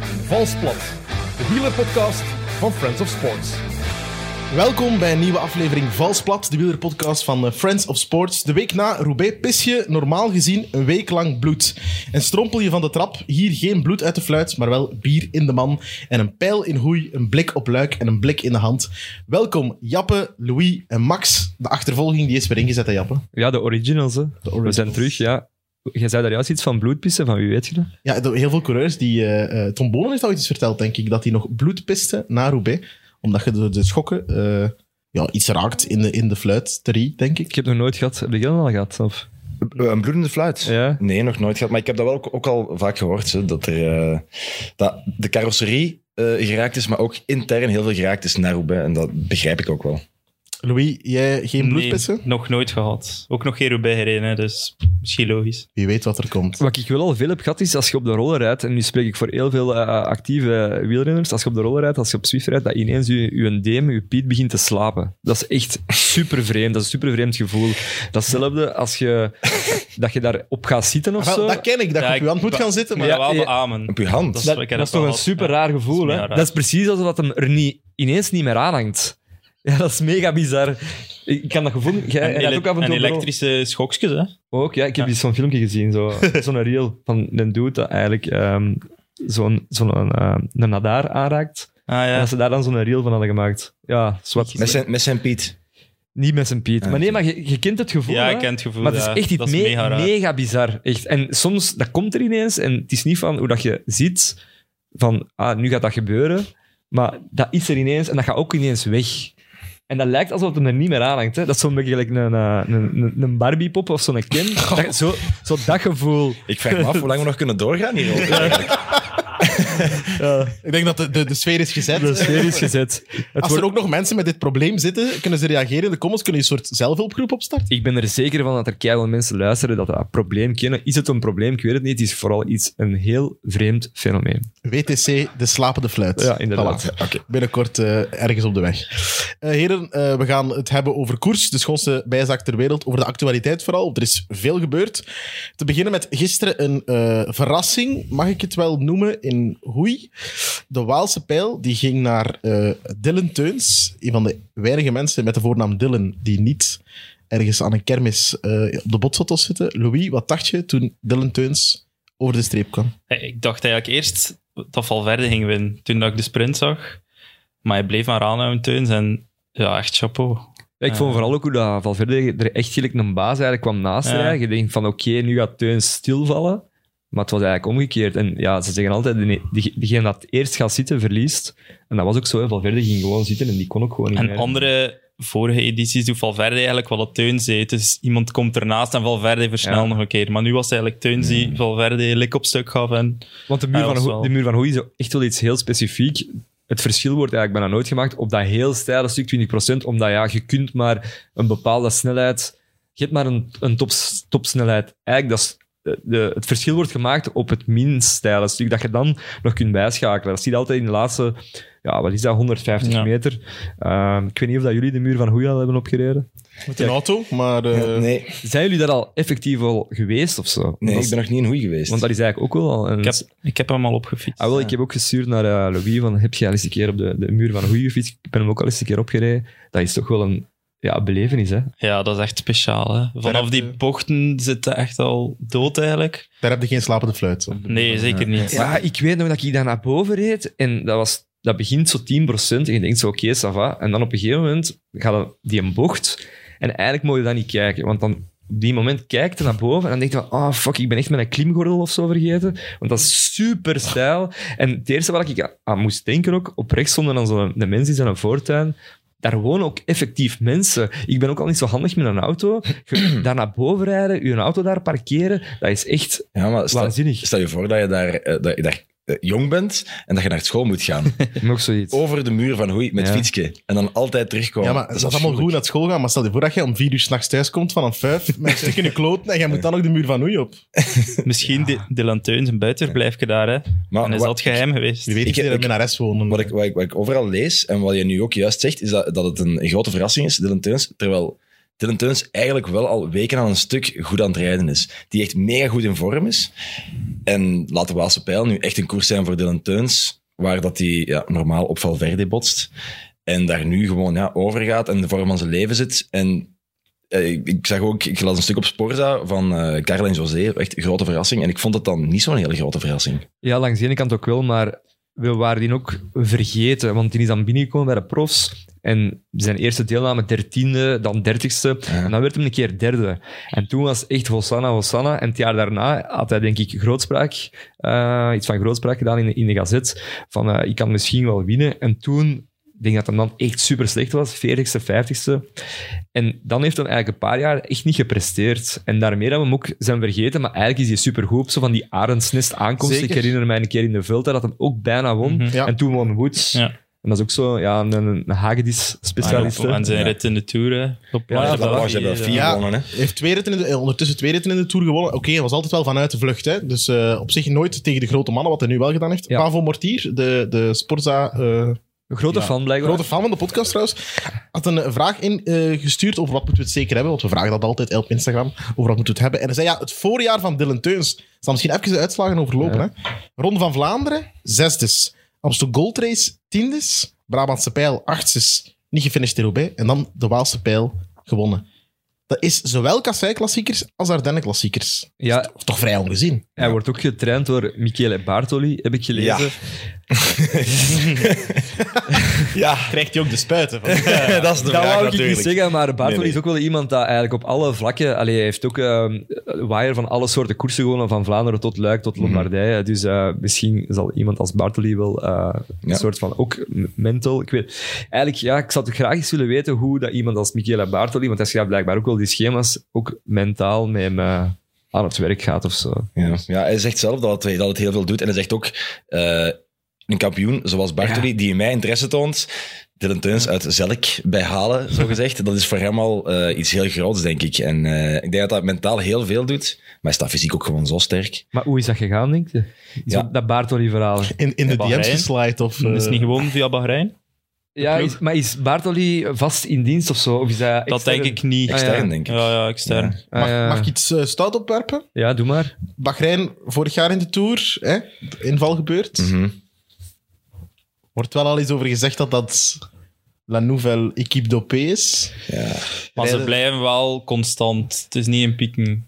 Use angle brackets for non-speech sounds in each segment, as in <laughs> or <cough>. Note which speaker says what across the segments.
Speaker 1: Valsplat, de wielerpodcast van Friends of Sports.
Speaker 2: Welkom bij een nieuwe aflevering Valsplat, de wielerpodcast van eh, Friends of Sports. De week na Roubaix pis je normaal gezien een week lang bloed. En strompel je van de trap, hier geen bloed uit de fluit, maar wel bier in de man. En een pijl in hoei, een blik op luik en een blik in de hand. Welkom Jappe, Louis en Max. De achtervolging die is weer ingezet, hè Jappe?
Speaker 3: Ja, de originals, hè. We
Speaker 2: originals.
Speaker 3: zijn terug, ja. Jij zei daar juist iets van bloedpissen, van wie weet je dat?
Speaker 2: Ja, de- heel veel coureurs die... eh, eh, Tom Bonen heeft al iets verteld, denk ik, dat hij nog bloed piste na Roubaix. Omdat je door de schokken eh, ja, iets raakt in de, in de fluit, drie, denk ik.
Speaker 3: Ik heb nog nooit gehad. Heb je dat al gehad? Of?
Speaker 4: Eh, Een bloedende fluit?
Speaker 3: Ja.
Speaker 4: Nee, nog nooit gehad. Maar ik heb dat wel ook, ook al vaak gehoord. Hè, dat, er, eh, dat de carrosserie eh, geraakt is, maar ook intern heel veel geraakt is naar Roubaix. En dat begrijp ik ook wel.
Speaker 2: Louis, jij geen bloedpissen?
Speaker 5: Nee, nog nooit gehad. Ook nog geen Roubaix gereden, hè, dus misschien logisch.
Speaker 2: Wie weet wat er komt.
Speaker 3: Wat ik wel al veel heb gehad, is als je op de roller rijdt, en nu spreek ik voor heel veel eh, actieve wielrenners, als je op de roller rijdt, als je op Zwift rijdt, dat ineens je, je DM, je piet begint te slapen. Dat is echt super vreemd. Dat is een super vreemd gevoel. Datzelfde als je, <laughs> dat je daarop gaat zitten of
Speaker 2: Ah, Wel,
Speaker 3: zo.
Speaker 2: dat ken ik, dat ik
Speaker 5: Ja, ik-
Speaker 2: op je hand moet gaan zitten. Maar
Speaker 5: Maar ja, wel
Speaker 3: ja.
Speaker 5: beamen.
Speaker 4: Op je hand.
Speaker 5: Dat-
Speaker 3: Dat,
Speaker 5: ik
Speaker 3: dat
Speaker 5: heb
Speaker 3: is
Speaker 5: dat
Speaker 3: toch
Speaker 5: wel
Speaker 3: een
Speaker 5: gehad.
Speaker 3: super raar gevoel,
Speaker 5: mega
Speaker 3: hè?
Speaker 5: raar.
Speaker 3: Dat is precies alsof dat hem er niet, ineens niet meer aanhangt. <laughs> Ja, dat is mega bizar. Ik kan dat gevoel... Jij
Speaker 5: En,
Speaker 3: jij hebt ook af en toe...
Speaker 5: en
Speaker 3: op de rol-
Speaker 5: elektrische schokjes, hè? Ah,
Speaker 3: Ook, ja. Ik heb
Speaker 5: Ja.
Speaker 3: eens zo'n filmpje gezien,
Speaker 5: <laughs>
Speaker 3: zo- zo'n reel van een dude dat eigenlijk ehm, zo'n zo'n ehm, een nadar aanraakt.
Speaker 5: Ah
Speaker 3: En
Speaker 5: ja.
Speaker 3: dat ze daar dan zo'n reel van hadden gemaakt. Ja, zwart.
Speaker 4: Met zijn, met zijn Piet.
Speaker 3: Niet met zijn Piet.
Speaker 4: Ah,
Speaker 3: Maar nee, maar je, je kent het gevoel,
Speaker 5: Ja,
Speaker 3: hè?
Speaker 5: ik ken het gevoel.
Speaker 3: Maar het
Speaker 5: ja.
Speaker 3: is echt iets
Speaker 5: dat is
Speaker 3: me-
Speaker 5: mega
Speaker 3: mega,
Speaker 5: raar.
Speaker 3: bizar. Echt. En soms, dat komt er ineens en het is niet van hoe dat je ziet van, ah, nu gaat dat gebeuren. Maar dat is er ineens en dat gaat ook ineens weg. En dat lijkt alsof het hem er niet meer aan hangt. Hè? Dat is zo'n beetje gelijk een, eh, een, een, een Barbie-pop of zo'n Ken.
Speaker 5: <laughs>
Speaker 3: Dat- Zo, zo dat gevoel.
Speaker 4: Ik vraag me af hoe lang we nog kunnen doorgaan hier.
Speaker 2: Ik denk dat de, de, de sfeer is gezet.
Speaker 3: De sfeer is gezet.
Speaker 2: Als
Speaker 3: Het
Speaker 2: er
Speaker 3: wordt-
Speaker 2: ook nog mensen met dit probleem zitten, kunnen ze reageren in de comments, kunnen je een soort zelfhulpgroep opstarten.
Speaker 3: Ik ben er zeker van dat er keihard mensen luisteren dat dat een probleem kennen. Is het een probleem? Ik weet het niet. Het is vooral iets, een heel vreemd fenomeen.
Speaker 2: WTC, de slapende fluit.
Speaker 3: Ja, inderdaad.
Speaker 2: Voilà. Binnenkort eh, ergens op de weg. Eh, heren, eh, we gaan het hebben over koers, de schoonste bijzaak ter wereld, over de actualiteit vooral. Er is veel gebeurd. Te beginnen met gisteren een eh, verrassing, mag ik het wel noemen, in Hoei. De Waalse pijl die ging naar eh Dylan Teuns, een van de weinige mensen met de voornaam Dylan die niet ergens aan een kermis eh, op de botsottos zitten. Louis, wat dacht je toen Dylan Teuns over de streep kwam?
Speaker 5: Hey, Ik dacht eigenlijk eerst dat Valverde ging winnen, toen dat ik de sprint zag. Maar hij bleef maar aanhouden, Teuns. En ja, echt chapeau.
Speaker 3: Ja, ik
Speaker 5: Ja.
Speaker 3: vond vooral ook hoe dat Valverde er echt gelijk een baas eigenlijk kwam naast
Speaker 5: Ja.
Speaker 3: rijden. Je denkt van oké, nu gaat Teuns stilvallen. Maar het was eigenlijk omgekeerd. En ja, ze zeggen altijd, die- die- diegene dat eerst gaat zitten, verliest. En dat was ook zo, hè. Valverde ging gewoon zitten en die kon ook gewoon niet
Speaker 5: En
Speaker 3: meer.
Speaker 5: andere vorige edities doet Valverde eigenlijk wat dat Teuns deed. Dus iemand komt ernaast en Valverde versnelt
Speaker 3: Ja.
Speaker 5: nog een keer. Maar nu was het eigenlijk Teuns die Valverde lik op stuk gaf. En
Speaker 3: Want de
Speaker 5: Ja,
Speaker 3: muur, van,
Speaker 5: dat is
Speaker 3: Ho-
Speaker 5: wel-
Speaker 3: de muur van Hoei is echt wel iets heel specifiek. Het verschil wordt eigenlijk bijna nooit gemaakt op dat heel steile stuk 20%, omdat ja, je kunt maar een bepaalde snelheid... Je hebt maar een, een tops, topsnelheid. Eigenlijk, dat is, de, de- het verschil wordt gemaakt op het minst steile stuk, dat je dan nog kunt bijschakelen. Dat zie je altijd in de laatste... Ja, wat is dat? 150
Speaker 5: Ja.
Speaker 3: meter. Ehm, ik weet niet of dat jullie de muur van Hoei al hebben opgereden.
Speaker 2: Met een auto, maar... eh,
Speaker 4: nee,
Speaker 3: Zijn jullie daar al effectief al geweest of zo?
Speaker 4: nee
Speaker 3: Dat
Speaker 4: ik
Speaker 3: is-
Speaker 4: ben nog niet in hoei geweest.
Speaker 3: Want dat is eigenlijk ook wel al een
Speaker 5: ik heb, ik heb hem al opgefietst.
Speaker 3: Ah, wel,
Speaker 5: Ja.
Speaker 3: ik heb ook gestuurd naar eh, Louis van, heb je al eens een keer op de, de muur van Goeie gefietst? Ik ben hem ook al eens een keer opgereden. Dat is toch wel een ja, belevenis, hè?
Speaker 5: Ja, dat is echt speciaal. Hè. Vanaf
Speaker 2: heb
Speaker 5: die
Speaker 2: je-
Speaker 5: bochten zit hij echt al dood eigenlijk.
Speaker 2: Daar heb je geen slapende fluit. Zo.
Speaker 5: Nee, zeker niet.
Speaker 3: Ja. Maar ik weet nog dat ik daar naar boven reed en dat, was, dat begint zo 10% en je denkt zo, oké, ça va. En dan op een gegeven moment gaat dat- die een bocht en eigenlijk moet je dat niet kijken, want dan op die moment kijkt je naar boven en dan denk je van, ah fuck, ik ben echt mijn klimgordel of zo vergeten, want dat is super stijl. En het eerste waar ik aan moest denken ook, oprecht stonden dan zo'n de mensen in een voortuin, daar wonen ook effectief mensen. Ik ben ook al niet zo handig met een auto. Je- Daar naar boven rijden, je auto daar parkeren, dat is echt
Speaker 4: ja, maar stel,
Speaker 3: waanzinnig.
Speaker 4: stel je voor dat je daar, eh, dat je daar eh, jong bent en dat je naar school moet
Speaker 3: <laughs>
Speaker 4: gaan.
Speaker 3: Nog zoiets.
Speaker 4: Over de muur van hoei met
Speaker 3: Ja.
Speaker 4: fietsje. En dan altijd terugkomen.
Speaker 2: Ja, maar dat is allemaal goed naar school gaan. Maar stel je voor dat je om vier uur s'nachts thuis komt van een vijf met een stuk in je kloten en jij moet dan nog de muur van Oei op.
Speaker 5: Misschien de Dylan Teuns, een buitenverblijfje daar. Hè.
Speaker 4: Maar
Speaker 5: En is
Speaker 4: wat-
Speaker 5: dat geheim geweest?
Speaker 2: Je weet
Speaker 4: Ik-
Speaker 2: niet dat
Speaker 4: ik-
Speaker 2: mijn nares wonen.
Speaker 4: Wat ik, wat, ik, wat ik overal lees en wat je nu ook juist zegt, is dat, dat het een grote verrassing is, Dylan Teuns. Terwijl Dylan Teuns eigenlijk wel al weken aan een stuk goed aan het rijden is. Die echt mega goed in vorm is. En laat de Waalse Pijl nu echt een koers zijn voor Dylan Teuns. waar dat hij ja, normaal op Valverde botst. En daar nu gewoon ja, overgaat en de vorm van zijn leven zit. En eh, ik, ik zag ook, ik las een stuk op Sporza van eh Carla en José, echt een grote verrassing. En ik vond dat dan niet zo'n hele grote verrassing.
Speaker 3: Ja, langs de ene kant ook wel, maar we waren die ook vergeten. Want die is dan binnengekomen bij de profs. En zijn eerste deelname dertiende, dan dertigste.
Speaker 4: Ja.
Speaker 3: En dan werd hem een keer derde. En toen was het echt Hosanna, Hosanna. En het jaar daarna had hij denk ik grootspraak, eh, iets van grootspraak gedaan in de, in de gazet. Van eh, ik kan misschien wel winnen. En toen, ik denk dat hem dan echt super slecht was. Veertigste, vijftigste. En dan heeft hij eigenlijk een paar jaar echt niet gepresteerd. En daarmee hebben we hem ook zijn vergeten. Maar eigenlijk is hij supergoed. Zo van die Arendsnest aankomst.
Speaker 2: Zeker.
Speaker 3: Ik herinner mij een keer in de Vuelta dat hij ook bijna won.
Speaker 5: Mhm.
Speaker 2: Ja. Ah,
Speaker 3: En toen won Woods.
Speaker 5: Ja.
Speaker 3: En dat is ook zo ja, een, een Hagedis-specialist.
Speaker 2: Oh,
Speaker 3: hè.
Speaker 5: En zijn
Speaker 4: Ja.
Speaker 5: rit in de Tour. hè, Op
Speaker 3: Ja,
Speaker 5: Marge
Speaker 3: dat
Speaker 5: België,
Speaker 4: Lafarge hebben
Speaker 5: ja.
Speaker 4: vier
Speaker 2: Ja.
Speaker 4: gewonnen, hè.
Speaker 2: Hij heeft twee ritten in de, eh, ondertussen twee ritten in de Tour gewonnen. Oké, hij was altijd wel vanuit de vlucht. Hè? Dus eh, op zich nooit tegen de grote mannen, wat hij nu wel gedaan heeft.
Speaker 3: Ja.
Speaker 2: Pavo Mortier, de, de Sporza... eh,
Speaker 3: Een grote
Speaker 2: Ja.
Speaker 3: fan blijkbaar.
Speaker 2: grote fan van de podcast trouwens, had een eh, vraag ingestuurd gestuurd over wat moeten we het zeker hebben, want we vragen dat altijd eh, op Instagram, over wat moeten we het hebben. En hij zei, ja, het voorjaar van Dylan Teuns. Zal misschien even de uitslagen overlopen.
Speaker 3: Ja.
Speaker 2: Hè? Ronde van Vlaanderen, zesdes. Amstel Gold Race, tiendes. Brabantse Pijl, achtstes. Niet gefinished in Roubaix. En dan de Waalse Pijl, gewonnen. Dat is zowel Kassei-klassiekers als Ardennen-klassiekers.
Speaker 3: Ja,
Speaker 2: Of toch vrij ongezien.
Speaker 3: hij wordt ook getraind door Michele Bartoli, heb ik gelezen.
Speaker 4: Ja,
Speaker 2: Krijgt hij ook de spuiten van.
Speaker 4: <laughs> dat is de
Speaker 3: Dat
Speaker 4: vraag
Speaker 3: wou ik
Speaker 4: natuurlijk.
Speaker 3: niet zeggen, maar Bartoli
Speaker 4: Nee, nee.
Speaker 3: is ook wel iemand dat eigenlijk op alle vlakken... Allee, hij heeft ook ehm waaier van alle soorten koersen gewonnen, van Vlaanderen tot Luik tot Lombardije. Dus eh, misschien zal iemand als Bartoli wel eh,
Speaker 4: Ja.
Speaker 3: een soort van... Ook mental, ik weet... Eigenlijk, ja, ik zou het graag eens willen weten hoe dat iemand als Michele Bartoli, want hij schrijft blijkbaar ook wel die schema's, ook mentaal met hem eh, aan het werk gaat of zo.
Speaker 4: Ja. ja, hij zegt zelf dat het, dat het heel veel doet. En hij zegt ook, eh, een kampioen zoals Bartoli, die in mij interesse toont, Dylan Teuns uit Zelk bij Halen, zogezegd. dat is voor hem al eh, iets heel groots, denk ik. En eh, ik denk dat dat mentaal heel veel doet. Maar hij staat fysiek ook gewoon zo sterk.
Speaker 3: Maar hoe is dat gegaan, denk je?
Speaker 4: Ja.
Speaker 3: Zo, dat Bartoli-verhaal.
Speaker 2: In, in de
Speaker 5: Bahrein.
Speaker 2: DM's geslaaid. Of,
Speaker 5: Dat is
Speaker 2: eh,
Speaker 5: niet gewoon via Bahrein.
Speaker 3: Ja,
Speaker 5: ploeg.
Speaker 3: is- maar is Bartoli vast in dienst of zo? Of is dat
Speaker 5: Dat denk ik niet.
Speaker 3: Ah, ja.
Speaker 4: Extern, denk ik.
Speaker 5: Ja, ja, extern.
Speaker 4: Ja.
Speaker 3: Ah,
Speaker 2: mag,
Speaker 3: ja.
Speaker 2: mag ik iets eh, stout opwerpen?
Speaker 3: Ja, doe maar.
Speaker 2: Bahrein vorig jaar in de Tour, hè? de inval gebeurd.
Speaker 4: Mhm.
Speaker 2: Wordt wel al eens over gezegd dat dat La Nouvelle Équipe d'Opé is.
Speaker 4: ja.
Speaker 5: Maar ze
Speaker 2: Rijden-
Speaker 5: blijven wel constant. Het is niet in pieken.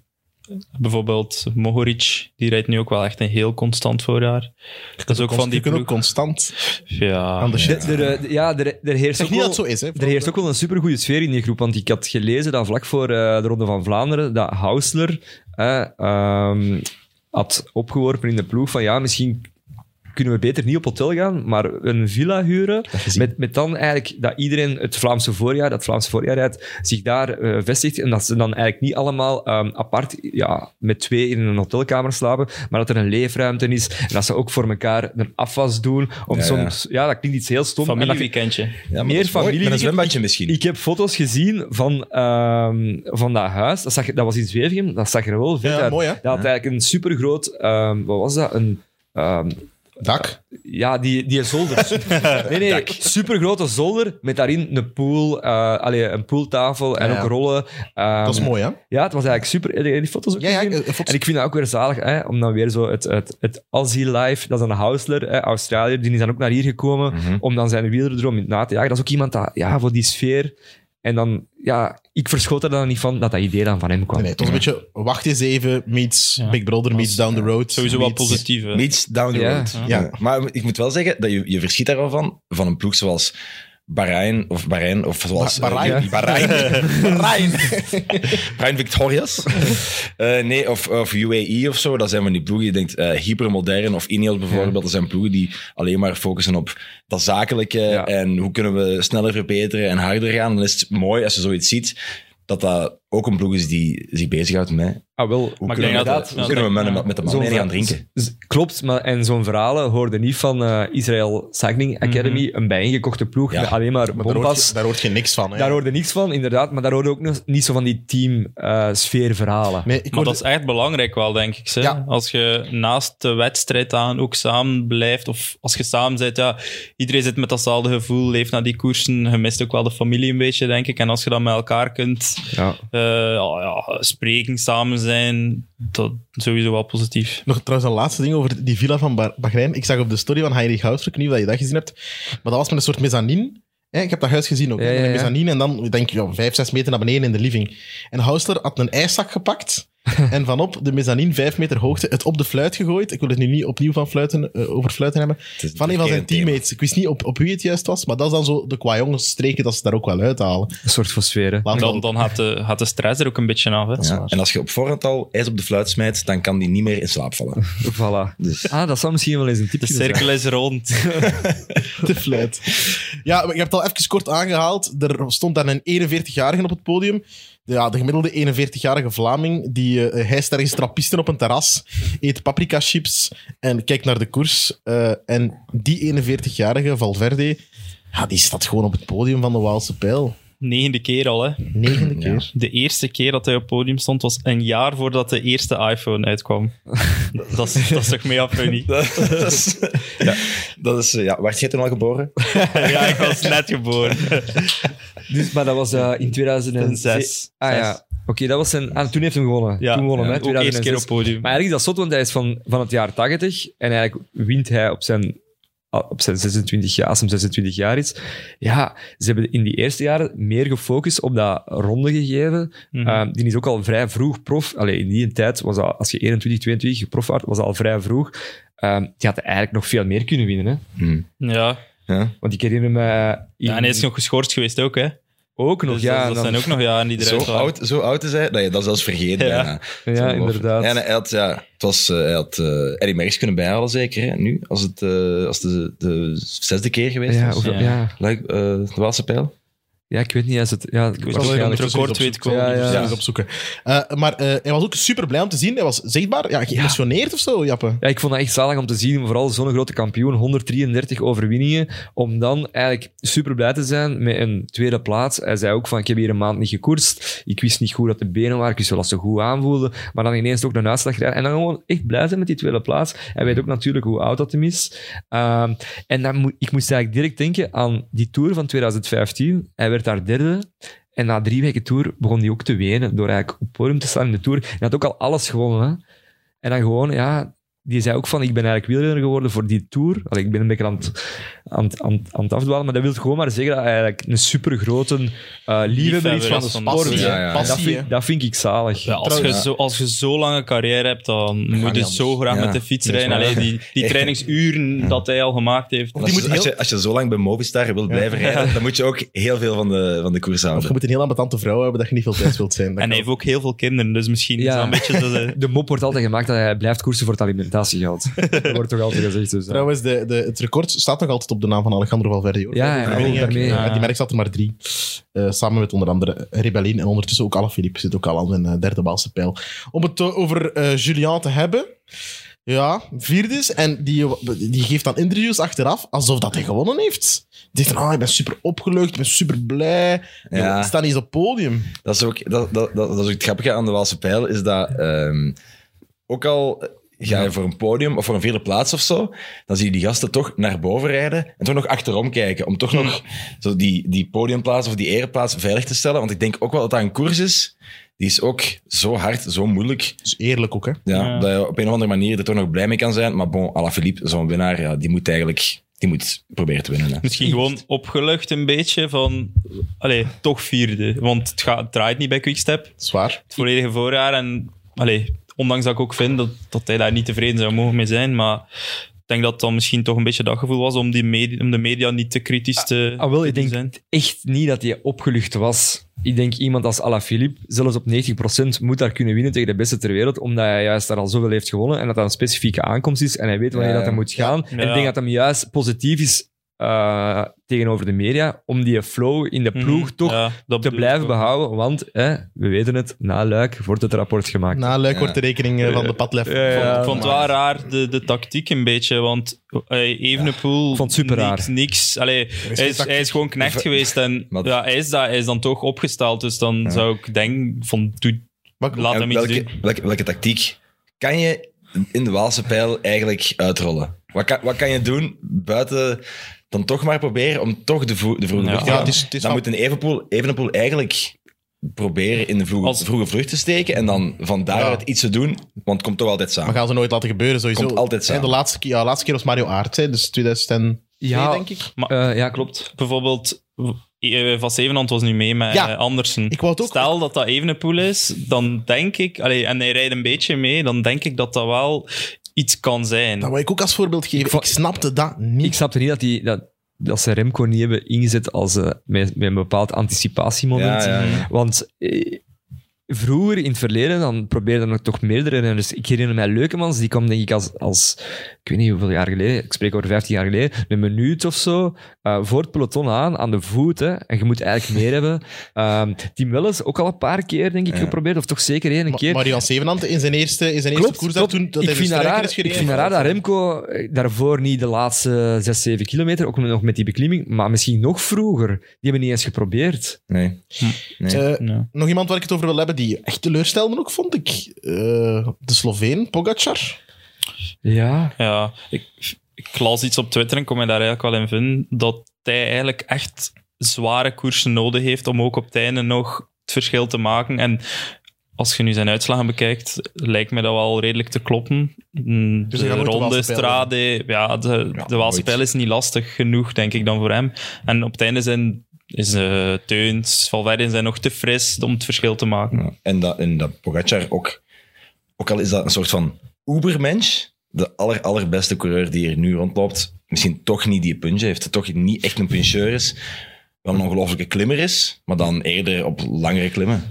Speaker 5: Bijvoorbeeld Mohoric, die rijdt nu ook wel echt een heel constant voorjaar. Dat is ook van die
Speaker 2: Je kunt ook
Speaker 5: ploeg.
Speaker 2: constant
Speaker 5: Ja,
Speaker 2: aan de shit.
Speaker 3: Er, eh, d- ja, er, er heerst
Speaker 2: Zeg
Speaker 3: ook
Speaker 2: niet dat
Speaker 3: wel...
Speaker 2: het zo is, hè?
Speaker 3: Er heerst ook wel een supergoeie sfeer in die groep, want ik had gelezen dat vlak voor eh, de Ronde van Vlaanderen, dat Hausler eh, ehm, had opgeworpen in de ploeg van ja, misschien kunnen we beter niet op hotel gaan, maar een villa huren. Met, met dan eigenlijk dat iedereen het Vlaamse voorjaar, dat Vlaamse voorjaar rijdt, zich daar eh, vestigt. En dat ze dan eigenlijk niet allemaal ehm, apart ja, met twee in een hotelkamer slapen, maar dat er een leefruimte is. En dat ze ook voor elkaar een afwas doen. Om
Speaker 4: Ja, ja.
Speaker 3: soms, ja. dat klinkt iets heel stom. En dat-
Speaker 5: familieweekendje.
Speaker 4: Ja, maar
Speaker 3: Meer
Speaker 4: dat is mooi.
Speaker 3: familie-
Speaker 4: Met een zwembadje misschien.
Speaker 3: ik heb foto's gezien van, ehm, van dat huis. Dat, zag, dat was in Zwevegem. Dat zag er wel vet
Speaker 2: Ja,
Speaker 3: uit.
Speaker 2: mooi, hè?
Speaker 3: Dat had eigenlijk een supergroot... ehm, wat was dat? Een... ehm,
Speaker 2: Dak.
Speaker 3: ja, die, die
Speaker 2: <laughs>
Speaker 3: zolder. nee, nee, supergrote zolder met daarin een pool, eh allee, een pooltafel en
Speaker 2: Ja, ja.
Speaker 3: ook rollen. Ehm,
Speaker 2: Dat is mooi, hè?
Speaker 3: Ja, het was eigenlijk super. Heb je die foto's ook
Speaker 2: Ja, ja.
Speaker 3: gezien?
Speaker 2: eh, foto's-
Speaker 3: En ik vind dat ook weer zalig, hè, om dan weer zo het, het, het Aussie Life, dat is een Housler, hè, Australiër, die is dan ook naar hier gekomen
Speaker 4: Mhm.
Speaker 3: om dan zijn wielerdroom in na te jagen. Dat is ook iemand dat, ja, voor die sfeer. En dan, ja, ik verschoot er dan niet van dat dat idee dan van hem
Speaker 2: Nee,
Speaker 3: kwam.
Speaker 2: nee, het was een beetje wacht eens even, meets
Speaker 5: Ja.
Speaker 2: Big Brother, meets Down the Road.
Speaker 5: Sowieso wel
Speaker 2: meets-
Speaker 5: positief. hè.
Speaker 4: Meets down the
Speaker 3: Ja.
Speaker 4: road.
Speaker 5: Ja.
Speaker 2: Ja.
Speaker 4: Maar ik moet wel zeggen dat je, je verschiet daar wel van, van een ploeg zoals Bahrein of Bahrein of zoals...
Speaker 2: Ba- Bahrein.
Speaker 4: eh, Bahrein. Bahrein. <laughs> Bahrein Victorias. Eh, nee, of, of UAE of zo. Dat zijn van die ploegen. Je denkt eh, hypermodern of Ineos bijvoorbeeld. Dat zijn ploegen die alleen maar focussen op dat zakelijke
Speaker 3: Ja.
Speaker 4: en hoe kunnen we sneller verbeteren en harder gaan. Dan is het mooi als je zoiets ziet dat dat ook een ploeg is die zich bezighoudt met
Speaker 3: Ah, wel,
Speaker 4: hoe
Speaker 5: Maar ik
Speaker 4: kunnen we,
Speaker 5: denk dat-
Speaker 4: met- hoe kunnen we met,
Speaker 5: ja.
Speaker 4: met de
Speaker 3: Zo'n
Speaker 4: mannen gaan
Speaker 3: verhaal-
Speaker 4: drinken.
Speaker 3: z- z- Klopt, maar en zo'n verhalen hoorde niet van eh, Israël Cycling Academy, een bijeengekochte ploeg,
Speaker 4: Ja.
Speaker 3: met alleen maar
Speaker 2: Maar daar hoort,
Speaker 3: bompas.
Speaker 2: je, daar hoort je niks van, hè?
Speaker 3: Daar hoorde niks van, inderdaad, maar daar hoorde ook nog niet zo van die eh, team-sfeer-verhalen.
Speaker 2: Nee, ik
Speaker 5: Maar
Speaker 2: hoorde-
Speaker 5: dat is echt belangrijk wel, denk ik. Hè?
Speaker 2: Ja.
Speaker 5: Als je naast de wedstrijd aan ook samen blijft, of als je samen bent, ja, iedereen zit met datzelfde gevoel, leeft naar die koersen. Je mist ook wel de familie een beetje, denk ik. En als je dat met elkaar kunt
Speaker 3: ja.
Speaker 5: eh, ja, ja, spreken, samen zijn, dat sowieso wel positief.
Speaker 2: Nog trouwens een laatste ding over die villa van Ba- Bahrein. Ik zag op de story van Heinrich Houtfrek, niet of dat je dat gezien hebt, maar dat was met een soort mezzanine. Hè, ik heb dat huis gezien ook. hè,
Speaker 3: Ja, ja,
Speaker 2: Met een
Speaker 3: ja.
Speaker 2: mezzanine en dan, ik denk ja, vijf, zes meter naar beneden in de living. En Housler had een ijszak
Speaker 3: <laughs>
Speaker 2: gepakt en vanop de mezzanine, vijf meter hoogte, het op de fluit gegooid. Ik wil het nu niet opnieuw van fluiten, eh, over fluiten hebben.
Speaker 4: is
Speaker 2: Van een van zijn
Speaker 4: een thema.
Speaker 2: teammates. Ik wist niet op, op wie het juist was, maar dat is dan zo de qua jongens streken dat ze daar ook wel uithalen.
Speaker 3: Een soort van sfeer, hè.
Speaker 2: Laat
Speaker 5: Dan,
Speaker 2: wel-
Speaker 5: dan gaat, de, gaat de stress er ook een beetje af. Hè?
Speaker 4: Ja, En als je op voorhand al ijs op de fluit smijt, dan kan die niet meer in slaap vallen.
Speaker 3: Voilà.
Speaker 4: Dus.
Speaker 3: Ah, dat zou misschien wel eens een tip
Speaker 5: De
Speaker 3: kunnen zijn.
Speaker 5: cirkel is rond.
Speaker 2: de fluit. Ja, maar je hebt het al even kort aangehaald. Er stond dan een 41-jarige op het podium. Ja, de gemiddelde 41-jarige Vlaming die eh hijst ergens trappisten op een terras, eet paprika chips en kijkt naar de koers. Eh, en die 41-jarige Valverde, ja, die staat gewoon op het podium van de Waalse Pijl.
Speaker 5: Negende keer al, hè.
Speaker 2: Negende keer.
Speaker 5: De eerste keer dat hij op het podium stond was een jaar voordat de eerste iPhone uitkwam. dat, is, dat is toch mega funny?
Speaker 4: dat is... Ja, dat is, eh, ja. Werd jij toen al geboren?
Speaker 5: ja, ik was net geboren.
Speaker 3: Dus, maar dat was eh, in 2006.
Speaker 5: Zes.
Speaker 3: Ah ja,
Speaker 5: Zes.
Speaker 3: oké, dat was zijn... Ah, toen heeft hij hem gewonnen.
Speaker 5: Ja,
Speaker 3: toen won hem,
Speaker 5: ja.
Speaker 3: hè,
Speaker 5: ook eerste keer op
Speaker 3: 2006.
Speaker 5: het podium.
Speaker 3: Maar eigenlijk is dat zot, want hij is van, van het jaar 80 en eigenlijk wint hij op zijn, ah, op zijn 26 jaar, als hij 26 jaar is. Ja, ze hebben in die eerste jaren meer gefocust op dat ronde gegeven.
Speaker 5: Mhm.
Speaker 3: Ehm, die is ook al vrij vroeg prof. Allee, in die tijd was dat, als je 21, 22 prof was, was dat al vrij vroeg. Ehm, die had eigenlijk nog veel meer kunnen winnen. Hè?
Speaker 5: Hmm. ja.
Speaker 4: Ja.
Speaker 3: Want ik herinner me... eh, in-
Speaker 5: ja, en hij is nog geschorst geweest ook, hè.
Speaker 3: Ook nog,
Speaker 5: Dus
Speaker 3: ja.
Speaker 5: dat-
Speaker 3: en
Speaker 5: dat
Speaker 3: dan-
Speaker 5: zijn ook nog jaren die
Speaker 4: Zo,
Speaker 5: eruit waren.
Speaker 4: oud, zo oud is hij dat je dat zelfs vergeet
Speaker 5: Ja.
Speaker 4: bijna.
Speaker 3: Ja,
Speaker 4: Ongelooflijk.
Speaker 3: inderdaad.
Speaker 4: En hij had, ja, het was, eh, hij had eh Eddie Merckx kunnen bijhalen, zeker. Hè? Nu, als het eh, als de, de zesde keer geweest
Speaker 3: Ja,
Speaker 4: was.
Speaker 3: of-
Speaker 5: Ja.
Speaker 3: ja.
Speaker 4: Leuk, eh, de Waalse pijl.
Speaker 3: Ja, ik weet niet. Als het, ja,
Speaker 5: weet
Speaker 2: Ik zal
Speaker 5: Waarschijnlijk
Speaker 2: het ondertussen eens
Speaker 5: record weet
Speaker 2: opzoeken.
Speaker 5: ik wel.
Speaker 2: Ja, ja,
Speaker 3: Ja.
Speaker 2: eens opzoeken. Eh, maar eh, hij was ook super blij om te zien. Hij was zichtbaar ja, geëmotioneerd of zo, Jappe.
Speaker 3: Ja, ik vond dat echt zalig om te zien. Vooral zo'n grote kampioen, 133 overwinningen. Om dan eigenlijk super blij te zijn met een tweede plaats. Hij zei ook van, ik heb hier een maand niet gekoerst. Ik wist niet goed dat de benen waren. Ik wist wel dat ze goed aanvoelden. Maar dan ineens ook een uitslag krijgen. En dan gewoon echt blij zijn met die tweede plaats. Hij weet ook natuurlijk hoe oud dat hem is. Ehm, en dan moet, ik moest eigenlijk direct denken aan die Tour van 2015. Hij werd daar derde. En na drie weken Tour begon hij ook te wenen. Door eigenlijk op het podium te staan in de Tour. Hij had ook al alles gewonnen. Hè? En dan gewoon, ja, die zei ook van, ik ben eigenlijk wielrenner geworden voor die Tour. Allee, ik ben een beetje aan het, aan, het- aan, het- aan het afdwalen, maar dat wil gewoon maar zeggen dat hij eigenlijk een supergrote eh liefhebber is van de
Speaker 5: van
Speaker 3: sport.
Speaker 5: passie,
Speaker 4: ja, ja.
Speaker 3: En dat,
Speaker 2: Passie, hè.
Speaker 3: vind, dat vind ik zalig.
Speaker 5: Ja, als, je
Speaker 4: Trouwens-
Speaker 5: zo, als je zo'n lange carrière hebt, dan moet je
Speaker 4: niet
Speaker 5: zo
Speaker 4: anders.
Speaker 5: graag
Speaker 4: Ja.
Speaker 5: met de fiets
Speaker 4: Dat is
Speaker 5: rijden.
Speaker 4: waar.
Speaker 5: Allee, die, die
Speaker 4: Echt.
Speaker 5: trainingsuren dat hij al gemaakt heeft.
Speaker 4: Als,
Speaker 2: moet
Speaker 4: je,
Speaker 2: heel-
Speaker 4: als, je, als je zo lang bij Movistar wilt blijven rijden, dan moet je ook heel veel van de, van de koers
Speaker 2: Of je
Speaker 4: houden.
Speaker 2: moet een heel ambetante vrouw hebben dat je niet veel thuis wilt zijn. Dat
Speaker 5: En hij
Speaker 2: kan.
Speaker 5: heeft ook heel veel kinderen, dus misschien is
Speaker 3: Ja.
Speaker 5: dat een beetje...
Speaker 3: <laughs>
Speaker 5: zo de-
Speaker 3: De mop wordt altijd gemaakt dat hij blijft koersen voor het alimentatiegeld. <laughs> dat wordt toch altijd gezegd. Dus, eh.
Speaker 2: Trouwens, de, de, het record staat nog altijd op de naam van Alejandro Valverde. Hoor.
Speaker 3: Ja,
Speaker 2: Die
Speaker 3: ja,
Speaker 2: overwinningen,
Speaker 3: daarmee,
Speaker 2: ja,
Speaker 5: ja.
Speaker 2: Die merk zat er maar drie. Eh, samen met onder andere Rebellin en ondertussen ook Alaphilippe zit ook al aan zijn eh, derde Waalse pijl. Om het eh, over eh, Julian te hebben. Ja, vierde is. En die, die geeft dan interviews achteraf alsof dat hij gewonnen heeft. Die zegt dan, ah, ik ben super opgelucht, ik ben super blij.
Speaker 4: Ja.
Speaker 2: Ik sta niet eens op het podium.
Speaker 4: Dat is, ook, dat, dat, dat, dat is ook het grappige aan de Waalse pijl, is dat ehm, ook al ga je voor een podium of voor een vierde plaats of zo, dan zie je die gasten toch naar boven rijden en toch nog achterom kijken, om toch nog
Speaker 5: Hmm.
Speaker 4: zo die, die podiumplaats of die ereplaats veilig te stellen. Want ik denk ook wel dat dat een koers is, die is ook zo hard, zo moeilijk,
Speaker 2: Dus eerlijk ook, hè.
Speaker 4: ja,
Speaker 5: Ja.
Speaker 4: dat je op een of andere manier er toch nog blij mee kan zijn. Maar bon, Alaphilippe, zo'n winnaar, ja, die moet eigenlijk die moet proberen te winnen. Hè.
Speaker 5: Misschien gewoon opgelucht een beetje van... Allee, toch vierde. Want het, gaat, het draait niet bij Quickstep.
Speaker 2: Zwaar.
Speaker 5: Het volledige voorjaar. En allee, ondanks dat ik ook vind dat, dat hij daar niet tevreden zou mogen mee zijn. Maar ik denk dat dan misschien toch een beetje dat gevoel was om, die medi- om de media niet te kritisch te,
Speaker 3: Ah, wel, ik
Speaker 5: te
Speaker 3: denk
Speaker 5: zijn.
Speaker 3: echt niet dat hij opgelucht was. Ik denk iemand als Alaphilippe, zelfs op 90%, moet daar kunnen winnen tegen de beste ter wereld, omdat hij juist daar al zoveel heeft gewonnen en dat dat een specifieke aankomst is en hij weet wanneer
Speaker 4: Ja,
Speaker 3: dat hij
Speaker 4: ja.
Speaker 3: moet gaan. En ik
Speaker 5: Ja.
Speaker 3: denk dat hem juist positief is eh, tegenover de media, om die flow in de ploeg
Speaker 5: Mhm,
Speaker 3: toch
Speaker 5: ja, dat
Speaker 3: te
Speaker 5: bedoel ik
Speaker 3: blijven
Speaker 5: ook.
Speaker 3: behouden, want eh, we weten het, na Luik wordt het rapport gemaakt.
Speaker 2: Na leuk
Speaker 4: Ja.
Speaker 2: wordt de rekening eh, van de padlef.
Speaker 3: Ja, ja.
Speaker 5: ik vond het wel raar, de, de tactiek een beetje. Want eh, Evenepoel...
Speaker 3: Ik vond het super
Speaker 5: Niks,
Speaker 3: raar.
Speaker 5: niks allee, hij, is, hij is gewoon knecht geweest. En
Speaker 4: Maar-
Speaker 5: ja, hij, is dat, hij is dan toch opgesteld. Dus dan zou ik denken van... Doe,
Speaker 2: Maar-
Speaker 5: laat
Speaker 4: En
Speaker 5: hem iets
Speaker 4: welke,
Speaker 5: doen.
Speaker 4: welke, welke tactiek kan je in de Waalse pijl eigenlijk uitrollen? Wat kan, wat kan je doen buiten dan toch maar proberen om toch de, vro- de vroege
Speaker 5: Ja.
Speaker 4: vlucht te
Speaker 2: Ja,
Speaker 4: gaan?
Speaker 2: het is- het is
Speaker 4: dan
Speaker 2: wel-
Speaker 4: moet een Evenpoel, Evenepoel eigenlijk proberen in de vroege,
Speaker 5: Als-
Speaker 4: vroege vlucht te steken en dan van daaruit iets te doen, want het komt toch altijd samen.
Speaker 2: Maar gaan ze nooit laten gebeuren, sowieso.
Speaker 4: Komt altijd samen.
Speaker 2: Hè, De laatste, keer- ja, de laatste keer was Mario Aert, hè, dus 2002,
Speaker 3: Ja.
Speaker 2: denk ik.
Speaker 3: Eh, ja, klopt.
Speaker 5: Bijvoorbeeld, eh, Van Zevenhand was nu mee met
Speaker 2: Ja.
Speaker 5: eh, Andersen.
Speaker 2: Ik wou het ook...
Speaker 5: Stel dat dat Evenepoel is, dan denk ik... Allee, en hij rijdt een beetje mee, dan denk ik dat dat wel iets kan zijn.
Speaker 2: Dat Nou, wou ik ook als voorbeeld geven. Ik,
Speaker 3: vond-
Speaker 2: snapte dat niet.
Speaker 3: Ik snapte niet dat, die, dat, dat ze Remco niet hebben ingezet als, eh, met, met een bepaald anticipatiemoment.
Speaker 4: Ja, ja, ja.
Speaker 3: Want eh, vroeger in het verleden, dan probeerden er toch meerdere renners. Ik herinner mij Leukemans, die kwam denk ik als, als ik weet niet hoeveel jaar geleden, ik spreek over 15 jaar geleden, een minuut of zo eh, voor het peloton aan, aan de voet. Hè. En je moet eigenlijk meer <laughs> hebben. Ehm Tim Welles ook al een paar keer denk ik
Speaker 4: Ja.
Speaker 3: geprobeerd, of toch zeker één
Speaker 2: Ma-
Speaker 3: keer.
Speaker 2: Marian Sevenant in zijn eerste, in zijn eerste
Speaker 3: Klopt,
Speaker 2: koers
Speaker 3: klopt.
Speaker 2: dat toen dat
Speaker 3: ik
Speaker 2: hij de
Speaker 3: vind dat
Speaker 2: struiker is
Speaker 3: raar, ik
Speaker 2: gereden.
Speaker 3: vind dat raar dat Remco eh, daarvoor niet de laatste 6, 7 kilometer, ook nog met die beklimming, maar misschien nog vroeger. Die hebben niet eens geprobeerd.
Speaker 4: Nee. Nee.
Speaker 2: Eh,
Speaker 5: Ja.
Speaker 2: nog iemand waar ik het over wil hebben die echt teleurstelde ook, vond ik. Eh, de Sloveen, Pogacar.
Speaker 3: Ja.
Speaker 5: Ja, ik, ik las iets op Twitter en kon me daar eigenlijk wel in vinden, dat hij eigenlijk echt zware koersen nodig heeft om ook op het einde nog het verschil te maken. En als je nu zijn uitslagen bekijkt, lijkt me dat wel redelijk te kloppen. Mm,
Speaker 2: Dus hij
Speaker 5: de
Speaker 2: gaat nooit de Waalse
Speaker 5: ronde,
Speaker 2: pijl
Speaker 5: strade, ja, de,
Speaker 4: Ja,
Speaker 5: de Waalse
Speaker 4: nooit.
Speaker 5: pijl is niet lastig genoeg, denk ik, dan voor hem. En op het einde zijn is eh Teuns, Valverde zijn nog te fris om het verschil te maken.
Speaker 4: Ja. En, dat, en dat Pogacar ook, ook al is dat een soort van ubermensch, de aller, allerbeste coureur die er nu rondloopt, misschien toch niet die punch heeft, toch niet echt een puncheur is, wel een ongelofelijke klimmer is, maar dan eerder op langere klimmen.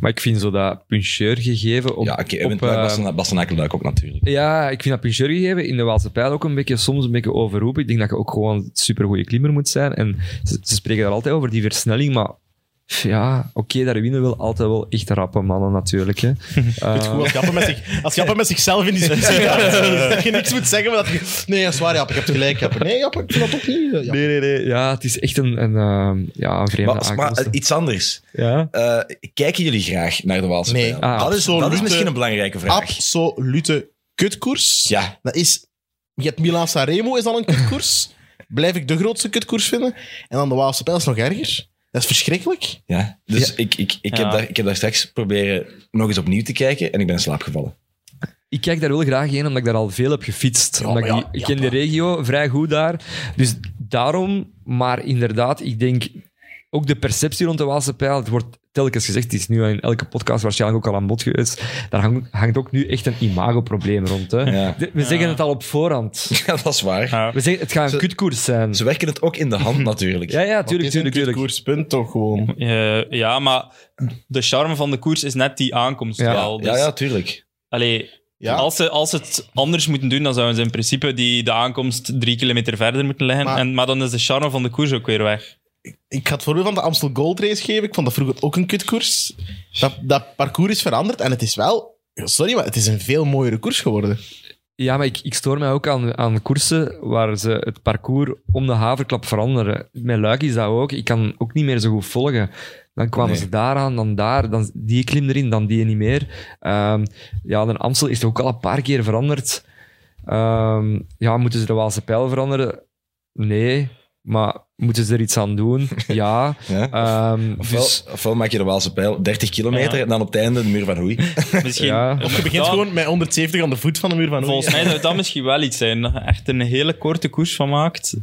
Speaker 3: Maar ik vind zo dat puncheur gegeven op...
Speaker 4: ja, oké,
Speaker 3: op,
Speaker 4: okay,
Speaker 3: eh,
Speaker 4: Bastenaken ook natuurlijk.
Speaker 3: ja, ik vind dat puncheur gegeven in de Waalse pijl ook een beetje, soms een beetje overroepen. Ik denk dat je ook gewoon een supergoeie klimmer moet zijn. En ze, ze spreken daar altijd over, die versnelling, maar... pff, Ja, oké, daar winnen wel altijd wel echt rappe mannen natuurlijk. Hè.
Speaker 2: Doet goed als Jappen met,
Speaker 3: Eh.
Speaker 2: zich, als Jappe met zichzelf
Speaker 3: <laughs>
Speaker 2: in discussie gaat. <laughs> dat je niks moet zeggen, maar dat je... Nee, dat is waar, Jappe. Ik heb gelijk, Jappe. Nee, Jappe, ik vind dat opnieuw. Ja.
Speaker 3: Nee, nee, nee. Ja, het is echt een, een, ehm, ja, een vreemde
Speaker 4: Maar, maar
Speaker 3: aankomst.
Speaker 4: iets anders.
Speaker 3: ja?
Speaker 4: Eh, kijken jullie graag naar de Waalse
Speaker 2: Nee.
Speaker 4: Pijl?
Speaker 3: Ah,
Speaker 4: dat, is, dat is
Speaker 2: absolute-
Speaker 4: misschien een belangrijke vraag.
Speaker 2: Absolute kutkoers.
Speaker 4: Ja,
Speaker 2: Dat is... Je hebt Milan Sanremo is al een
Speaker 3: <laughs>
Speaker 2: kutkoers. Blijf ik de grootste kutkoers vinden. En dan de Waalse Pijl is nog erger. Dat is verschrikkelijk.
Speaker 4: ja. Dus Ik, ik, ik,
Speaker 5: Ja.
Speaker 4: Heb daar, ik heb daar straks proberen nog eens opnieuw te kijken en ik ben in slaap gevallen. <laughs>
Speaker 3: Ik kijk daar wel graag heen, omdat ik daar al veel heb gefietst.
Speaker 2: Ja,
Speaker 3: omdat ik,
Speaker 2: maar
Speaker 3: die-
Speaker 2: ja,
Speaker 3: ik
Speaker 2: ja,
Speaker 3: ken de
Speaker 2: maar-
Speaker 3: regio vrij goed daar. Dus daarom, maar inderdaad, ik denk ook de perceptie rond de Waalse pijl. Het wordt telkens gezegd, het is nu in elke podcast waarschijnlijk ook al aan bod geweest. Daar hang- hangt ook nu echt een imagoprobleem rond. Hè.
Speaker 4: Ja.
Speaker 3: De- we zeggen
Speaker 5: Ja.
Speaker 3: het al op voorhand.
Speaker 4: Ja, dat is waar.
Speaker 5: Ja.
Speaker 3: We zeggen, het gaat een kutkoers zijn.
Speaker 4: Ze werken het ook in de
Speaker 3: <laughs>
Speaker 4: hand natuurlijk.
Speaker 3: Ja, ja, tuurlijk,
Speaker 2: Het is een
Speaker 3: tuurlijk, tuurlijk.
Speaker 2: kutkoerspunt toch gewoon.
Speaker 5: Eh, ja, maar de charme van de koers is net die aankomst
Speaker 3: Ja.
Speaker 5: wel. Dus,
Speaker 4: ja, ja, tuurlijk.
Speaker 5: allee,
Speaker 2: Ja.
Speaker 5: Als, ze, als ze het anders moeten doen, dan zouden ze in principe die, de aankomst drie kilometer verder moeten leggen.
Speaker 2: Maar-
Speaker 5: Maar, en, maar dan is de charme van de koers ook weer
Speaker 3: <laughs>
Speaker 5: weg.
Speaker 2: Ik ga het voorbeeld van de Amstel Gold Race geven. Ik vond dat vroeger ook een kutkoers. Dat, dat parcours is veranderd en het is wel... Sorry, maar het is een veel mooiere koers geworden.
Speaker 3: Ja, maar ik, ik stoor mij ook aan, aan koersen waar ze het parcours om de haverklap veranderen. Met Luik is dat ook. Ik kan ook niet meer zo goed volgen. Dan kwamen
Speaker 4: Nee.
Speaker 3: ze daaraan, dan daar, dan die klim erin, dan die niet meer. Ehm, ja, de Amstel is toch ook al een paar keer veranderd. Ehm, ja, moeten ze de Waalse pijl veranderen? Nee. Maar moeten ze er iets aan
Speaker 4: <laughs>
Speaker 3: doen? Ja.
Speaker 4: Ja.
Speaker 3: Ehm,
Speaker 4: Ofwel,
Speaker 3: dus,
Speaker 4: ofwel maak je de Waalse pijl 30 kilometer
Speaker 5: Ja.
Speaker 4: en dan op het einde de muur van
Speaker 3: <laughs>
Speaker 4: Hoei.
Speaker 5: Misschien,
Speaker 3: Ja.
Speaker 5: Of
Speaker 2: Je begint gewoon met 170 aan de voet van de muur van Oei.
Speaker 5: Volgens mij zou dat misschien wel iets zijn. Dat je echt een hele korte koers van maakt.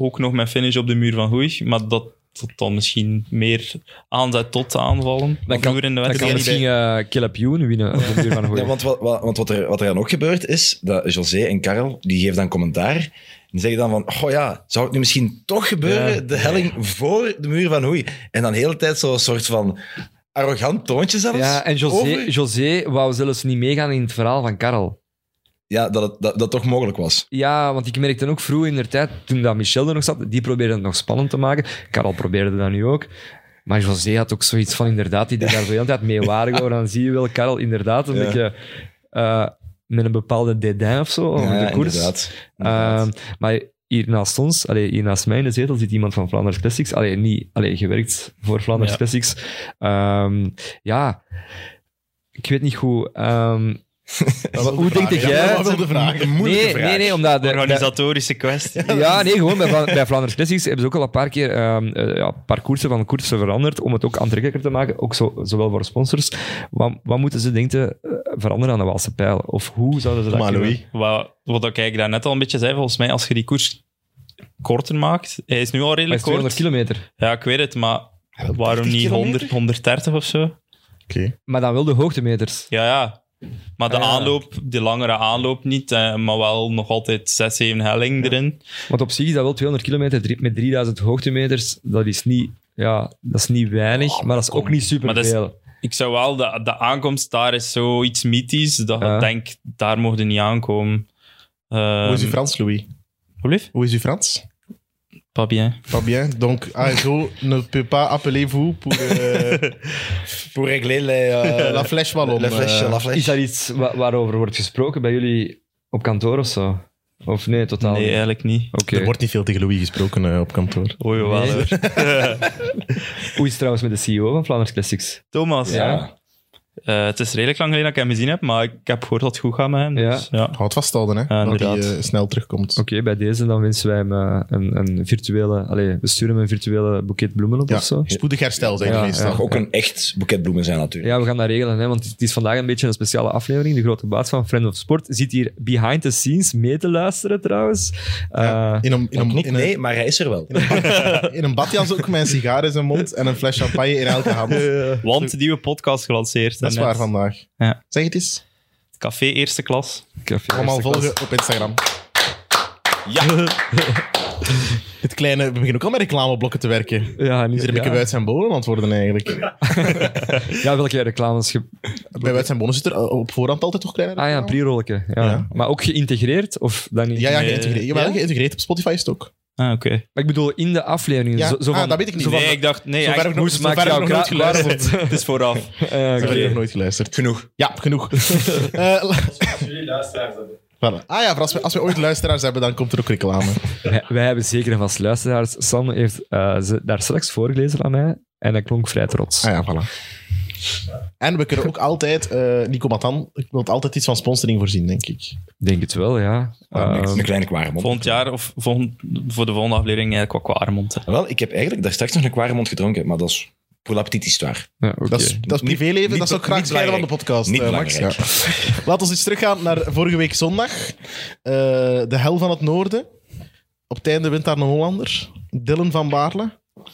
Speaker 5: Ook nog met finish op de muur van Hoei. Maar dat, dat dan misschien meer aanzet tot de aanvallen.
Speaker 3: dan
Speaker 5: Dan
Speaker 3: kan,
Speaker 5: in de
Speaker 3: dan kan
Speaker 5: wedstrijd.
Speaker 3: misschien eh Caleb Ewan winnen. op de duur
Speaker 4: <laughs>
Speaker 3: van Hooy.
Speaker 4: Ja, want wat, wat, want wat, er, wat er dan ook gebeurt is dat José en Karel, die geven dan commentaar. En die zeggen dan van, oh ja, zou het nu misschien toch gebeuren, de helling voor de muur van Hoei. En dan de hele tijd zo'n soort van arrogant toontje zelfs.
Speaker 3: Ja, en José,
Speaker 4: over-
Speaker 3: José wou zelfs niet meegaan in het verhaal van Karel.
Speaker 4: Ja, dat, het, dat dat toch mogelijk was.
Speaker 3: Ja, want ik merkte ook vroeg in de tijd, toen dat Michel er nog zat, die probeerde het nog spannend te maken. Karel probeerde dat nu ook. Maar José had ook zoiets van, inderdaad, die deed daar zo de hele tijd mee waren over. Dan zie je wel, Karel, inderdaad, een
Speaker 4: Ja.
Speaker 3: beetje eh, met een bepaalde dédain of zo over
Speaker 4: ja,
Speaker 3: Oh, de koers.
Speaker 4: inderdaad.
Speaker 3: Ehm,
Speaker 4: Inderdaad.
Speaker 3: maar hier naast ons, allee, hier naast mij in de zetel, zit iemand van Vlaanders Classics. Allee, niet, allee, gewerkt voor Vlaanders
Speaker 5: Ja.
Speaker 3: Classics. Ehm, ja, ik weet niet hoe. ehm, hoe denk
Speaker 2: vraag,
Speaker 3: jij-
Speaker 2: Ja, dat wilde vragen.
Speaker 3: Nee, nee, nee, omdat... de- de-
Speaker 5: Organisatorische kwestie.
Speaker 3: Ja, nee, gewoon bij, Vla- bij Vlaanderen Classics hebben ze ook al een paar keer ehm, eh, ja, een paar koersen van koersen veranderd om het ook aantrekkelijker te maken, ook zo, zowel voor sponsors. Wat, wat moeten ze denken eh, veranderen aan de Waalse pijl? Of hoe zouden ze dat
Speaker 2: Maar
Speaker 3: kunnen?
Speaker 2: Louis,
Speaker 5: Wat, wat ik eigenlijk daarnet al een beetje zei, volgens mij, als je die koers korter maakt, hij is nu al
Speaker 3: Maar het
Speaker 5: redelijk
Speaker 3: is 200
Speaker 5: kort.
Speaker 3: kilometer.
Speaker 5: Ja, ik weet het, maar
Speaker 2: Wel,
Speaker 5: waarom
Speaker 2: 30
Speaker 5: niet
Speaker 2: kilometer?
Speaker 5: 100, 130 of zo?
Speaker 2: oké.
Speaker 3: Maar dan wel de hoogtemeters.
Speaker 5: Ja, ja. Maar de
Speaker 3: Ah, ja.
Speaker 5: aanloop, de langere aanloop niet, eh, maar wel nog altijd 6, 7 helling erin.
Speaker 3: Want op zich is dat wel 200 kilometer drie- met 3000 hoogtemeters. Dat is niet, ja, dat is niet weinig,
Speaker 2: Oh,
Speaker 3: maar dat is ook niet
Speaker 5: Maar dat is-
Speaker 3: superveel.
Speaker 5: Ik zou wel, de, de aankomst daar is zoiets mythisch, dat
Speaker 3: Ja.
Speaker 5: ik denk, daar mocht je niet aankomen.
Speaker 2: Hoe is uw
Speaker 3: Ehm.
Speaker 5: Um,
Speaker 2: Frans, Louis? Hoe is uw Frans?
Speaker 5: Pas bien.
Speaker 2: Pas bien. Donc, ASO ne peut pas appeler vous pour
Speaker 3: <laughs>
Speaker 2: euh,
Speaker 4: Pour régler les, eh,
Speaker 2: la flèche ballon.
Speaker 4: la flèche,
Speaker 2: eh.
Speaker 4: la
Speaker 3: Is
Speaker 4: flèche.
Speaker 3: dat iets wa- waarover wordt gesproken bij jullie op kantoor of zo? Of nee, totaal
Speaker 5: Nee, eh,
Speaker 3: niet?
Speaker 5: eigenlijk niet.
Speaker 3: Oké.
Speaker 2: Er wordt niet veel tegen Louis gesproken eh, op kantoor.
Speaker 5: Oei, wel
Speaker 3: Nee.
Speaker 5: hoor.
Speaker 3: Hoe is het trouwens met de CEO van Vlaanders Classics?
Speaker 5: Thomas,
Speaker 3: Ja.
Speaker 5: eh, het is redelijk lang geleden dat ik hem gezien heb, maar ik heb gehoord dat het goed gaat met hem.
Speaker 3: Ja.
Speaker 5: Dus, ja.
Speaker 2: Houd vasthouden, hè.
Speaker 5: Ja,
Speaker 2: dat hij
Speaker 5: inderdaad.
Speaker 2: eh, snel terugkomt.
Speaker 3: Oké, bij deze dan wensen wij hem eh, een, een virtuele... Allee, we sturen hem een virtuele boeket bloemen op
Speaker 2: Ja.
Speaker 3: of zo.
Speaker 2: Spoedig herstel, zijn
Speaker 3: Ja,
Speaker 2: de
Speaker 4: Het
Speaker 2: meestal.
Speaker 4: mag ook een echt boeket bloemen zijn, natuurlijk.
Speaker 3: Ja, we gaan dat regelen, hè, want het is vandaag een beetje een speciale aflevering. De grote baas van Friend of Sport zit hier behind the scenes mee te luisteren trouwens. Eh,
Speaker 2: Ja, In een, in, een,
Speaker 4: Niet,
Speaker 2: in, een,
Speaker 4: nee, maar hij is er wel.
Speaker 2: <laughs> in een badjas ook met een sigaar in zijn mond en een fles champagne in elke hand.
Speaker 5: Want die nieuwe podcast gelanceerd.
Speaker 2: Dat is
Speaker 5: net.
Speaker 2: waar vandaag.
Speaker 5: Ja.
Speaker 2: Zeg het eens.
Speaker 5: Café eerste klas.
Speaker 3: café
Speaker 2: Allemaal
Speaker 3: eerste klas.
Speaker 2: volgen op Instagram.
Speaker 4: <laughs> Ja.
Speaker 2: Het kleine, we beginnen ook al met reclameblokken te werken.
Speaker 3: Ja, niet,
Speaker 2: Iedere keer
Speaker 3: ja.
Speaker 2: Wuits en Bonen antwoorden eigenlijk.
Speaker 3: ja, welke reclames? Ge...
Speaker 2: Bij Wuits en Bonen zit er eh, op voorhand altijd toch kleine
Speaker 3: Ah ja, een
Speaker 2: reclame?
Speaker 3: pre-rolletje. Ja.
Speaker 2: Ja.
Speaker 3: Maar ook geïntegreerd? Of dan niet?
Speaker 2: Ja, ja,
Speaker 5: Nee.
Speaker 2: geïntegreerd. Jawel,
Speaker 5: Ja?
Speaker 2: geïntegreerd. Op Spotify is het ook.
Speaker 5: Ah, oké.
Speaker 3: Maar ik bedoel, in de aflevering.
Speaker 2: Ja.
Speaker 3: Zo, zo
Speaker 2: Ah,
Speaker 3: van,
Speaker 2: dat weet ik niet.
Speaker 3: Zo van,
Speaker 5: Nee, ik dacht, nee,
Speaker 2: Zover heb
Speaker 5: eigenlijk
Speaker 2: ik nog,
Speaker 3: moes maakt
Speaker 2: zover heb ik nog
Speaker 3: jou
Speaker 2: nooit
Speaker 3: kra-
Speaker 2: geluisterd. <laughs>
Speaker 5: het is vooraf.
Speaker 3: Eh, oké.
Speaker 2: Zover heb ik nog nooit geluisterd.
Speaker 4: Genoeg.
Speaker 2: Ja,
Speaker 4: <laughs>
Speaker 2: genoeg. Eh, la- Voilà. Ah ja, voor als we, als we ooit luisteraars hebben, dan komt er ook reclame.
Speaker 3: Wij, wij hebben zeker en vast luisteraars. Sam heeft eh, ze daar straks voorgelezen aan mij en hij klonk vrij trots.
Speaker 2: Ah ja, voilà. En we kunnen ook altijd, eh, Nico Matan, ik wil altijd iets van sponsoring voorzien, denk ik.
Speaker 3: Denk het wel, ja.
Speaker 2: Ah,
Speaker 3: Eh,
Speaker 4: een kleine kware mond.
Speaker 5: Volgend jaar of volgend, voor de volgende aflevering eigenlijk wat qua Armond. hè.
Speaker 4: Wel, ik heb eigenlijk daar straks nog een kware mond gedronken, maar dat is pour la petite histoire.
Speaker 3: ja, oké.
Speaker 2: Dat, is, dat is
Speaker 4: Niet-
Speaker 2: privéleven,
Speaker 4: niet
Speaker 2: dat zou ik
Speaker 4: be-
Speaker 2: graag
Speaker 4: niet
Speaker 2: scheiden van de podcast,
Speaker 4: Niet
Speaker 2: eh, Max.
Speaker 4: belangrijk.
Speaker 2: Ja. Laten we eens teruggaan naar vorige week zondag. Eh, de hel van het noorden. Op het einde wint daar een Hollander. Dylan van Baarle.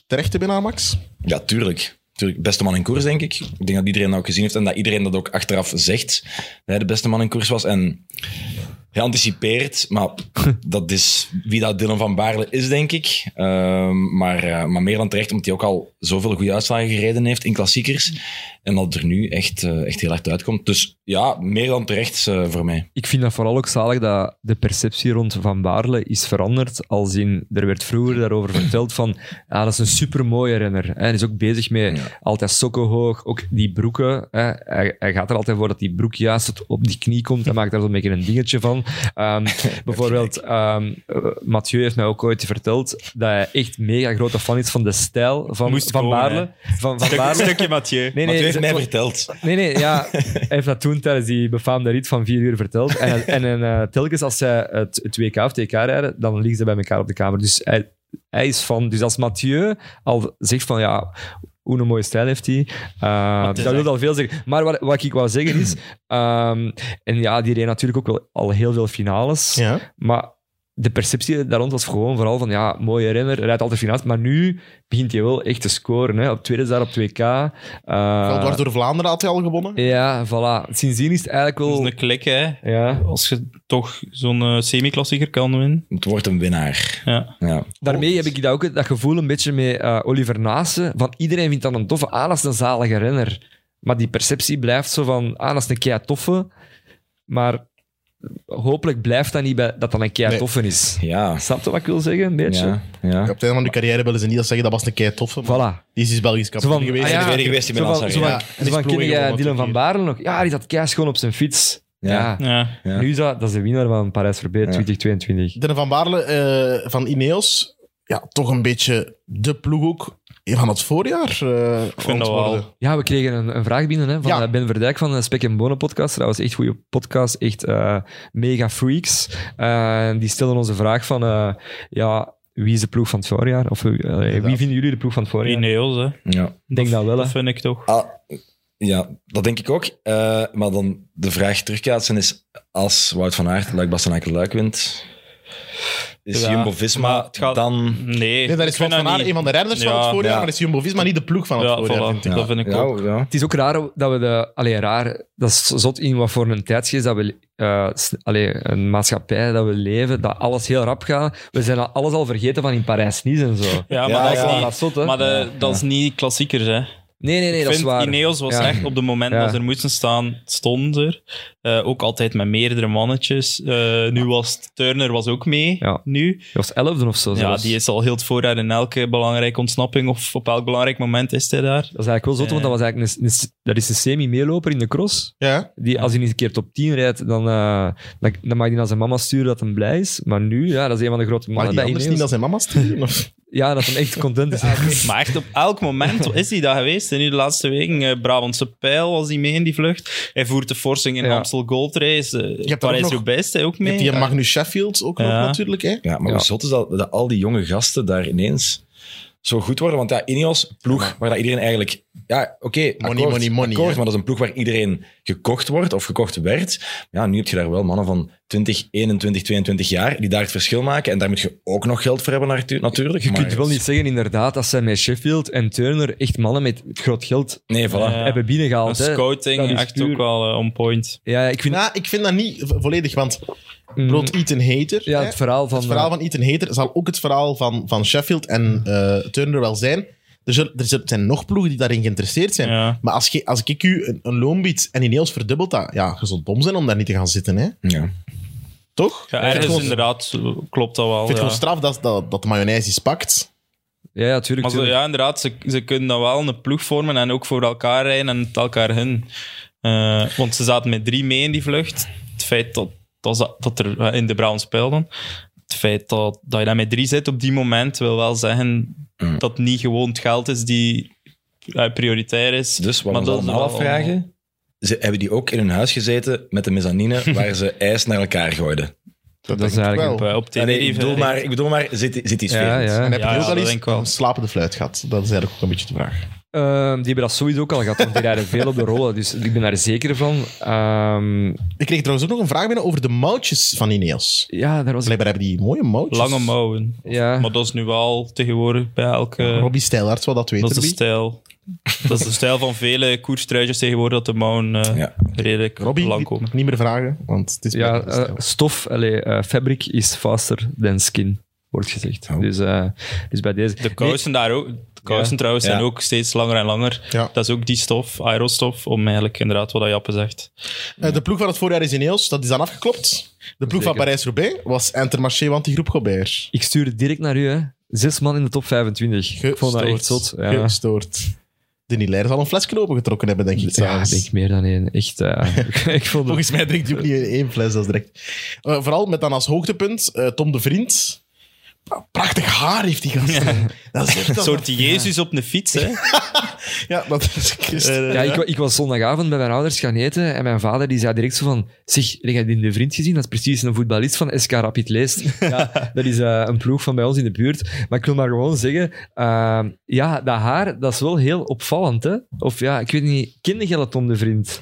Speaker 2: Terechte winnaar, Max.
Speaker 4: Ja, tuurlijk. tuurlijk. Beste man in koers, denk ik. Ik denk dat iedereen dat ook gezien heeft en dat iedereen dat ook achteraf zegt. Dat hij de beste man in koers was. En hij anticipeert, maar dat is wie dat Dylan van Baarle is, denk ik. Ehm, maar, eh, maar meer dan terecht, omdat hij ook al zoveel goede uitslagen gereden heeft in klassiekers. En dat het er nu echt, eh, echt heel hard uitkomt. Dus ja, meer dan terecht eh, voor mij.
Speaker 3: Ik vind dat vooral ook zalig dat de perceptie rond Van Baarle is veranderd. Als in, er werd vroeger daarover verteld van, ah, dat is een supermooie renner. Hè. Hij is ook bezig met
Speaker 4: Ja.
Speaker 3: altijd sokken hoog, ook die broeken. Hè. Hij, hij gaat er altijd voor dat die broek juist tot op die knie komt. Hij maakt daar zo'n beetje een dingetje van.
Speaker 5: <laughs>
Speaker 3: Ehm, bijvoorbeeld, ehm, eh, Mathieu heeft mij ook ooit verteld dat hij echt mega grote fan is van de stijl van,
Speaker 5: Moest
Speaker 3: van
Speaker 5: komen,
Speaker 3: Baarle. Van, van
Speaker 5: Stuk,
Speaker 3: Baarle.
Speaker 5: stukje Mathieu.
Speaker 3: Nee,
Speaker 4: maar u
Speaker 3: ze-
Speaker 4: heeft mij verteld.
Speaker 3: Nee, nee, ja. <laughs> Hij heeft dat toen tijdens die befaamde rit van vier uur verteld. En, en, eh, telkens als zij het, het WK of TK rijden, dan liggen ze bij elkaar op de kamer. Dus hij, hij is van... Dus als Mathieu al zegt van, ja, hoe een mooie stijl heeft hij. eh,
Speaker 5: het is
Speaker 3: dat wil
Speaker 5: echt-
Speaker 3: al veel zeggen. Maar wat, wat ik wou zeggen is... ehm, en ja, die reed natuurlijk ook wel al heel veel finales.
Speaker 2: Ja.
Speaker 3: Maar de perceptie daar rond was gewoon vooral van, ja, mooie renner, rijdt altijd finales. Maar nu begint hij wel echt te scoren. Hè. Op tweede is daar op 2K. eh,
Speaker 2: door Vlaanderen had hij al gewonnen.
Speaker 3: ja, voilà. Sindsdien is het eigenlijk
Speaker 5: Dat
Speaker 3: wel...
Speaker 2: Dus
Speaker 5: is een klik, hè.
Speaker 3: Ja,
Speaker 5: Als je toch zo'n eh, semi-klassieker kan winnen.
Speaker 4: Het wordt een winnaar.
Speaker 5: Ja.
Speaker 4: Ja.
Speaker 3: daarmee heb ik dat ook dat gevoel een beetje met eh, Oliver Naassen. Van iedereen vindt dat een toffe, ah, dat is een zalige renner. Maar die perceptie blijft zo van, ah, dat is een kei toffe. Maar hopelijk blijft dat niet bij dat dat een kei
Speaker 2: Nee.
Speaker 3: toffe is.
Speaker 4: Ja.
Speaker 3: Snap je wat ik wil zeggen, een beetje?
Speaker 4: Ja. ja.
Speaker 2: Op het einde van de carrière willen ze niet dat zeggen, dat was een kei toffe. maar
Speaker 3: Voilà.
Speaker 2: Die is dus Belgisch
Speaker 3: Zo
Speaker 2: kampioen
Speaker 3: van,
Speaker 2: geweest.
Speaker 3: ah ja,
Speaker 4: de tweede geweest in
Speaker 3: zo van,
Speaker 4: Milan,
Speaker 3: zo van,
Speaker 4: sorry.
Speaker 2: Ja, en
Speaker 3: zo
Speaker 2: is
Speaker 3: van ken
Speaker 2: ploegen
Speaker 3: jij
Speaker 2: gewonnen toen
Speaker 3: Dylan van
Speaker 2: hier.
Speaker 3: Baarle nog? Ja, die zat kei schoon op zijn fiets. Ja.
Speaker 4: Ja.
Speaker 5: Ja.
Speaker 4: Ja.
Speaker 3: Nu is dat, dat is de winnaar van Parijs-Roubaix
Speaker 4: Ja.
Speaker 3: 2022.
Speaker 2: Dylan van Baarle eh, van Ineos ja, toch een beetje de ploeg ook van het voorjaar eh
Speaker 5: vind dat wel.
Speaker 2: antwoorden.
Speaker 3: Ja, we kregen een, een vraag binnen hè, van
Speaker 2: Ja.
Speaker 3: eh, Ben Verdijk van de Spek en Bonen podcast. Dat was echt goede podcast, echt eh, mega freaks. Eh, die stelden onze vraag van, eh, ja, wie is de ploeg van het voorjaar? Of eh, wie vinden jullie de ploeg van het voorjaar?
Speaker 5: Ineos, hè.
Speaker 4: Ja.
Speaker 3: Ik denk dat wel. hè.
Speaker 5: Dat vind ik toch.
Speaker 4: Ah, ja, dat denk ik ook. Eh, maar dan de vraag terugkaatsen is, als Wout van Aert Luik Bastenaken Luik wint, is
Speaker 5: Ja, maar
Speaker 4: Jumbo-Visma
Speaker 5: het gaat-
Speaker 4: dan...
Speaker 5: Nee,
Speaker 2: Nee, daar is
Speaker 5: ik vind
Speaker 2: Wout van Aert
Speaker 5: niet.
Speaker 2: een van de renners van
Speaker 5: Ja,
Speaker 2: het voorjaar,
Speaker 4: ja.
Speaker 2: maar is Jumbo-Visma niet de ploeg van het
Speaker 5: Ja,
Speaker 2: voorjaar,
Speaker 5: voilà.
Speaker 2: vind ik.
Speaker 5: Dat vind ik
Speaker 4: ja,
Speaker 5: ook.
Speaker 4: Ja.
Speaker 3: Het is ook raar dat we de... Allee, raar. Dat is zot in wat voor een tijdsgeest dat we... eh, s- allee, een maatschappij dat we leven, dat alles heel rap gaat. We zijn al- alles al vergeten van in Parijs-Nice en zo. Ah,
Speaker 5: Ja, maar
Speaker 4: Ja,
Speaker 5: dat is
Speaker 4: ja.
Speaker 5: niet...
Speaker 3: dat is zot, hè?
Speaker 5: Maar de- dat is niet klassiekers, hè.
Speaker 3: nee, nee, nee,
Speaker 5: ik
Speaker 3: dat is
Speaker 5: vind,
Speaker 3: waar.
Speaker 5: Ineos was
Speaker 3: Ja.
Speaker 5: echt op de moment
Speaker 3: Ja.
Speaker 5: dat ze er moesten staan, stonden ze er. Eh, ook altijd met meerdere mannetjes. Eh, nu was het- Turner was ook mee.
Speaker 3: Ja.
Speaker 5: Nu.
Speaker 3: Dat was elfde of zo.
Speaker 5: Ja,
Speaker 3: zelfs.
Speaker 5: die is al heel het voorjaar in elke belangrijke ontsnapping of op elk belangrijk moment is
Speaker 3: <laughs>
Speaker 5: hij daar.
Speaker 3: Dat is eigenlijk wel zot, want dat, was eigenlijk een, een- dat is een semi-meeloper in de cross.
Speaker 2: Ja,
Speaker 3: Die, als hij niet een keer top 10 rijdt, dan, eh, dan, dan mag hij naar zijn mama sturen dat hij blij is. Maar nu, ja, dat is een van de grote
Speaker 2: maar die
Speaker 3: mannen bij
Speaker 2: anders niet
Speaker 3: Ineos.
Speaker 2: dan zijn mama's sturen? Of?
Speaker 5: <laughs>
Speaker 3: Ja, dat hij echt content <laughs> is. Ja,
Speaker 5: Maar echt op elk moment is hij dat geweest. En nu de laatste weken, eh, Brabantse Pijl was hij mee in die vlucht. Hij voert de Forsing in
Speaker 3: Ja.
Speaker 5: Amstel Gold Race. Uh,
Speaker 2: hebt er ook
Speaker 5: Parijs-Roubaix is hij ook
Speaker 2: Je
Speaker 5: mee.
Speaker 2: hebt die Magnus Sheffield ook nog
Speaker 5: Ja.
Speaker 2: natuurlijk, hè?
Speaker 4: Ja, maar hoe
Speaker 3: Ja.
Speaker 4: zot is dat, dat al die jonge gasten daar ineens zo goed worden? Want ja, Ineos, ploeg waar dat iedereen eigenlijk... Ja, oké, akkoord,
Speaker 2: money, money,
Speaker 4: akkoord,
Speaker 2: hè?
Speaker 4: maar dat is een ploeg waar iedereen gekocht wordt of gekocht werd. Ja, nu heb je daar wel mannen van 20, 21, 22 jaar die daar het verschil maken. En daar moet je ook nog geld voor hebben natu- natuurlijk.
Speaker 3: Je
Speaker 4: maar-
Speaker 3: kunt wel niet zeggen, inderdaad, dat zij met Sheffield en Turner echt mannen met groot geld
Speaker 4: Nee, voilà.
Speaker 5: Ja.
Speaker 3: hebben
Speaker 5: Een
Speaker 3: binnengehaald. hè. Dat
Speaker 5: scouting,
Speaker 3: is
Speaker 5: echt
Speaker 3: puur.
Speaker 5: ook wel eh, on point.
Speaker 3: Ja, ik vind...
Speaker 2: Nou, ik vind dat niet vo- volledig, want
Speaker 3: Mm,
Speaker 2: brood Ethan Hater.
Speaker 3: ja,
Speaker 2: hè,
Speaker 3: het verhaal van... eh,
Speaker 2: het verhaal
Speaker 5: eh,
Speaker 2: van Ethan Hater zal ook het verhaal van, van Sheffield en eh, Turner wel zijn. Er, zullen, er zullen- zijn nog ploegen die daarin geïnteresseerd zijn.
Speaker 5: Ja.
Speaker 2: Maar als, je, als ik u een, een loon bied en ineens verdubbelt dat, ja, je zult dom zijn om daar niet te gaan zitten, hè?
Speaker 4: Ja.
Speaker 2: Toch?
Speaker 5: Ja,
Speaker 2: ik vind
Speaker 5: ergens
Speaker 2: het gewoon, ik
Speaker 5: inderdaad eh, klopt dat wel.
Speaker 2: vind het
Speaker 5: ja.
Speaker 2: gewoon straf dat, dat, dat de mayonaise is pakt.
Speaker 3: ja, ja, tuurlijk.
Speaker 5: Maar ze,
Speaker 3: tuurlijk.
Speaker 5: ja, inderdaad, ze, ze kunnen dan wel een ploeg vormen en ook voor elkaar rijden en het elkaar hun. Eh, want ze zaten met drie mee in die vlucht. Het feit dat, dat, ze- dat er eh, in de Brown speelden. Het feit dat, dat je daar met drie zit op die moment wil wel zeggen
Speaker 4: Mm.
Speaker 5: dat het niet gewoon het geld is die eh, prioritair is.
Speaker 4: Dus wat
Speaker 5: Maar
Speaker 4: we
Speaker 5: dat
Speaker 4: ons
Speaker 5: is
Speaker 4: dan
Speaker 5: wel-
Speaker 4: afvragen... Ze, hebben die ook in hun huis gezeten met de mezzanine waar ze ijs naar elkaar gooiden?
Speaker 2: Dat, denk
Speaker 3: is
Speaker 2: ik
Speaker 3: eigenlijk
Speaker 2: wel.
Speaker 5: op, eh, op
Speaker 4: Ja, nee, ik
Speaker 5: Tenerife.
Speaker 4: bedoel maar, ik bedoel maar zit, zit die sfeer
Speaker 3: ja,
Speaker 4: goed?
Speaker 3: ja.
Speaker 2: En heb je
Speaker 5: Ja,
Speaker 2: ook
Speaker 5: ja,
Speaker 2: al
Speaker 5: dat
Speaker 2: eens
Speaker 5: denk ik wel.
Speaker 2: een slapende fluit gehad? Dat is eigenlijk ook een beetje de vraag.
Speaker 3: Ehm, die hebben dat sowieso ook al gehad, want die rijden veel op de rollen. Dus ik ben daar zeker van. Ehm,
Speaker 2: Ik kreeg trouwens ook nog een vraag binnen over de mouwtjes van Ineos.
Speaker 3: ja, daar was ik...
Speaker 2: Blijkbaar hebben die mooie mouwtjes.
Speaker 5: Lange mouwen.
Speaker 3: Ja.
Speaker 5: Maar dat is nu wel tegenwoordig bij elke...
Speaker 2: Robbie Stijlaerts wil dat weten.
Speaker 5: dat is de
Speaker 2: Robbie.
Speaker 5: stijl. dat is de stijl van vele koerstruitjes tegenwoordig, dat de mouwen eh,
Speaker 4: Ja.
Speaker 5: redelijk
Speaker 2: Robbie,
Speaker 5: lang
Speaker 2: niet,
Speaker 5: komen.
Speaker 2: niet meer vragen, want het is
Speaker 3: Ja,
Speaker 2: blijkbaar de
Speaker 3: eh,
Speaker 2: stijl.
Speaker 3: stof, allee, eh, fabric is faster than skin, wordt gezegd.
Speaker 4: Oh.
Speaker 3: Dus, eh, dus bij deze...
Speaker 5: De kousen daar ook. De kousen
Speaker 3: Ja.
Speaker 5: trouwens
Speaker 4: Ja.
Speaker 5: zijn ook steeds langer en langer.
Speaker 2: Ja.
Speaker 5: Dat is ook die stof, aerostof, om eigenlijk inderdaad wat dat Jappe zegt.
Speaker 2: Eh, de ploeg van het voorjaar is Ineos, dat is dan afgeklopt. De ploeg van
Speaker 3: Zeker.
Speaker 2: Parijs-Roubaix was Intermarché, want die groep Gobert.
Speaker 3: Ik stuurde direct naar u, hè. Zes man in de top 25. Ik vond dat echt zot. Ja,
Speaker 2: Gestoord. De Nilair zal een fles knopen getrokken hebben, denk ik.
Speaker 3: ja ik
Speaker 2: s'avonds.
Speaker 3: denk meer dan één. Echt, eh, <laughs> ik vond het...
Speaker 2: Volgens mij drinkt hij ook niet in één fles, dat is direct. Eh, vooral met dan als hoogtepunt eh, Tom de Vriend. Prachtig haar heeft die gast. Dat is
Speaker 3: <laughs>
Speaker 2: echt <laughs>
Speaker 5: Een
Speaker 2: dat-
Speaker 5: soort Jezus op een fiets,
Speaker 2: <laughs>
Speaker 5: hè?
Speaker 2: Ja, dat is Christus.
Speaker 3: Ja, ik, wa- ik was zondagavond bij mijn ouders gaan eten en mijn vader die zei direct zo van zeg, heb jij die in de vriend gezien? Dat is precies een voetballist van SK Rapid
Speaker 2: <laughs>
Speaker 3: Leest. Ja, dat is eh, een ploeg van bij ons in de buurt. Maar ik wil maar gewoon zeggen, ehm, ja, dat haar, dat is wel heel opvallend, hè? Of ja, ik weet niet, kende jij dat Tom de Vriend?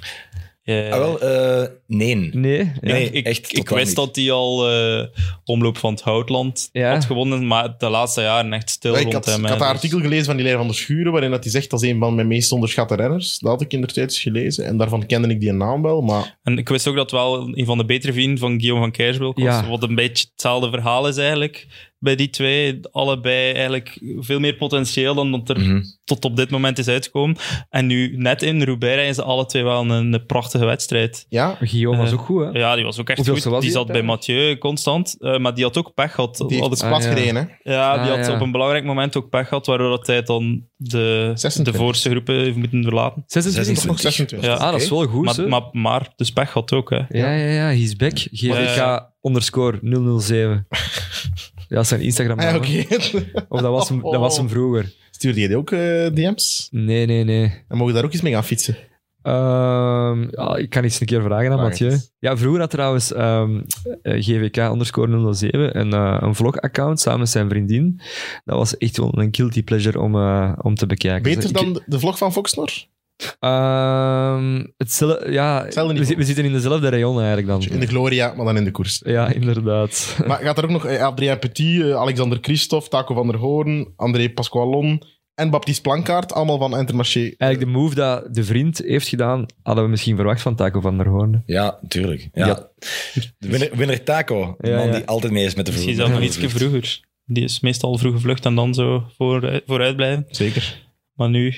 Speaker 5: Ja.
Speaker 4: Ah, wel, eh, nee.
Speaker 3: Nee? Ja.
Speaker 4: Nee,
Speaker 5: ik,
Speaker 4: echt
Speaker 5: ik
Speaker 4: totaal
Speaker 5: wist
Speaker 4: niet.
Speaker 5: dat hij al eh, omloop van het Houtland
Speaker 3: Ja.
Speaker 5: had gewonnen, maar de laatste jaren echt stil
Speaker 2: Ja, ik
Speaker 5: rond
Speaker 2: had,
Speaker 5: hem.
Speaker 2: ik
Speaker 5: hè.
Speaker 2: had een
Speaker 5: Dus-
Speaker 2: artikel gelezen van die Leer van der Schuren, waarin dat hij zegt dat is een van mijn meest onderschatte renners. Dat had ik inderdaad gelezen en daarvan kende ik die naam wel, maar
Speaker 5: En ik wist ook dat wel een van de betere vrienden van Guillaume van Kersbulk was.
Speaker 3: Ja.
Speaker 5: Wat een beetje hetzelfde verhaal is eigenlijk. Bij die twee, allebei eigenlijk veel meer potentieel dan dat er
Speaker 4: Mhm.
Speaker 5: tot op dit moment is uitgekomen. En nu, net in Roubaix, rijden ze alle twee wel een, een prachtige wedstrijd.
Speaker 2: ja,
Speaker 3: Guillaume
Speaker 2: Eh,
Speaker 3: was ook goed, hè?
Speaker 5: Ja, die was ook echt
Speaker 3: Hoeveel ze
Speaker 5: goed.
Speaker 3: was
Speaker 5: die
Speaker 3: die
Speaker 5: zat bij Mathieu constant, eh, maar die had ook pech gehad.
Speaker 2: die heeft
Speaker 5: Had
Speaker 2: het
Speaker 5: ik-
Speaker 3: Ah,
Speaker 2: plat
Speaker 3: ja.
Speaker 2: gereden. Hè.
Speaker 5: ja, die
Speaker 3: Ah,
Speaker 5: had
Speaker 3: ja.
Speaker 5: op een belangrijk moment ook pech gehad, waardoor dat hij dan de,
Speaker 2: 26.
Speaker 5: de voorste groepen heeft moeten verlaten.
Speaker 3: 26?
Speaker 2: Of nog 26.
Speaker 5: Ja.
Speaker 3: Ah, dat is wel goed,
Speaker 5: Maar,
Speaker 3: hè?
Speaker 5: maar, maar dus pech gehad ook, hè.
Speaker 3: Ja, ja, ja, he's back. GVK
Speaker 5: Ja.
Speaker 2: <laughs>
Speaker 3: underscore 007. Ja, dat is zijn Instagram.
Speaker 2: Ah, ja,
Speaker 3: naam, hè.
Speaker 2: oké.
Speaker 3: Of dat was, hem, dat was hem vroeger.
Speaker 2: <laughs> Stuurde jij die ook eh, DM's?
Speaker 3: Nee, nee, nee.
Speaker 2: En mogen daar ook iets mee gaan fietsen?
Speaker 3: Ehm, ja, ik kan iets een keer vragen aan
Speaker 4: Vraag
Speaker 3: Mathieu.
Speaker 4: het.
Speaker 3: Ja, vroeger had trouwens ehm, eh, GVK underscore 07 een, eh, een vlog-account samen met zijn vriendin. Dat was echt wel een guilty pleasure om, eh, om te bekijken. Dus
Speaker 2: Beter
Speaker 3: ik-
Speaker 2: dan de- de vlog van Foxnor?
Speaker 3: Ehm, hetzelfde, ja,
Speaker 2: Hetzelfde
Speaker 3: we, zi-
Speaker 2: niveau.
Speaker 3: we zitten in dezelfde rayon eigenlijk dan.
Speaker 2: In de Gloria, maar dan in de <laughs> koers.
Speaker 3: Ja, inderdaad.
Speaker 2: Maar gaat er ook nog eh, Adrien Petit, eh, Alexander Christophe, Taco van der Hoorn, André Pasqualon en Baptiste Plankaart, allemaal van Intermarché.
Speaker 3: Eigenlijk de move dat de vriend heeft gedaan, hadden we misschien verwacht van Taco van der Hoorn.
Speaker 4: Ja, tuurlijk. Ja.
Speaker 3: Ja.
Speaker 4: De winnaar, winnaar Taco, de
Speaker 3: Ja,
Speaker 4: man
Speaker 3: ja.
Speaker 4: die altijd mee is met de vloer.
Speaker 5: Misschien zelfs nog ietsje vroeger. Die is meestal vroeg gevlucht en dan zo voor, eh, vooruit blijven.
Speaker 2: Zeker.
Speaker 5: Maar nu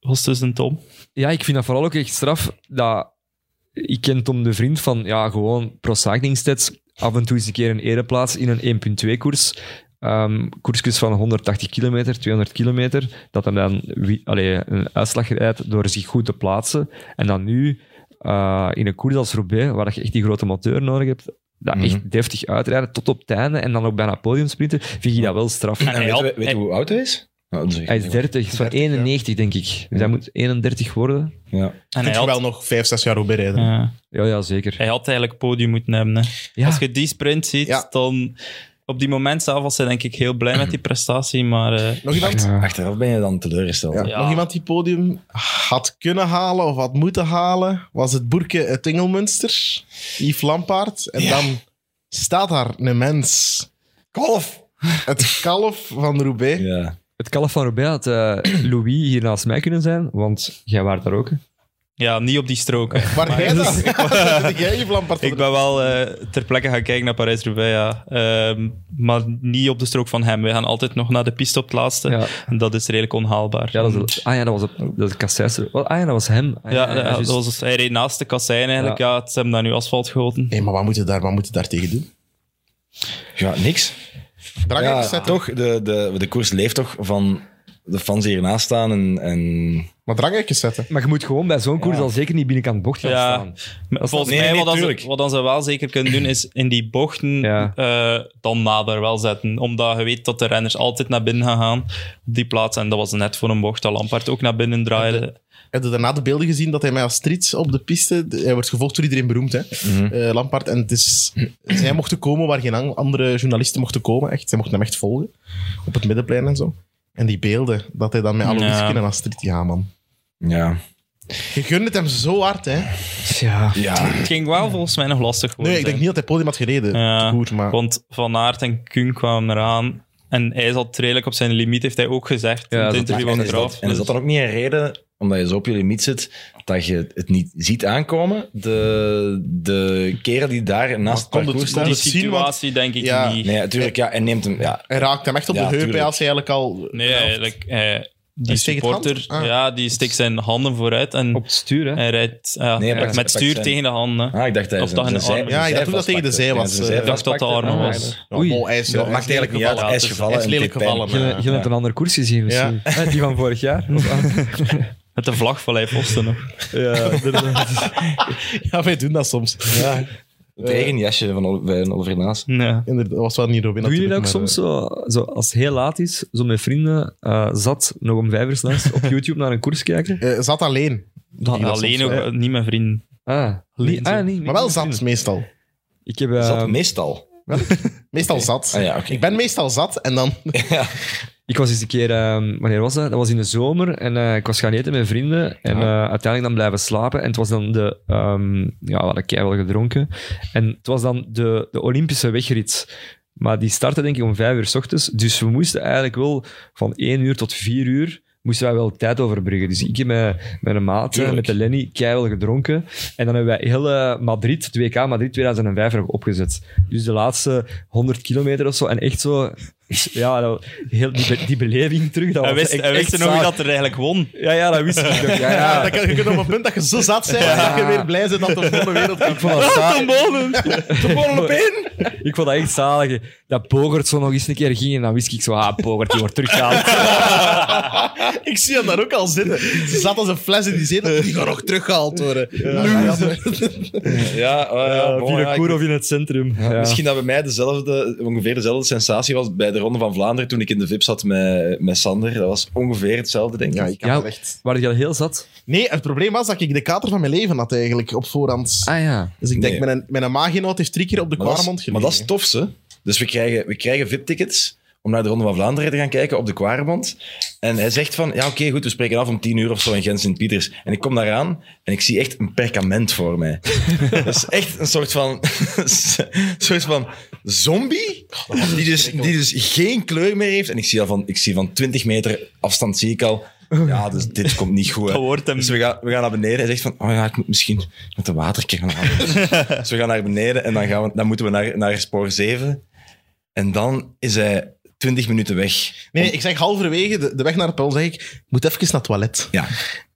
Speaker 5: was het dus een Tom.
Speaker 3: Ja, ik vind dat vooral ook echt straf. Dat, ik ken Tom de Vriend van ja, gewoon pro cycling stats. Af en toe eens een keer een ereplaats in een 1.2-koers. Ehm koersjes van 180 kilometer, 200 kilometer. Dat er dan wie- allee, een uitslag rijdt door zich goed te plaatsen. En dan nu eh, in een koers als Roubaix, waar dat je echt die grote moteur nodig hebt, dat
Speaker 4: Mhm.
Speaker 3: echt deftig uitrijden tot op het einde en dan ook bijna podium sprinten, vind je dat wel straf.
Speaker 5: En
Speaker 4: En
Speaker 5: hij
Speaker 4: weet,
Speaker 5: had-
Speaker 4: weet, weet
Speaker 5: hij-
Speaker 4: hoe oud hij is? Nou, dat zeg ik
Speaker 3: Hij is
Speaker 4: niet.
Speaker 3: 30, is van
Speaker 2: 30, ja.
Speaker 3: 91 denk ik. Dus hij moet 31 worden.
Speaker 4: Ja.
Speaker 5: En
Speaker 2: Kun
Speaker 5: hij
Speaker 2: je wel
Speaker 5: had,
Speaker 2: nog vijf, zes jaar Roubaix rijden.
Speaker 5: ja,
Speaker 3: Ja, ja zeker.
Speaker 5: hij had eigenlijk podium moeten hebben. Hè.
Speaker 3: Ja.
Speaker 5: Als je die sprint ziet,
Speaker 2: Ja.
Speaker 5: dan... Op die moment zelf was hij denk ik heel blij met die prestatie, maar... eh,
Speaker 2: Nog iemand?
Speaker 3: Ja.
Speaker 4: Achteraf ben je dan teleurgesteld.
Speaker 2: Ja.
Speaker 5: Ja.
Speaker 2: Nog iemand die podium had kunnen halen of had moeten halen, was het Boerke het Engelmunster, Yves Lampaard. En dan staat daar een mens.
Speaker 4: Golf!
Speaker 2: Het kalf van Roubaix.
Speaker 4: Ja.
Speaker 3: Het kalf van Roubaix had eh, <clears throat> Louis hier naast mij kunnen zijn, want jij waart daar ook. hè?
Speaker 5: ja, niet op die strook.
Speaker 3: <laughs>
Speaker 5: hè.
Speaker 2: Waar jij dan? <laughs> Wat vind jij Yves Lampaard?
Speaker 5: Ik ben wel eh, ter plekke gaan kijken naar Parijs-Roubaix, ja. Ehm, maar niet op de strook van hem. We gaan altijd nog naar de piste op het laatste.
Speaker 3: Ja,
Speaker 5: En dat is redelijk onhaalbaar.
Speaker 3: ja, dat, is, ah, ja dat was op dat is Kassijster. Wel, Ah ja, dat was hem. Ah,
Speaker 5: Hmm. Ja, ja,
Speaker 3: juist.
Speaker 5: dat was- hij reed naast de kassein eigenlijk. Ja, het ze hebben daar nu asfalt gegoten.
Speaker 2: Nee, maar wat moeten daar, wat moeten daar tegen doen?
Speaker 4: ja, niks.
Speaker 2: Drangers
Speaker 4: Ja,
Speaker 2: zetten.
Speaker 4: toch, de, de, de koers leeft toch van de fans die hiernaast staan en... en
Speaker 2: Maar drangekjes zetten.
Speaker 3: Maar je moet gewoon bij zo'n koers
Speaker 4: Ja.
Speaker 3: al zeker niet binnenkant bocht gaan
Speaker 5: Ja.
Speaker 3: staan.
Speaker 5: Volgens
Speaker 4: nee,
Speaker 5: mij,
Speaker 4: nee,
Speaker 5: wat, dan
Speaker 4: tuurlijk.
Speaker 5: ze, wat dan ze wel zeker kunnen doen, is in die bochten
Speaker 3: Ja.
Speaker 5: eh, dan nader wel zetten. Omdat je weet dat de renners altijd naar binnen gaan gaan op die plaats. En dat was net voor een bocht dat Lampard ook naar binnen draaide.
Speaker 2: Heb je daarna de beelden gezien dat hij mij als striet op de piste... de- Hij wordt gevolgd door iedereen beroemd, hè. eh, Lampaard. En het is, dus zij mochten komen waar geen an- andere journalisten mochten komen, echt. Zij mochten hem echt volgen. Op het middenplein en zo. En die beelden, dat hij dan met alle
Speaker 5: Ja.
Speaker 2: ja. en als striet... Ja, man.
Speaker 4: ja.
Speaker 2: Je gunt het hem zo hard, hè.
Speaker 3: Ja.
Speaker 4: Ja.
Speaker 5: Het ging wel volgens mij nog lastig worden.
Speaker 2: Nee, ik denk niet dat hij podium had gereden.
Speaker 5: Ja.
Speaker 2: Goed, maar...
Speaker 5: Want Van Aert en Kuhn kwamen eraan. En hij zat redelijk op zijn limiet, heeft hij ook gezegd.
Speaker 3: Ja,
Speaker 5: in het
Speaker 3: dat-
Speaker 5: interview
Speaker 4: en,
Speaker 5: van Dus
Speaker 4: is dat,
Speaker 5: Graaf.
Speaker 4: en is dat dan ook niet een reden, omdat je zo op je limiet zit, dat je het niet ziet aankomen? De, de keren die daar naast het
Speaker 2: kon het-
Speaker 4: parcours
Speaker 2: kon
Speaker 5: die
Speaker 4: staan...
Speaker 2: het- zien, want-
Speaker 5: situatie denk ik
Speaker 2: Ja.
Speaker 5: niet.
Speaker 4: Nee, natuurlijk, ja, en neemt hem... Ja,
Speaker 2: Hij raakt hem echt op
Speaker 4: Ja,
Speaker 2: de heup, hè,
Speaker 4: tuurlijk.
Speaker 2: als hij eigenlijk al...
Speaker 5: Nee, eigenlijk, eh, die
Speaker 2: Hij steekt het
Speaker 5: supporter
Speaker 2: hand? Ah.
Speaker 5: ja, die steekt zijn handen vooruit en
Speaker 3: Op het stuur, hè.
Speaker 5: hij rijdt ja,
Speaker 4: Nee, hij
Speaker 5: ja,
Speaker 4: pakt- hij
Speaker 5: met
Speaker 4: pakt
Speaker 5: stuur
Speaker 4: zijn-
Speaker 5: tegen de handen. hè.
Speaker 4: Ah, ik dacht dat hij
Speaker 5: Of dat
Speaker 4: zijn-
Speaker 5: een
Speaker 4: zijn
Speaker 5: arm-
Speaker 4: zij-
Speaker 2: Ja, ik dacht ook dat
Speaker 4: vastpakte.
Speaker 2: tegen de zij
Speaker 4: Ja,
Speaker 2: was,
Speaker 4: zijn
Speaker 2: eh,
Speaker 4: zij
Speaker 2: ik
Speaker 5: Ik dacht dat de
Speaker 4: vastpakte.
Speaker 5: armen
Speaker 3: Ah,
Speaker 5: was.
Speaker 3: ja.
Speaker 2: Ja,
Speaker 3: Oei.
Speaker 2: bon, hij is,
Speaker 4: Dat
Speaker 2: hij
Speaker 4: maakt
Speaker 2: is
Speaker 4: eigenlijk niet
Speaker 2: gevallen.
Speaker 4: uit. Hij is
Speaker 5: Ja,
Speaker 4: gevallen.
Speaker 2: Hij is
Speaker 4: en
Speaker 2: lelijk
Speaker 4: tikt pijn.
Speaker 2: gevallen.
Speaker 3: Je,
Speaker 2: maar-
Speaker 3: je hebt een ander koers gezien misschien. Eh, Die van vorig jaar.
Speaker 5: Met de vlag van Leif Osten nog.
Speaker 3: ja,
Speaker 2: Ja, wij doen dat soms.
Speaker 4: Ja. Het eigen jasje van Ol- bij een Oliver Naas.
Speaker 5: Ja.
Speaker 2: Inderdaad, dat was wel niet Robin
Speaker 3: Doen jullie dat ook
Speaker 2: natuurlijk, maar,
Speaker 3: soms zo, zo, als het heel laat is, zo met vrienden, eh, zat, nog om vijf uur s'nachts, op YouTube naar een koers kijken?
Speaker 2: eh, eh, zat alleen.
Speaker 3: Dan-
Speaker 2: dat
Speaker 5: Alleen
Speaker 2: soms,
Speaker 5: ook,
Speaker 2: ja.
Speaker 5: eh, niet mijn vrienden.
Speaker 3: Ah, niet, ah, niet-
Speaker 2: Maar wel zat, meestal.
Speaker 3: Ik heb, eh,
Speaker 4: Is dat meestal?
Speaker 2: Meestal zat.
Speaker 4: Ah ja, oké.
Speaker 2: Ik ben meestal zat en dan...
Speaker 3: Ik was eens een keer, ehm, wanneer was dat? Dat was in de zomer en eh, ik was gaan eten met vrienden en eh, uiteindelijk dan blijven slapen. En het was dan de, ehm, ja, we hadden keihard gedronken. En het was dan de, de Olympische wegrit. Maar die startte denk ik om vijf uur s ochtends. Dus we moesten eigenlijk wel van één uur tot vier uur moesten wij wel tijd overbruggen. Dus ik heb met, met een maat, eh, met de Lenny, keihard gedronken. En dan hebben wij heel eh, Madrid, het WK Madrid 2005 erop opgezet. Dus de laatste 100 kilometer of zo. En echt zo Ja, dat- heel die, be- die beleving terug. Dat
Speaker 5: Hij
Speaker 3: was
Speaker 5: wist,
Speaker 3: echt-
Speaker 5: hij wist
Speaker 3: echt
Speaker 5: er nog
Speaker 3: zalig.
Speaker 5: niet dat er eigenlijk won.
Speaker 3: Ja, ja, dat wist ik nog. Ja,
Speaker 2: Ja, <laughs>
Speaker 3: ja.
Speaker 2: dat kan, je kunt op het punt dat je zo zat bent, dat je weer blij bent dat de volgende wereld
Speaker 3: Ik vond dat zalig.
Speaker 4: Gewoon op één!
Speaker 3: Ik vond dat echt zalig. Dat Bogert zo nog eens een keer ging en dan wist ik zo, ah, Bogert, die wordt teruggehaald.
Speaker 2: Ik zie hem daar ook al zitten. Ze zat als een fles in die zetel. Die gaat nog teruggehaald worden. Loser.
Speaker 4: Ja, oh ja,
Speaker 3: Ja,
Speaker 4: bon,
Speaker 3: via
Speaker 4: ja, ik-
Speaker 3: Koer of in het centrum. Ja.
Speaker 4: Misschien dat bij mij dezelfde, ongeveer dezelfde sensatie was bij de Ronde van Vlaanderen toen ik in de VIP zat met, met Sander. Dat was ongeveer hetzelfde, denk ik.
Speaker 2: Ja, ik had
Speaker 3: Ja.
Speaker 2: het echt.
Speaker 3: Waar je al heel zat.
Speaker 2: Nee, het probleem was dat ik de kater van mijn leven had eigenlijk op voorhand.
Speaker 3: Ah ja.
Speaker 2: Dus ik denk,
Speaker 4: Nee.
Speaker 2: mijn, mijn maaggenoot heeft drie keer op de
Speaker 4: maar, dat is,
Speaker 2: kwaremond
Speaker 4: maar dat is
Speaker 2: gelegen.
Speaker 4: het tofste. Dus we krijgen, we krijgen VIP-tickets om naar de Ronde van Vlaanderen te gaan kijken op de Quaremont. En hij zegt van, ja oké, goed, we spreken af om tien uur of zo in Gent-Sint-Pieters. En ik kom daaraan en ik zie echt een perkament
Speaker 2: <laughs>
Speaker 4: voor mij. dat is echt een soort van, <laughs> een soort van zombie
Speaker 2: Oh,
Speaker 4: die dus, die dus geen kleur meer heeft. En ik zie, al van, ik zie van 20 meter afstand zie ik al... Ja, dus dit komt niet goed. hè.
Speaker 5: Dat wordt hem.
Speaker 4: Dus we gaan, we gaan naar beneden. Hij zegt van, oh ja, ik moet misschien met de waterker gaan halen. dus we gaan naar beneden en dan, gaan we, dan moeten we naar, naar spoor 7. En dan is hij 20 minuten weg.
Speaker 2: Nee, nee, ik zeg halverwege de, de weg naar het pol, zeg ik, ik moet even naar het toilet.
Speaker 4: Ja.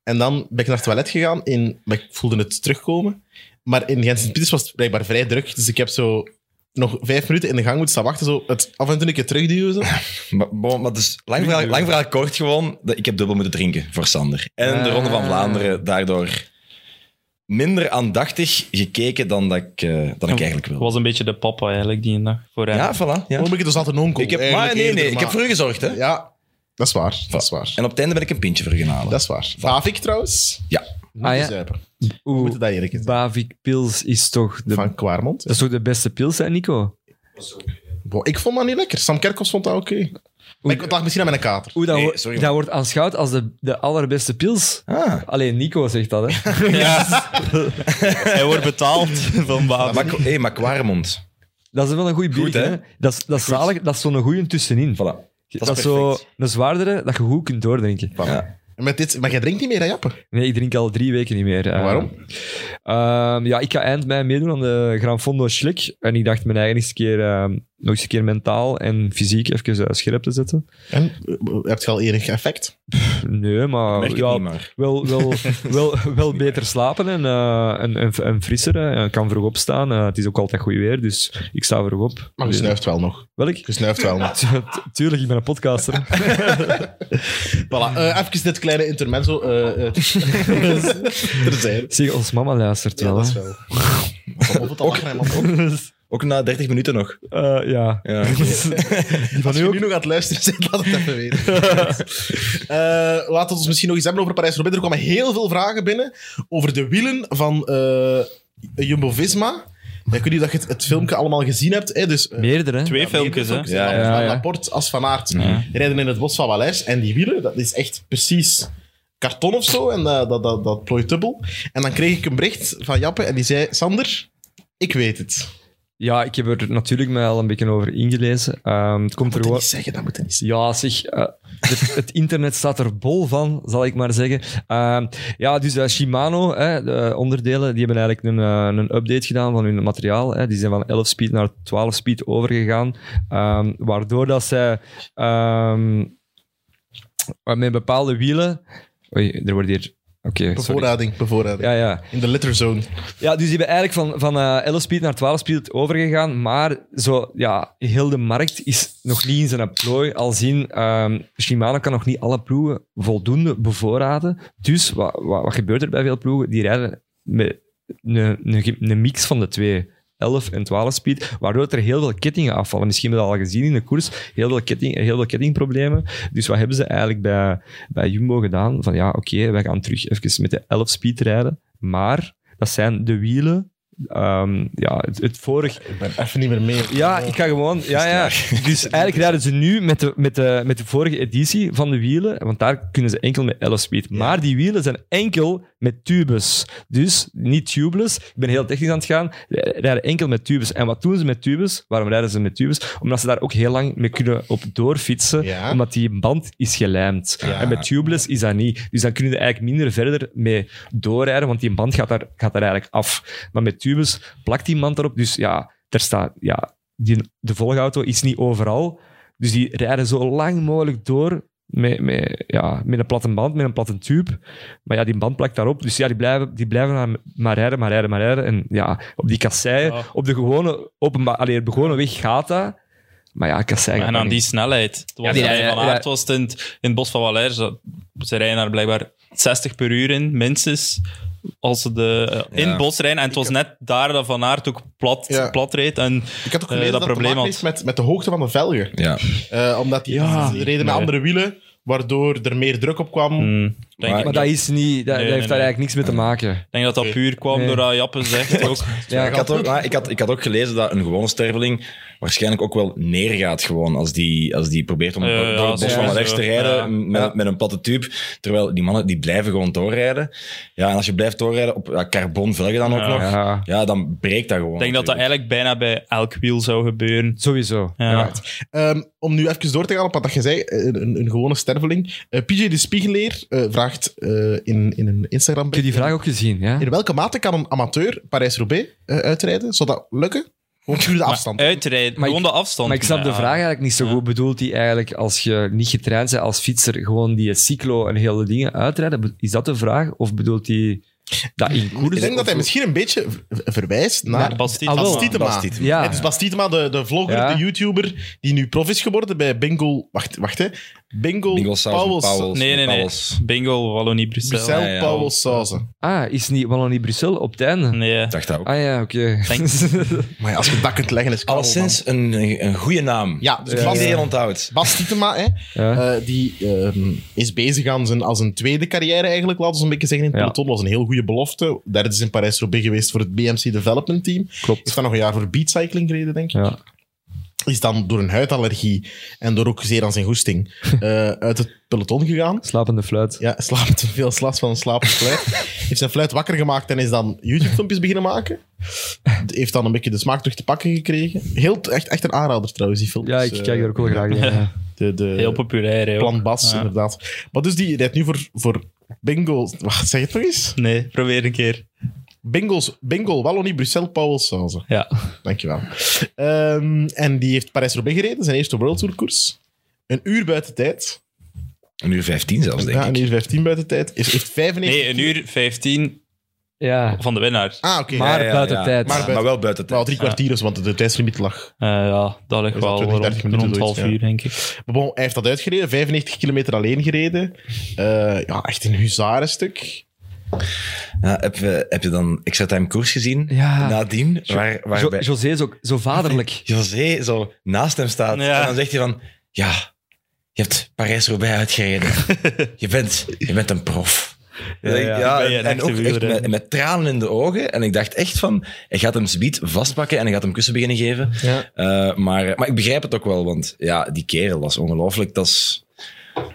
Speaker 2: En dan ben ik naar het toilet gegaan. In, maar ik voelde het terugkomen. Maar in Gent Sint-Pieters was het blijkbaar vrij druk. Dus ik heb zo nog vijf minuten in de gang moeten staan wachten. Zo het af en toe een keer terugduwen. Zo.
Speaker 4: Maar, bon, maar dus, lang, verhaal, lang verhaal kort gewoon, dat ik heb dubbel moeten drinken voor Sander. En de Ronde van
Speaker 3: Ah.
Speaker 4: Vlaanderen daardoor minder aandachtig gekeken dan dat ik, eh, dan ik eigenlijk wil.
Speaker 5: was een beetje de papa eigenlijk die dag voor hem.
Speaker 4: Ja, voilà. Ja.
Speaker 2: Waarom ben ik dus altijd een onkel?
Speaker 4: Ik heb,
Speaker 2: Eigenlijk
Speaker 4: maar nee, nee,
Speaker 2: eerder,
Speaker 4: ik heb
Speaker 2: maar-
Speaker 4: voor u gezorgd. Hè?
Speaker 2: Ja, dat is waar. Dat is waar.
Speaker 4: En op het einde ben ik een pintje voor u gaan halen.
Speaker 2: Dat is waar. Bavik trouwens.
Speaker 4: Ja.
Speaker 2: Moet
Speaker 3: Ah,
Speaker 2: je
Speaker 3: ja.
Speaker 2: zuipen. We
Speaker 3: Oeh,
Speaker 2: moeten dat eerlijk is.
Speaker 3: Bavik Pils is toch de,
Speaker 2: Van Kwarmond.
Speaker 3: dat is toch de beste pils, hè, Nico?
Speaker 2: Wow, ik vond dat niet lekker. Sam Kerkhoffs vond dat oké. Maar ik lag misschien aan mijn kater.
Speaker 3: Oeh, dat,
Speaker 4: Nee,
Speaker 3: wo-
Speaker 4: sorry,
Speaker 3: dat wordt aanschouwd als de, de allerbeste pils.
Speaker 4: Ah.
Speaker 3: Alleen Nico zegt dat,
Speaker 4: <laughs>
Speaker 3: hè.
Speaker 5: Hij wordt betaald <laughs> van Babi.
Speaker 4: Maar, hey, maar Quaremont.
Speaker 3: Dat is wel een goede bier,
Speaker 4: Goed,
Speaker 3: hè.
Speaker 4: hè?
Speaker 3: Dat is, dat is zalig, dat is zo'n goede tussenin.
Speaker 4: Voilà.
Speaker 3: Dat,
Speaker 4: is
Speaker 3: is zo
Speaker 4: perfect.
Speaker 3: een zwaardere dat je goed kunt doordrinken.
Speaker 4: Ja.
Speaker 2: En Met dit, maar jij drinkt niet meer, hè, Jappe?
Speaker 3: Nee, ik drink al drie weken niet meer. Eh,
Speaker 2: Waarom?
Speaker 3: ehm, ja, ik ga eind mei meedoen aan de Gran Fondo Schlik. En ik dacht mijn eigen eens een keer, ehm, nog eens een keer mentaal en fysiek even eh, scherp te zetten.
Speaker 2: En eh, heb je al enig effect?
Speaker 3: Nee, maar...
Speaker 4: Merk het
Speaker 3: ja,
Speaker 4: niet maar.
Speaker 3: wel,
Speaker 4: <laughs>
Speaker 3: wel, wel, wel beter slapen en, eh, en, en, en frisser. hè. Ik kan vroeg opstaan. Eh, het is ook altijd goed weer, dus ik sta vroeg op.
Speaker 2: Maar je
Speaker 3: Dus-
Speaker 2: snuift wel nog.
Speaker 3: Welk?
Speaker 2: Je snuift
Speaker 3: <laughs>
Speaker 2: wel nog.
Speaker 3: Tu- tu- Tuurlijk, ik ben een
Speaker 2: <laughs>
Speaker 3: podcaster.
Speaker 2: Voilà. Eh, even dit kleine intermezzo. eh <laughs> eh terzijde.
Speaker 3: Zie, ons mama luistert
Speaker 2: Ja,
Speaker 3: wel.
Speaker 2: dat is
Speaker 3: hè.
Speaker 2: wel. Kom op het lachen, hè, man.
Speaker 4: Ook na 30 minuten nog.
Speaker 3: Eh, ja.
Speaker 2: <laughs>
Speaker 4: Ja.
Speaker 3: Die van
Speaker 2: Als
Speaker 3: nu
Speaker 2: je
Speaker 3: ook.
Speaker 2: nu nog aan het luisteren bent, laat het even
Speaker 3: <laughs>
Speaker 2: weten. Eh laten we ons misschien nog iets hebben over Parijs-Roubaix. Er kwamen heel veel vragen binnen over de wielen van eh, Jumbo-Visma. Ja, Ik weet niet dat je het, het filmpje allemaal gezien hebt. Hè? Dus, eh,
Speaker 3: Meerdere. hè?
Speaker 5: Twee
Speaker 2: ja,
Speaker 5: filmpjes, hè?
Speaker 2: meerdere filmpjes,
Speaker 4: Ja,
Speaker 2: hè.
Speaker 3: ja, ja.
Speaker 2: Laporte als Van Aert
Speaker 5: Ja.
Speaker 2: rijden in het bos van Valais. En die wielen, dat is echt precies karton of zo. En eh, dat, dat, dat plooit dubbel. En dan kreeg ik een bericht van Jappe en die zei... Sander, ik weet het.
Speaker 3: Ja, ik heb er natuurlijk mij al een beetje over ingelezen. Ehm, het
Speaker 2: Dat moet
Speaker 3: komt er
Speaker 2: je
Speaker 3: gewoon.
Speaker 2: niet zeggen, dat moet je niet zeggen.
Speaker 3: Ja, zeg, eh, het, het internet staat er bol van, zal ik maar zeggen. Ehm, ja, dus eh, Shimano, hè, de onderdelen, die hebben eigenlijk een, eh, een update gedaan van hun materiaal. Hè. Die zijn van 11 speed naar 12 speed overgegaan. Ehm, waardoor dat zij ehm, met bepaalde wielen... Oei, er wordt hier... Oké, sorry.
Speaker 2: Bevoorrading, bevoorrading.
Speaker 3: Ja, ja.
Speaker 2: In de litterzone.
Speaker 3: Ja, dus die hebben eigenlijk van, van eh 11 speed naar 12 speed overgegaan. Maar zo, ja, heel de markt is nog niet in zijn plooi. Al zien, ehm, Shimano kan nog niet alle ploegen voldoende bevoorraden. Dus wat, wat, wat gebeurt er bij veel ploegen? Die rijden met een, een, een mix van de twee. 11 en 12 speed, waardoor er heel veel kettingen afvallen. Misschien hebben we dat al gezien in de koers. Heel veel, ketting, heel veel kettingproblemen. Dus wat hebben ze eigenlijk bij, bij Jumbo gedaan? Van ja, oké, wij gaan terug even met de 11 speed rijden. Maar dat zijn de wielen. Ehm, ja, het, het vorig.
Speaker 2: Ik ben even niet meer mee.
Speaker 3: Ja, ik ga gewoon. Ja, ja.
Speaker 2: <laughs>
Speaker 3: Dus eigenlijk rijden ze nu met de, met, de, met de vorige editie van de wielen. Want daar kunnen ze enkel met 11 speed. Maar die wielen zijn enkel met tubes. Dus niet tubeless. Ik ben heel technisch aan het gaan. Rijden enkel met tubes. En wat doen ze met tubes? Waarom rijden ze met tubes? Omdat ze daar ook heel lang mee kunnen op doorfietsen.
Speaker 2: Ja.
Speaker 3: Omdat die band is gelijmd.
Speaker 2: Ja.
Speaker 3: En met tubeless is dat niet. Dus dan kunnen ze eigenlijk minder verder mee doorrijden. Want die band gaat daar, gaat daar eigenlijk af. Maar met tubes plakt die band erop. Dus ja, daar staat, ja, die, de volgauto is niet overal. Dus die rijden zo lang mogelijk door met, met, ja, met een platte band, met een platte tube. Maar ja, die band plakt daarop. Dus ja, die blijven, die blijven maar, maar rijden, maar rijden, maar rijden. En ja, op die kasseien,
Speaker 5: Ja.
Speaker 3: op de gewone, openbaar, allee, op de gewone weg gaat dat. Maar ja, kasseien...
Speaker 5: En
Speaker 3: gaat
Speaker 5: aan
Speaker 3: dat
Speaker 5: die snelheid. Het was
Speaker 3: Ja, die
Speaker 5: er een
Speaker 3: rijden-
Speaker 5: van Aert
Speaker 3: ja.
Speaker 5: was het in, het- in het bos van Valère. Ze, ze rijden daar blijkbaar 60 per uur in, minstens. Als ze de, eh, in
Speaker 4: Ja.
Speaker 5: het bos rijden. En het was net daar dat Van Aert ook plat,
Speaker 2: Ja.
Speaker 5: plat reed. En
Speaker 2: Ik had ook
Speaker 5: Eh,
Speaker 2: gelezen dat, het
Speaker 5: dat
Speaker 2: te
Speaker 5: probleem
Speaker 2: maken
Speaker 5: had.
Speaker 2: heeft met, met de hoogte van de velgen.
Speaker 4: Ja.
Speaker 2: Eh, omdat die
Speaker 3: Ja.
Speaker 2: ze reden met
Speaker 5: Nee.
Speaker 2: andere wielen, waardoor er meer druk op kwam.
Speaker 5: hmm, denk,
Speaker 4: Maar-
Speaker 5: ik,
Speaker 3: Maar dat, is niet, dat,
Speaker 5: Nee,
Speaker 3: dat
Speaker 5: nee,
Speaker 3: heeft daar
Speaker 5: nee.
Speaker 3: eigenlijk niks mee te maken.
Speaker 5: denk dat dat
Speaker 2: Oké.
Speaker 5: puur kwam
Speaker 3: Nee.
Speaker 5: doordat Jappe
Speaker 4: <laughs>
Speaker 5: zegt ook.
Speaker 3: Ja,
Speaker 4: Ik had, ook, maar ik, had, ik had ook gelezen dat een gewone sterveling waarschijnlijk ook wel neergaat gewoon als die, als die probeert om
Speaker 5: Ja,
Speaker 4: door
Speaker 5: ja,
Speaker 4: het bos
Speaker 5: sowieso.
Speaker 4: van Valère te rijden
Speaker 5: Ja.
Speaker 4: met, met een platte tube. Terwijl die mannen die blijven gewoon doorrijden. Ja, en als je blijft doorrijden op ja, carbonvelgen dan ook
Speaker 5: Ja.
Speaker 4: nog, ja.
Speaker 3: Ja,
Speaker 4: dan breekt dat gewoon.
Speaker 5: Ik denk dat dat
Speaker 4: natuurlijk.
Speaker 5: eigenlijk bijna bij elk wiel zou gebeuren.
Speaker 3: sowieso.
Speaker 5: Ja.
Speaker 3: Ja.
Speaker 2: Ehm, om nu even door te gaan op wat dat je zei, een, een, een gewone sterveling. Eh, PJ de Spiegeleer eh, vraagt eh, in, in een instagram
Speaker 3: Heb je die vraag ook gezien? Ja?
Speaker 2: In welke mate kan een amateur Parijs-Roubaix eh, uitrijden? Zou dat lukken? Gewoon puur de afstand.
Speaker 5: Maar eh, uitrijden,
Speaker 3: Maar ik-
Speaker 5: gewoon de afstand.
Speaker 3: Maar ik snap de
Speaker 5: Ja.
Speaker 3: vraag eigenlijk niet zo
Speaker 5: eh, Ja.
Speaker 3: goed. Bedoelt hij eigenlijk, als je niet getraind bent als fietser, gewoon die cyclo en hele dingen uitrijden? Be- Is dat de vraag? Of bedoelt hij dat in koers?
Speaker 2: ik denk dat hij
Speaker 3: Of-
Speaker 2: misschien een beetje v- verwijst naar
Speaker 3: Naar
Speaker 5: Bastien-
Speaker 3: Ah, wel.
Speaker 5: Bastien-
Speaker 2: Bastitema.
Speaker 4: Bastien.
Speaker 3: Ja.
Speaker 2: Het is Bastitema, de, de vlogger,
Speaker 3: Ja.
Speaker 2: de YouTuber, die nu prof is geworden bij Bingo... Wacht, wacht hè. Bingo,
Speaker 4: Bingo Sausen,
Speaker 2: Pauwels...
Speaker 4: Pauwels,
Speaker 5: Nee, nee, nee.
Speaker 4: Pauwels.
Speaker 5: Bingo, Wallonie, Brussel.
Speaker 2: Brussel,
Speaker 4: Ja, ja.
Speaker 2: Pauwels, Sausen.
Speaker 3: Ah, is niet Wallonie-Brussel op het einde?
Speaker 5: Nee.
Speaker 4: Ik dacht dat ook.
Speaker 3: Ah ja, oké.
Speaker 2: Maar ja, als je dat kunt leggen, is het
Speaker 4: Alleszins een, een, een goede naam.
Speaker 2: Ja, dus
Speaker 4: die
Speaker 2: Bas-
Speaker 4: iedereen onthoudt.
Speaker 2: Bas Tietema, hè,
Speaker 3: Ja.
Speaker 2: eh, die ehm, is bezig aan zijn, als een tweede carrière eigenlijk, laten we een beetje zeggen, in het
Speaker 3: Ja.
Speaker 2: peloton. was een heel goede belofte. Derde is in Parijs-Roubaix geweest voor het BMC Development Team. Is
Speaker 3: Klopt.
Speaker 2: dan nog een jaar voor beatcycling gereden, denk ik.
Speaker 3: <laughs> Ja.
Speaker 2: Is dan door een huidallergie en door ook zeer aan zijn goesting
Speaker 3: <laughs>
Speaker 2: eh, uit het peloton gegaan.
Speaker 3: Slapende fluit.
Speaker 2: Ja, slaapt <laughs> te veel, slaat van een slapend fluit. Heeft zijn fluit wakker gemaakt en is dan YouTube-filmpjes beginnen maken. Heeft dan een beetje de smaak terug te pakken gekregen. Heel, echt, echt een aanrader trouwens, die filmpjes.
Speaker 3: Ja, ik
Speaker 2: eh,
Speaker 3: kijk daar ook wel graag
Speaker 5: <laughs>
Speaker 3: naar. Ja.
Speaker 2: De, de,
Speaker 5: Heel populair, hè, ook.
Speaker 2: Plan Bas,
Speaker 5: Ja.
Speaker 2: inderdaad. Maar dus die rijdt nu voor, voor Bingo. Wacht, zeg het nog eens.
Speaker 5: Nee, probeer een keer.
Speaker 2: Bingo's, bingo, Wallonie, Bruxelles, Powell, Sauze.
Speaker 5: Ja.
Speaker 2: Dankjewel. Ehm en die heeft Parijs-Roubaix gereden, zijn eerste World Tour koers. Een uur buiten tijd.
Speaker 4: Een uur 15 zelfs, denk
Speaker 2: Ja, een
Speaker 4: ik.
Speaker 2: uur 15 buiten tijd. Heeft, heeft 95...
Speaker 5: Nee, een uur 15
Speaker 3: Ja.
Speaker 5: van de winnaar.
Speaker 2: Ah, oké.
Speaker 3: Maar
Speaker 4: Ja, ja,
Speaker 3: buiten
Speaker 4: ja.
Speaker 3: tijd.
Speaker 4: Maar,
Speaker 2: Maar buiten-
Speaker 4: wel buiten tijd.
Speaker 2: Nou, drie kwartier dus, want de tijdslimiet lag.
Speaker 5: Eh, ja, dat ligt
Speaker 2: Is dat
Speaker 5: wel
Speaker 2: 20, 30
Speaker 5: rond,
Speaker 2: minuten
Speaker 5: rond
Speaker 2: zoiets,
Speaker 5: half
Speaker 2: ja.
Speaker 5: uur, denk ik.
Speaker 2: Maar bon, hij heeft dat uitgereden, 95 kilometer alleen gereden. Eh, ja, echt een huzarenstuk.
Speaker 4: Ja, heb, je, heb je dan extra time koers gezien?
Speaker 3: Ja.
Speaker 4: Nadien, waar,
Speaker 3: Jo-
Speaker 4: waarbij
Speaker 3: José is ook zo vaderlijk.
Speaker 4: José zo naast hem staat.
Speaker 5: Ja.
Speaker 4: En dan zegt hij van, ja, je hebt Parijs-Roubaix uitgereden. je, bent, je bent een prof.
Speaker 5: Ja, ja. Ik
Speaker 4: en-
Speaker 5: ben een
Speaker 4: en
Speaker 5: echte
Speaker 4: ook echt
Speaker 5: wielrenner.
Speaker 4: met, met tranen in de ogen. En ik dacht echt van, hij gaat hem zbiet vastpakken en hij gaat hem kussen beginnen geven.
Speaker 2: Ja.
Speaker 4: Eh, maar, maar ik begrijp het ook wel, want ja, die kerel was ongelooflijk. Dat is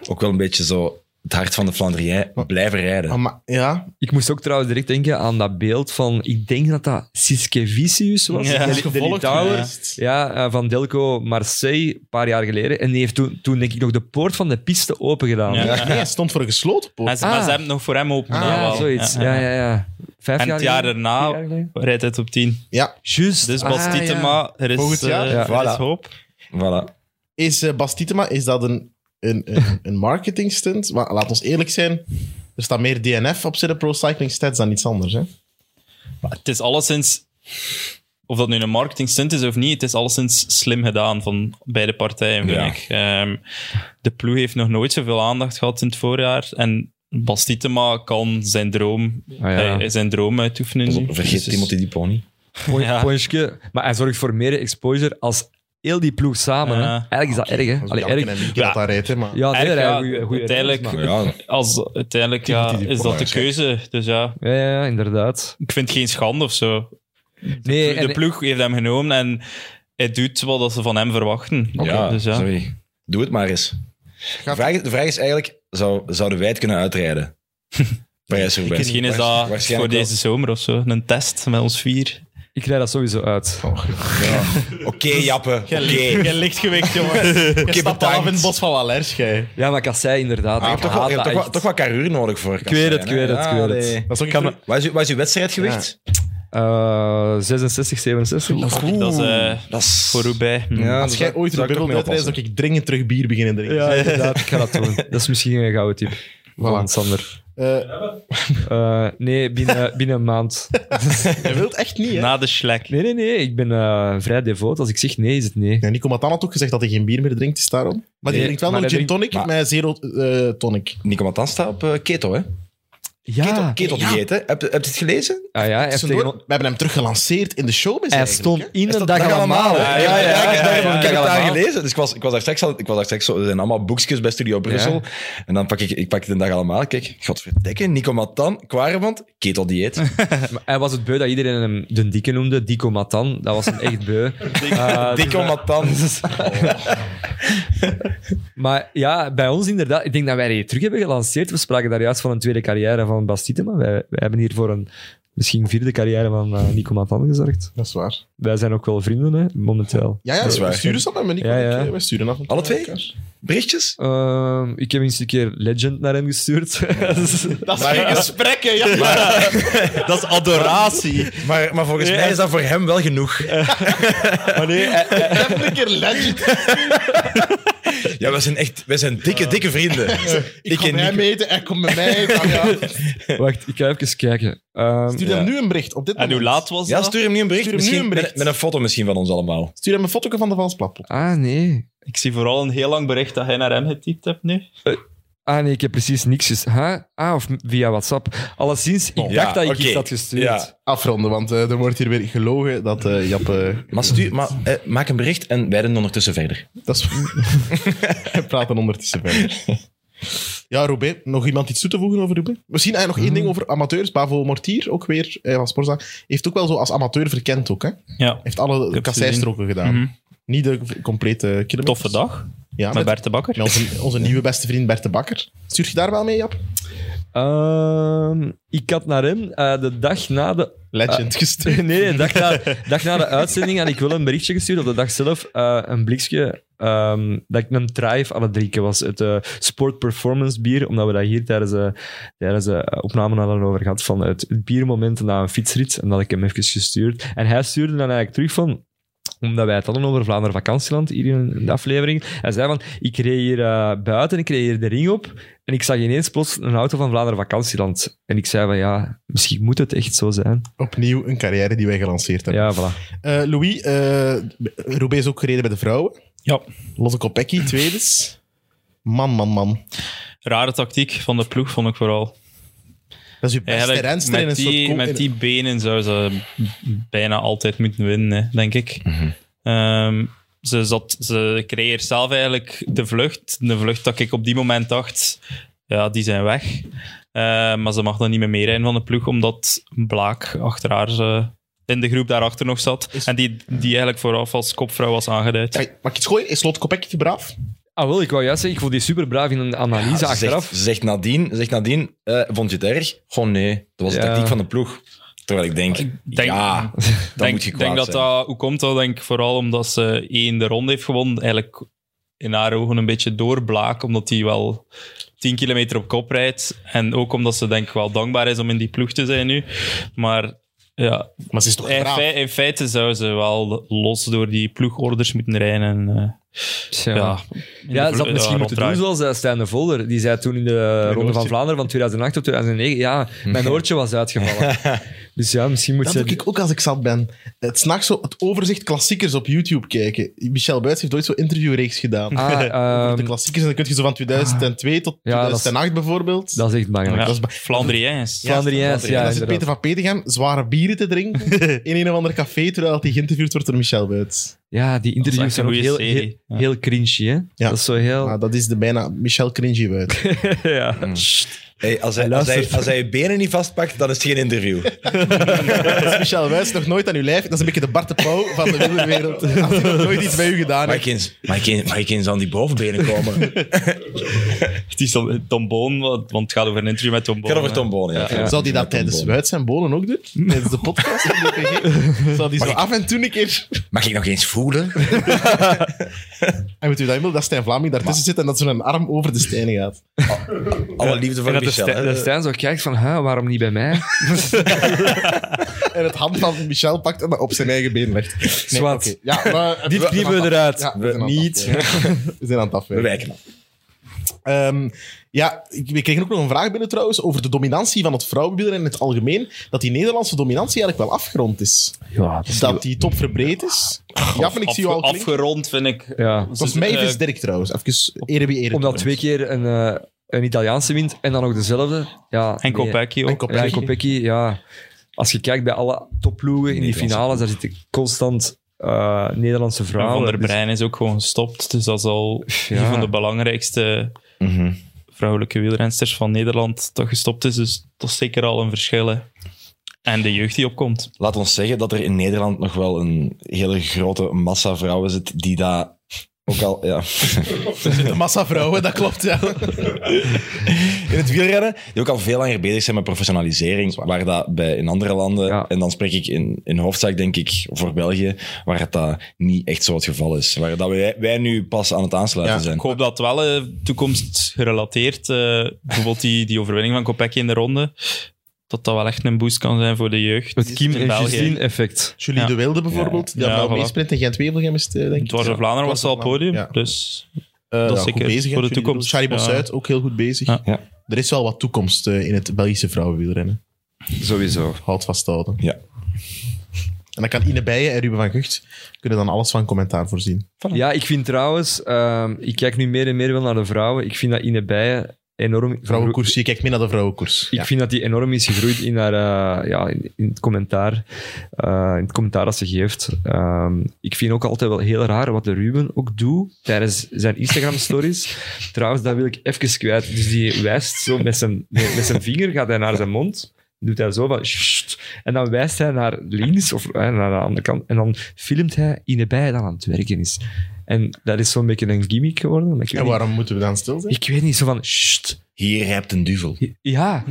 Speaker 4: ook wel een beetje zo het hart van de Flandrien blijven rijden.
Speaker 2: Maar, maar- ja,
Speaker 3: Ik moest ook trouwens direct denken aan dat beeld van... Ik denk dat dat Siskevicius was.
Speaker 5: Ja.
Speaker 3: de-
Speaker 2: is
Speaker 5: Is
Speaker 3: de
Speaker 2: gevolgd
Speaker 3: Litouwer.
Speaker 2: geweest.
Speaker 3: Ja, eh, van Delco Marseille, een paar jaar geleden. En die heeft toen, toen denk ik, nog de poort van de piste open gedaan.
Speaker 5: Ja.
Speaker 2: Nee, hij stond voor een gesloten poort.
Speaker 5: En ze, maar
Speaker 3: Ah.
Speaker 5: ze hebben het nog voor hem open.
Speaker 2: Ah,
Speaker 5: gedaan
Speaker 3: Ja,
Speaker 5: wel.
Speaker 3: zoiets. Ja, ja, ja. Vijf
Speaker 5: En
Speaker 3: jaar
Speaker 5: het jaar
Speaker 3: geleden?
Speaker 5: daarna
Speaker 3: Vier jaar geleden?
Speaker 5: rijdt het op 10.
Speaker 2: Ja.
Speaker 3: Juist.
Speaker 5: Dus
Speaker 3: Ah, ja.
Speaker 5: Bastitema, er,
Speaker 2: Volgend
Speaker 5: is,
Speaker 2: jaar?
Speaker 5: eh,
Speaker 3: Ja.
Speaker 5: er is
Speaker 4: Voilà.
Speaker 5: hoop.
Speaker 4: Voilà.
Speaker 2: Is eh, Bas Tietema, is dat een, een,
Speaker 3: <laughs>
Speaker 2: een, een marketing stunt? Maar laat ons eerlijk zijn, er staat meer DNF op zitten pro cycling stats dan iets anders. Hè?
Speaker 5: Maar het is alleszins... Of dat nu een marketing stunt is of niet, het is alleszins slim gedaan van beide partijen, vind
Speaker 4: Ja.
Speaker 5: ik. Ehm, de ploeg heeft nog nooit zoveel aandacht gehad in het voorjaar. En Bastitema kan zijn droom,
Speaker 3: Ah, ja.
Speaker 5: eh, zijn droom uitoefenen. nu.
Speaker 4: Vergeet
Speaker 5: Dus-
Speaker 4: Timothy Dupont
Speaker 3: Pon-
Speaker 5: <laughs> Ja.
Speaker 3: Ponchke. Maar hij zorgt voor meer exposure als heel die ploeg samen. hè.
Speaker 5: Ja.
Speaker 3: Eigenlijk is dat erg, hè? Allee,
Speaker 2: Janken
Speaker 3: erg.
Speaker 2: en Mieke
Speaker 5: Ja.
Speaker 2: dat daar rijdt, hè, maar...
Speaker 3: Ja, nee,
Speaker 5: Erg,
Speaker 3: hij-
Speaker 5: ja.
Speaker 3: goeie- goeie
Speaker 5: Uiteindelijk-
Speaker 3: reddings,
Speaker 4: niet.
Speaker 3: maar-
Speaker 4: Ja,
Speaker 5: Als, uiteindelijk
Speaker 2: Timothy
Speaker 5: ja,
Speaker 2: Dupont,
Speaker 5: is dat de
Speaker 4: ja.
Speaker 5: keuze. Dus ja,
Speaker 3: Ja, ja, ja, inderdaad.
Speaker 5: ik vind het geen schande of zo.
Speaker 3: Nee,
Speaker 5: de
Speaker 3: en,
Speaker 5: ploeg heeft hem genomen en hij doet wat dat ze van hem verwachten.
Speaker 4: ja,
Speaker 5: dus ja.
Speaker 4: sorry. Doe het maar eens. De vraag, de vraag is eigenlijk, zou, zouden wij het kunnen uitrijden? Parijs-Roubaix.
Speaker 5: Misschien is dat
Speaker 4: Waarsch-
Speaker 5: voor
Speaker 4: waarschijnlijk wel.
Speaker 5: deze zomer of zo een test met ons vier.
Speaker 3: ik rijd dat sowieso uit.
Speaker 4: Oh. Ja. Oké, Jappe. Oké.
Speaker 2: Geen lichtgewicht,
Speaker 4: <laughs>
Speaker 2: jongen. Je stapt al af
Speaker 4: bedankt.
Speaker 2: in het bos van Wallers, jij.
Speaker 3: Ja, maar Kassei inderdaad.
Speaker 4: Ah, je
Speaker 3: ik
Speaker 4: hebt toch, wel,
Speaker 3: haat
Speaker 4: je hebt
Speaker 3: dat
Speaker 4: toch, wel,
Speaker 3: echt.
Speaker 4: toch wel carrure nodig voor.
Speaker 3: Ik weet het, ik weet het, ik weet het.
Speaker 2: Dat is ook
Speaker 3: Kan
Speaker 2: iets-
Speaker 4: Wat is, uw- wat is uw wedstrijdgewicht?
Speaker 3: Eh, 66, 67.
Speaker 5: Dat is eh,
Speaker 4: Dat is
Speaker 5: voor Roubaix. Hm.
Speaker 3: Ja,
Speaker 2: Als
Speaker 3: dat-
Speaker 2: jij ooit
Speaker 4: zou
Speaker 2: een
Speaker 4: ik
Speaker 2: wereld
Speaker 4: toch mee
Speaker 2: uitreist,
Speaker 4: oppassen.
Speaker 2: zou ik dringend terug bier beginnen drinken.
Speaker 3: ja, inderdaad, ik ga dat doen. Dat is misschien een gouden tip van Sander.
Speaker 2: Eh,
Speaker 3: Eh, nee, binnen, binnen een maand.
Speaker 2: Hij wil het echt niet, hè?
Speaker 3: Nou.
Speaker 5: Na de Schlek.
Speaker 3: Nee, nee, nee. Ik ben eh, vrij devoot. Als ik zeg nee, is het nee.
Speaker 2: Ja, Nico Matan had ook gezegd dat hij geen bier meer drinkt, is daarom. Maar die
Speaker 3: Nee,
Speaker 2: drinkt wel
Speaker 3: maar
Speaker 2: nog
Speaker 3: hij
Speaker 2: gin tonic
Speaker 4: maar-
Speaker 2: met zero eh, tonic.
Speaker 4: Nico Matan staat op eh, keto, hè?
Speaker 2: Ah,
Speaker 3: Ah Ja,
Speaker 4: Keto, keto dieet, hè? Heb, heb je het gelezen?
Speaker 3: ah, ja hij, heeft
Speaker 2: Tussendoor,
Speaker 3: tegen,
Speaker 2: We hebben hem terug gelanceerd in de show.
Speaker 3: hij stond in de dag allemaal.
Speaker 4: Ja, ja,
Speaker 5: ja, ja, ja, ja,
Speaker 4: Ik heb
Speaker 3: ja,
Speaker 4: het daar
Speaker 3: allemaal.
Speaker 4: gelezen. Dus ik was, ik was daar straks al... Ik was daar straks, al- er zijn allemaal boekjes bij Studio Brussel. En dan pak ik... Ik pak het een dag allemaal. Kijk, godverdikke, Nico Matan, Kwaremond, keto dieet.
Speaker 3: Maar Hij was het beu dat iedereen hem de dikke noemde. Dico Matan. Dat was hem echt beu. Eh, dus
Speaker 4: Nico Matan.
Speaker 3: <laughs> Maar ja, bij ons inderdaad. Ik denk dat wij die terug hebben gelanceerd. We spraken daar juist van een tweede carrière van Bastite, maar wij, wij hebben hier voor een misschien vierde carrière van eh, Nico Matan gezorgd.
Speaker 2: Dat is waar.
Speaker 3: Wij zijn ook wel vrienden, hè, momenteel.
Speaker 2: Ja, ja
Speaker 4: Dat is waar.
Speaker 2: we sturen ze met Nico.
Speaker 3: Ja, ja.
Speaker 2: We sturen af en toe
Speaker 4: Alle
Speaker 2: naar
Speaker 4: twee?
Speaker 2: elkaar.
Speaker 4: Berichtjes?
Speaker 3: Ehm, ik heb eens een keer Legend naar hem gestuurd. <laughs> Dus-
Speaker 2: Dat
Speaker 4: Maar-
Speaker 2: zijn gesprekken, ja.
Speaker 5: Dat is adoratie.
Speaker 4: Maar, maar volgens mij is dat voor hem wel genoeg.
Speaker 2: Even een keer legend.
Speaker 4: Ja, we zijn echt... We zijn dikke, dikke vrienden.
Speaker 2: Ik
Speaker 4: Ik
Speaker 2: kom
Speaker 4: en
Speaker 2: hem
Speaker 4: Nico.
Speaker 2: eten, hij komt met mij. van, <laughs> ja.
Speaker 3: Wacht, ik ga even kijken. Ehm,
Speaker 2: Stuur
Speaker 4: Ja.
Speaker 2: hem nu een bericht. Op dit
Speaker 5: En hoe
Speaker 2: moment.
Speaker 5: laat was
Speaker 4: Ja,
Speaker 5: dat?
Speaker 4: stuur hem nu een bericht.
Speaker 2: Stuur hem nu
Speaker 4: misschien
Speaker 2: een bericht.
Speaker 4: Met, met een foto misschien van ons allemaal.
Speaker 2: Stuur hem een foto van de Valsplat.
Speaker 3: ah, nee.
Speaker 5: Ik zie vooral een heel lang bericht dat hij naar hem getypt hebt nu.
Speaker 3: Ah, nee, ik heb precies niks gestuurd. Huh? Ah, of via WhatsApp. Alleszins, ik dacht
Speaker 4: Oh. Ja,
Speaker 3: dat ik
Speaker 4: oké.
Speaker 3: iets had gestuurd.
Speaker 4: Ja.
Speaker 2: Afronden, want eh, er wordt hier weer gelogen dat eh Jap... eh,
Speaker 4: Maar, stuur, maar eh, maak een bericht en wij doen ondertussen verder.
Speaker 2: dat is... <laughs> We praten ondertussen verder. Ja, Roubaix. Nog iemand iets toe te voegen over Roubaix? Misschien eh, nog één ding over amateurs. Bavo Mortier, ook weer eh, van Sporza, heeft ook wel zo als amateur verkend ook, hè?
Speaker 5: Ja.
Speaker 2: heeft alle
Speaker 5: heb
Speaker 2: kasseistroken gedaan.
Speaker 5: Mhm.
Speaker 2: Niet de v- complete kilometers.
Speaker 5: Toffe dag
Speaker 2: Ja,
Speaker 5: met
Speaker 2: met,
Speaker 5: Bert de Bakker.
Speaker 2: met onze, onze nieuwe beste vriend Bert de Bakker. Stuur je daar wel mee, Jap?
Speaker 3: Ehm, ik had naar hem eh, de dag na de
Speaker 2: Legend
Speaker 5: Eh,
Speaker 2: gestuurd.
Speaker 3: <laughs> Nee, nee, dag na, dag na de uitzending had ik wel een berichtje gestuurd op de dag zelf. eh, een blikje ehm, dat ik een drive aan het drinken was. Het eh, Sport Performance bier, omdat we dat hier tijdens, eh, tijdens de opname hadden over gehad. Van het, het biermoment na een fietsrit. En dat had ik hem even gestuurd. En hij stuurde dan eigenlijk terug van omdat wij het hadden over Vlaanderen vakantieland hier in de aflevering. Hij zei van, ik reed hier eh, buiten, ik reed hier de ring op en ik zag ineens plots een auto van Vlaanderen vakantieland. En ik zei van, ja, misschien moet het echt zo zijn.
Speaker 2: Opnieuw een carrière die wij gelanceerd hebben.
Speaker 3: Ja, voilà.
Speaker 2: Eh, Louis, eh Roubaix is ook gereden bij de vrouwen.
Speaker 5: Ja.
Speaker 2: Lotte Kopecky, tweede. Man, man, man.
Speaker 5: Rare tactiek van de ploeg, vond ik vooral.
Speaker 2: Dat is uw beste
Speaker 5: Eigenlijk,
Speaker 2: renster in een
Speaker 5: met,
Speaker 2: soort...
Speaker 5: die,
Speaker 2: co-
Speaker 5: met die benen zou ze bijna altijd moeten winnen, hè, denk ik. Ehm, ze, zat, ze creëert zelf eigenlijk de vlucht. De vlucht dat ik op die moment dacht, ja, die zijn weg. Eh, maar ze mag dan niet meer meerijden van de ploeg, omdat Blaak achter haar eh, in de groep daarachter nog zat.
Speaker 2: Is-
Speaker 5: En die, die eigenlijk vooraf als kopvrouw was aangeduid.
Speaker 2: Kijk, Mag ik iets gooien? Is Lotte Kopecky te braaf?
Speaker 3: Ah, wel, ik wou juist zeggen, ik vond die super braaf in een analyse
Speaker 4: Ja, ze zegt,
Speaker 3: achteraf.
Speaker 4: ze zegt nadien, ze zegt nadien eh, vond je het erg? Gewoon nee, dat was de
Speaker 3: Ja.
Speaker 4: tactiek van de ploeg. Terwijl ik denk,
Speaker 5: denk-
Speaker 4: ja, dat
Speaker 5: Ik
Speaker 4: moet je
Speaker 5: denk,
Speaker 4: kwaad
Speaker 5: dat
Speaker 4: zijn.
Speaker 5: dat, hoe komt dat? Denk ik vooral omdat ze één de ronde heeft gewonnen. Eigenlijk in haar ogen een beetje doorblaak, omdat hij wel 10 kilometer op kop rijdt. En ook omdat ze denk ik wel dankbaar is om in die ploeg te zijn nu. Maar ja,
Speaker 2: Maar ze is toch
Speaker 5: in,
Speaker 2: braaf?
Speaker 5: fei- in feite zou ze wel los door die ploegorders moeten rijden. En, eh,
Speaker 3: Tja.
Speaker 5: ja,
Speaker 3: Ja,
Speaker 5: in de
Speaker 3: ze had misschien
Speaker 5: vlo- ja,
Speaker 3: moeten
Speaker 5: ronddraaien.
Speaker 3: doen zoals eh, Stijn de Volder. Die zei toen in de Ronde van
Speaker 5: oortje.
Speaker 3: Vlaanderen van 2008 tot 2009, ja, mijn oortje was uitgevallen.
Speaker 5: <laughs>
Speaker 3: dus ja, misschien moet
Speaker 2: Dat
Speaker 3: ze...
Speaker 2: doe ik ook als ik zat ben. Het s'nachts zo het overzicht klassiekers op YouTube kijken. Michel Buits heeft ooit zo'n interviewreeks gedaan.
Speaker 3: Ah,
Speaker 2: <laughs> Over de
Speaker 3: ehm,
Speaker 2: klassiekers. En dan kun je zo van 2002 tot
Speaker 3: Ja, dat is-
Speaker 2: 2008 bijvoorbeeld.
Speaker 3: dat is echt belangrijk.
Speaker 5: Ja,
Speaker 2: Dat is ba-
Speaker 5: Flandriëns. <laughs>
Speaker 3: Ja, Vlaanderiëns,
Speaker 2: en
Speaker 3: ja,
Speaker 2: dan zit
Speaker 3: inderdaad.
Speaker 2: Peter van Petegem zware bieren te
Speaker 3: <laughs>
Speaker 2: drinken in een of ander café, terwijl hij geïnterviewd wordt door Michel Buits.
Speaker 3: Ja, die
Speaker 5: Dat is
Speaker 3: interviews
Speaker 5: echt een
Speaker 3: zijn ook
Speaker 5: goeie
Speaker 3: heel,
Speaker 5: serie.
Speaker 3: heel,
Speaker 5: Ja.
Speaker 3: heel cringy, hè? Dat is zo heel...
Speaker 2: Ah, dat is de bijna Michel Cringy
Speaker 3: <laughs>
Speaker 2: Buits.
Speaker 3: ja.
Speaker 4: Hey, als, hij, als,
Speaker 3: luistert.
Speaker 4: hij, als hij je benen niet vastpakt, dan is het geen interview.
Speaker 2: Dat is Michel Buits nog nooit aan uw lijf. Dat is een beetje de Bart de Pauw van de
Speaker 3: <laughs>
Speaker 2: wielerwereld. Als hij nog nooit iets bij u gedaan
Speaker 4: Mag ik
Speaker 2: heeft.
Speaker 4: eens, mag ik eens, mag ik eens aan die bovenbenen komen? Het
Speaker 5: Het is dan- Tom Boon, want want het gaat over een interview met Tom Boon.
Speaker 4: gaat over
Speaker 5: hè.
Speaker 4: tombonen, ja.
Speaker 3: Ja.
Speaker 2: Zal hij dat tijdens Buits en Bonen ook doen? Tijdens de
Speaker 3: <laughs>
Speaker 2: podcast? van DPG? Zal hij zo
Speaker 4: ik-
Speaker 2: af en toe een keer...
Speaker 4: Mag ik nog eens voelen?
Speaker 2: En weet u dat wil? Dat Stijn Vlaming daartussen zit en dat zo'n arm over de stenen gaat.
Speaker 4: Alle liefde voor
Speaker 5: En dat de
Speaker 4: Michel.
Speaker 5: Stijn-
Speaker 4: hè.
Speaker 2: eh,
Speaker 3: Dat Eh, Stijn zo kijkt van, huh, waarom niet bij
Speaker 2: <laughs>
Speaker 3: mij?
Speaker 2: En het hand van Michel pakt en dat op zijn eigen been legt. Nee,
Speaker 3: Zwat.
Speaker 2: oké. Ja, maar- eh,
Speaker 3: Dit
Speaker 2: we-
Speaker 3: knippen we
Speaker 2: zijn aan het
Speaker 3: eruit.
Speaker 2: af- ja,
Speaker 4: We
Speaker 2: zijn aan het
Speaker 4: niet.
Speaker 2: afwerken. We zijn aan het
Speaker 4: We
Speaker 2: afwerken.
Speaker 4: wijken af.
Speaker 2: Ehm, ja, ik- we kregen ook nog een vraag binnen trouwens over de dominantie van het vrouwenwielrennen in het algemeen. Dat die Nederlandse dominantie eigenlijk wel afgerond is.
Speaker 3: Ja, dat
Speaker 2: Dat die top verbreed is. Ja, vind ik zie je al klinken.
Speaker 5: Afge- afgerond vind ik.
Speaker 3: Ja.
Speaker 2: Dat is
Speaker 5: Dus,
Speaker 2: mij
Speaker 5: eh,
Speaker 2: is Dirk trouwens. Even ere wie ere.
Speaker 3: Omdat twee keer een, eh, een Italiaanse wint en dan ook dezelfde. Ja,
Speaker 5: En
Speaker 3: nee.
Speaker 5: Kopecky ook.
Speaker 2: En
Speaker 3: Ja,
Speaker 2: Kopecky.
Speaker 3: en Kopecky, ja. Als je kijkt bij alle topploegen in die
Speaker 4: Nederlandse
Speaker 3: finales, daar zitten constant eh, Nederlandse
Speaker 5: En
Speaker 3: vrouwen.
Speaker 5: Van der
Speaker 3: Dus-
Speaker 5: Brein is ook gewoon gestopt. Dus dat is al
Speaker 3: Ja. Mhm.
Speaker 5: een van de belangrijkste vrouwelijke wielrensters van Nederland dat gestopt is. Dus dat is zeker al een verschil. hè. En de jeugd die opkomt.
Speaker 4: Laat ons zeggen dat er in Nederland nog wel een hele grote massa vrouwen zit die daar ook al... Ja.
Speaker 2: De massa vrouwen, dat klopt. Ja.
Speaker 4: in het wielrennen, die ook al veel langer bezig zijn met professionalisering, waar dat bij in andere landen,
Speaker 3: Ja.
Speaker 4: en dan spreek ik in, in hoofdzaak denk ik voor België, waar het dat niet echt zo het geval is. Waar dat wij, wij nu pas aan het aansluiten
Speaker 2: Ja.
Speaker 4: zijn.
Speaker 5: Ik hoop dat wel eh, toekomstgerelateerd, eh, bijvoorbeeld die, die overwinning van Kopecky in de ronde, dat dat wel echt een boost kan zijn voor de jeugd.
Speaker 3: Het Kim
Speaker 5: in
Speaker 3: en
Speaker 5: België.
Speaker 3: Justine effect.
Speaker 2: Julie
Speaker 5: Ja.
Speaker 2: de Wilde bijvoorbeeld. Die
Speaker 5: Ja,
Speaker 2: had nou
Speaker 5: voilà.
Speaker 2: meesprint in Gent-Wevelgem is het, eh, denk ik.
Speaker 5: Dwars door Vlaanderen was al
Speaker 2: Dwars door
Speaker 5: podium.
Speaker 2: Vlaanderen,
Speaker 5: Dus
Speaker 2: Eh,
Speaker 5: Dat is
Speaker 2: goed
Speaker 5: zeker
Speaker 2: bezig, hè,
Speaker 5: voor de
Speaker 2: Julie
Speaker 5: toekomst.
Speaker 2: Wilde. Shari
Speaker 5: Ja.
Speaker 2: Bossuit, ook heel goed bezig.
Speaker 5: Ja.
Speaker 4: Ja.
Speaker 2: Er is wel wat toekomst eh, in het Belgische vrouwenwielrennen.
Speaker 3: Sowieso.
Speaker 2: Houd vasthouden.
Speaker 4: Ja.
Speaker 2: En dan kan Ine Bijen en Ruben van Gucht kunnen dan alles van commentaar voorzien.
Speaker 3: Ja, ik vind trouwens, ehm, ik kijk nu meer en meer wel naar de vrouwen. Ik vind dat Ine Bijen enorm.
Speaker 2: Vrouwenkoers, je kijkt mee naar de vrouwenkoers.
Speaker 3: Ik
Speaker 2: Ja.
Speaker 3: vind dat die enorm is gegroeid in, haar, eh, ja, in, in het commentaar, eh, in het commentaar dat ze geeft. Ehm, ik vind ook altijd wel heel raar wat de Ruben ook doet tijdens zijn
Speaker 2: <laughs>
Speaker 3: Instagram-stories. Trouwens, dat wil ik even kwijt. Dus die wijst zo met zijn, met met zijn vinger, gaat hij naar zijn mond. Doet hij zo van... "Sst." En dan wijst hij naar links of eh, naar de andere kant. En dan filmt hij in de bij dat aan het werken is. En dat is zo'n beetje een gimmick geworden. maar Ik weet,
Speaker 2: En
Speaker 3: niet,
Speaker 2: waarom moeten we dan stil zijn?
Speaker 3: ik weet niet, zo van... "Sst."
Speaker 4: Hier hebt een duvel.
Speaker 3: Ja.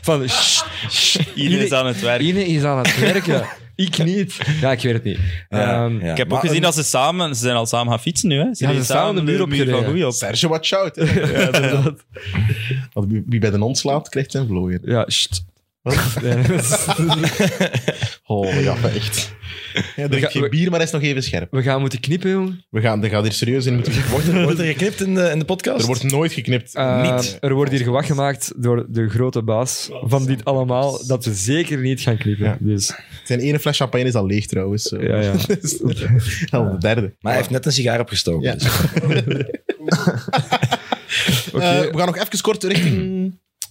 Speaker 3: Van, "Sst, sst,
Speaker 5: iedereen is
Speaker 3: Ine-
Speaker 5: aan het werk.
Speaker 3: Ine is aan het
Speaker 4: <laughs>
Speaker 3: werken. Ik niet. Ja, ik weet het niet.
Speaker 4: Ja,
Speaker 3: Ehm,
Speaker 4: ja.
Speaker 5: eh, Ik heb
Speaker 4: Maar
Speaker 5: ook gezien
Speaker 4: een-
Speaker 5: dat ze samen, ze zijn al samen gaan fietsen nu. Hè. Ze
Speaker 3: Ja,
Speaker 5: zijn
Speaker 3: ze samen de muur
Speaker 5: van
Speaker 3: opgereden.
Speaker 5: Goeie op.
Speaker 2: Serge, watch out. hè. <laughs> Want wie wie bij de non slaapt, krijgt zijn vlooien.
Speaker 3: Ja, sst. <laughs> Nee,
Speaker 4: <laughs>
Speaker 2: Oh, ja, <laughs> echt. Ja, drink
Speaker 3: gaan-
Speaker 2: geen
Speaker 3: we-
Speaker 2: bier, maar hij is nog even scherp.
Speaker 3: We gaan moeten knippen, jongen.
Speaker 2: We gaan, er gaat hier serieus in moeten worden.
Speaker 4: Wordt er geknipt in de, in de podcast?
Speaker 2: Er wordt nooit geknipt.
Speaker 3: Ehm,
Speaker 4: Niet.
Speaker 3: Er wordt hier gewacht gemaakt door de grote baas van dit allemaal, dat we zeker niet gaan knippen.
Speaker 2: Ja.
Speaker 3: Dus,
Speaker 2: Zijn ene fles champagne is al leeg trouwens. zo.
Speaker 3: ja, ja.
Speaker 2: <laughs>
Speaker 3: <laughs>
Speaker 2: Dus, al de derde.
Speaker 4: Maar hij heeft net een sigaar
Speaker 2: <laughs>
Speaker 4: opgestoken.
Speaker 2: Ja.
Speaker 4: dus.
Speaker 3: Oké,
Speaker 2: Eh, we gaan nog even kort richting...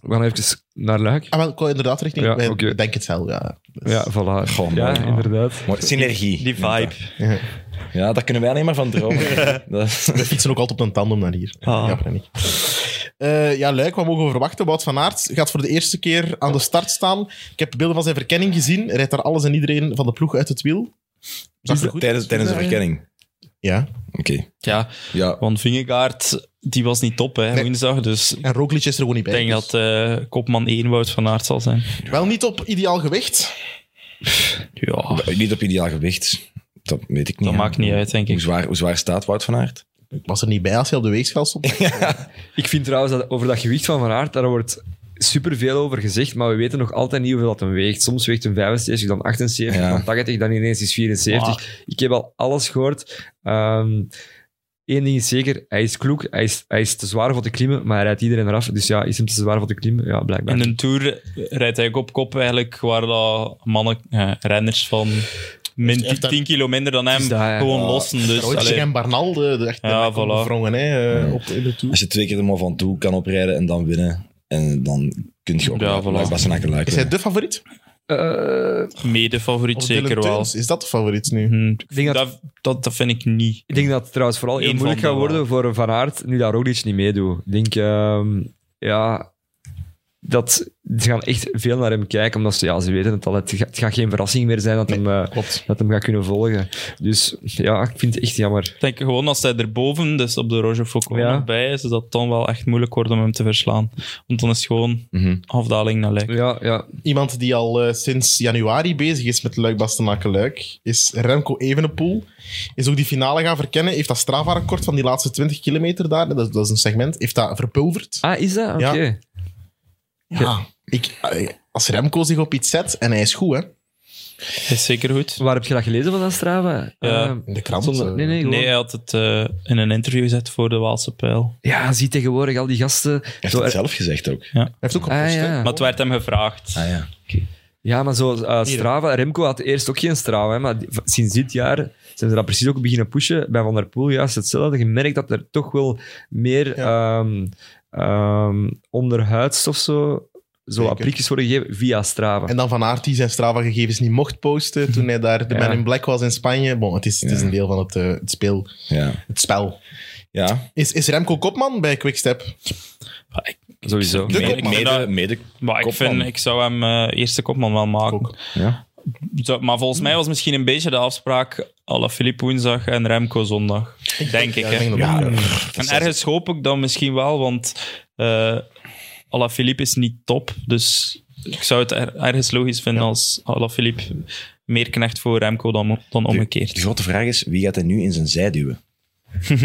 Speaker 3: we gaan even naar Luik.
Speaker 2: Ah, wel, ik wou inderdaad richting...
Speaker 3: Ja,
Speaker 2: wij
Speaker 3: oké.
Speaker 2: Denk het zelf, ja. Dus-
Speaker 3: Ja, voilà.
Speaker 4: Goh, man.
Speaker 3: ja, inderdaad.
Speaker 4: Mooi. Synergie.
Speaker 5: Die vibe.
Speaker 4: Ja, daar kunnen wij alleen maar van
Speaker 5: <laughs>
Speaker 4: dromen. Dat-
Speaker 2: We fietsen ook altijd op een tandem naar hier.
Speaker 5: Ah.
Speaker 2: Ja, Brenny. Eh, ja, Luik, wat mogen we verwachten? Wout van Aert gaat voor de eerste keer aan de start staan. Ik heb de beelden van zijn verkenning gezien. Hij rijdt daar alles en iedereen van de ploeg uit het wiel. Zag er goed
Speaker 4: tijdens,
Speaker 2: uit?
Speaker 4: tijdens de verkenning.
Speaker 2: Ja.
Speaker 4: Oké.
Speaker 5: Ja,
Speaker 4: Ja.
Speaker 5: want Vingegaard, die was niet top hè,
Speaker 2: Nee.
Speaker 5: woensdag. Dus ik
Speaker 2: En Roglic is er gewoon niet bij.
Speaker 5: denk
Speaker 2: dus-
Speaker 5: dat eh, kopman 1 Wout van Aert zal zijn.
Speaker 2: Wel niet op ideaal gewicht.
Speaker 5: Ja, dat
Speaker 4: Niet op ideaal gewicht. Dat weet ik niet. hè.
Speaker 5: maakt niet uit, denk
Speaker 4: Hoe
Speaker 5: ik.
Speaker 4: zwaar, hoe zwaar staat Wout van Aert?
Speaker 2: Ik was er niet bij als hij op de weegschaal stond.
Speaker 3: Ik vind trouwens dat over dat gewicht van Van Aert, daar wordt superveel over gezegd, maar we weten nog altijd niet hoeveel dat hem weegt. Soms weegt hem 75, dan 78,
Speaker 4: Ja.
Speaker 3: dan 80, dan ineens is 74. Ik heb al alles gehoord. Eén ding is zeker, hij is kloek, hij is, hij is te zwaar voor te klimmen, maar hij rijdt iedereen eraf. Dus ja, is hem te zwaar voor te klimmen? Ja, blijkbaar.
Speaker 5: In een tour rijdt hij ook op kop eigenlijk, waar dat mannen, eh, renners van min
Speaker 2: Echt daar-
Speaker 5: 10 kilo minder dan hem,
Speaker 3: Is dat, ja.
Speaker 5: gewoon
Speaker 4: Ah,
Speaker 5: lossen. Dus,
Speaker 2: Roglic
Speaker 5: allee.
Speaker 2: en Barnal, de, de echt de
Speaker 5: Ja,
Speaker 2: nek
Speaker 5: voilà.
Speaker 2: omgevrongen, hè, eh, op, in de tour.
Speaker 4: Als je twee keer er maar van toe kan oprijden en dan winnen, en dan kun je ook
Speaker 5: Ja,
Speaker 4: ja,
Speaker 5: voilà.
Speaker 4: voilà. Bastenaken
Speaker 2: Is hij de favoriet?
Speaker 3: Eh,
Speaker 5: mede favoriet
Speaker 2: Of
Speaker 5: zeker
Speaker 2: Dylan
Speaker 5: wel.
Speaker 2: Teuns? Is dat de favoriet nu?
Speaker 5: Hm,
Speaker 3: ik denk dat,
Speaker 5: Dat, dat, dat vind ik niet.
Speaker 3: ik denk dat het trouwens vooral heel
Speaker 5: Eén
Speaker 3: moeilijk
Speaker 5: van
Speaker 3: gaat
Speaker 5: de
Speaker 3: worden voor Van Aert, nu dat Roglic niet meedoet. Ik denk, ehm, ja... dat ze gaan echt veel naar hem kijken, omdat ze, ja, ze weten het al. Het gaat, het gaat geen verrassing meer zijn dat, hem, eh,
Speaker 2: Klopt.
Speaker 3: dat hem gaat kunnen volgen. Dus ja, ik vind het echt jammer.
Speaker 5: Ik denk gewoon als hij erboven, dus op de Roger Foucault
Speaker 3: Ja.
Speaker 5: nog bij is, dat het dan wel echt moeilijk wordt om hem te verslaan. Want dan is het gewoon
Speaker 4: Mhm.
Speaker 5: afdaling naar Luik.
Speaker 3: Ja, ja.
Speaker 2: Iemand die al eh, sinds januari bezig is met Luik Bastenaken Luik, is Remco Evenepoel. Is ook die finale gaan verkennen. Heeft dat Strava-record van die laatste 20 kilometer daar, dat, is- dat is een segment, heeft dat verpulverd.
Speaker 3: Ah, is dat? Oké.
Speaker 2: Ja. Ja. Ik, eh, als Remco zich op iets zet, en hij is goed, hè.
Speaker 5: Hij is zeker goed.
Speaker 3: Waar heb je dat gelezen van dat Strava?
Speaker 5: Ja.
Speaker 3: Eh,
Speaker 2: In de krant.
Speaker 3: zonder-
Speaker 2: eh.
Speaker 3: nee, nee, gewoon-
Speaker 5: Nee, hij had het eh, in een interview gezet voor de Waalse Pijl.
Speaker 3: Ja, zie tegenwoordig al die gasten.
Speaker 4: Hij heeft
Speaker 3: Zo,
Speaker 4: het
Speaker 3: eh,
Speaker 4: zelf gezegd ook.
Speaker 2: Hij heeft ook
Speaker 3: Ah,
Speaker 2: gepost,
Speaker 3: ja.
Speaker 2: hè.
Speaker 5: Maar het werd hem gevraagd.
Speaker 4: Ah ja.
Speaker 3: Ja, maar zo eh,
Speaker 2: Hier.
Speaker 3: Strava, Remco had eerst ook geen Strava, hè, maar die- v- sinds dit jaar zijn ze dat precies ook beginnen pushen. Bij Van der Poel juist hetzelfde. Je merkt dat er toch wel meer ehm, ehm, onderhuids of zo, zo
Speaker 2: Zeker.
Speaker 3: appliekjes worden gegeven via Strava.
Speaker 2: En dan Van Aert die zijn Strava-gegevens niet mocht posten toen hij daar de
Speaker 3: Ja.
Speaker 2: Man in Black was in Spanje. Bon, het is, het is een deel van het, eh, het, speel,
Speaker 4: Ja.
Speaker 2: het spel.
Speaker 4: ja.
Speaker 2: Is, is Remco Kopman bij Quickstep?
Speaker 5: <laughs>
Speaker 3: Sowieso.
Speaker 2: De
Speaker 4: Mede,
Speaker 2: kopman.
Speaker 4: mede, mede-
Speaker 5: Maar ik,
Speaker 4: Kopman.
Speaker 5: vind, ik zou hem eh, eerste kopman wel maken.
Speaker 2: Ook.
Speaker 4: Ja.
Speaker 5: Zo, maar volgens mij was misschien een beetje de afspraak alle Filip woensdag en Remco zondag. Denk ik,
Speaker 2: Ja,
Speaker 5: hè.
Speaker 2: denk dat ook, ja.
Speaker 5: En ergens hoop ik dan misschien wel, want eh Alaphilippe is niet top. Dus ik zou het er- ergens logisch vinden als Alaphilippe meer knecht voor Remco dan, dan
Speaker 4: De
Speaker 5: omgekeerd.
Speaker 4: grote vraag is, wie gaat hij nu in zijn zij duwen?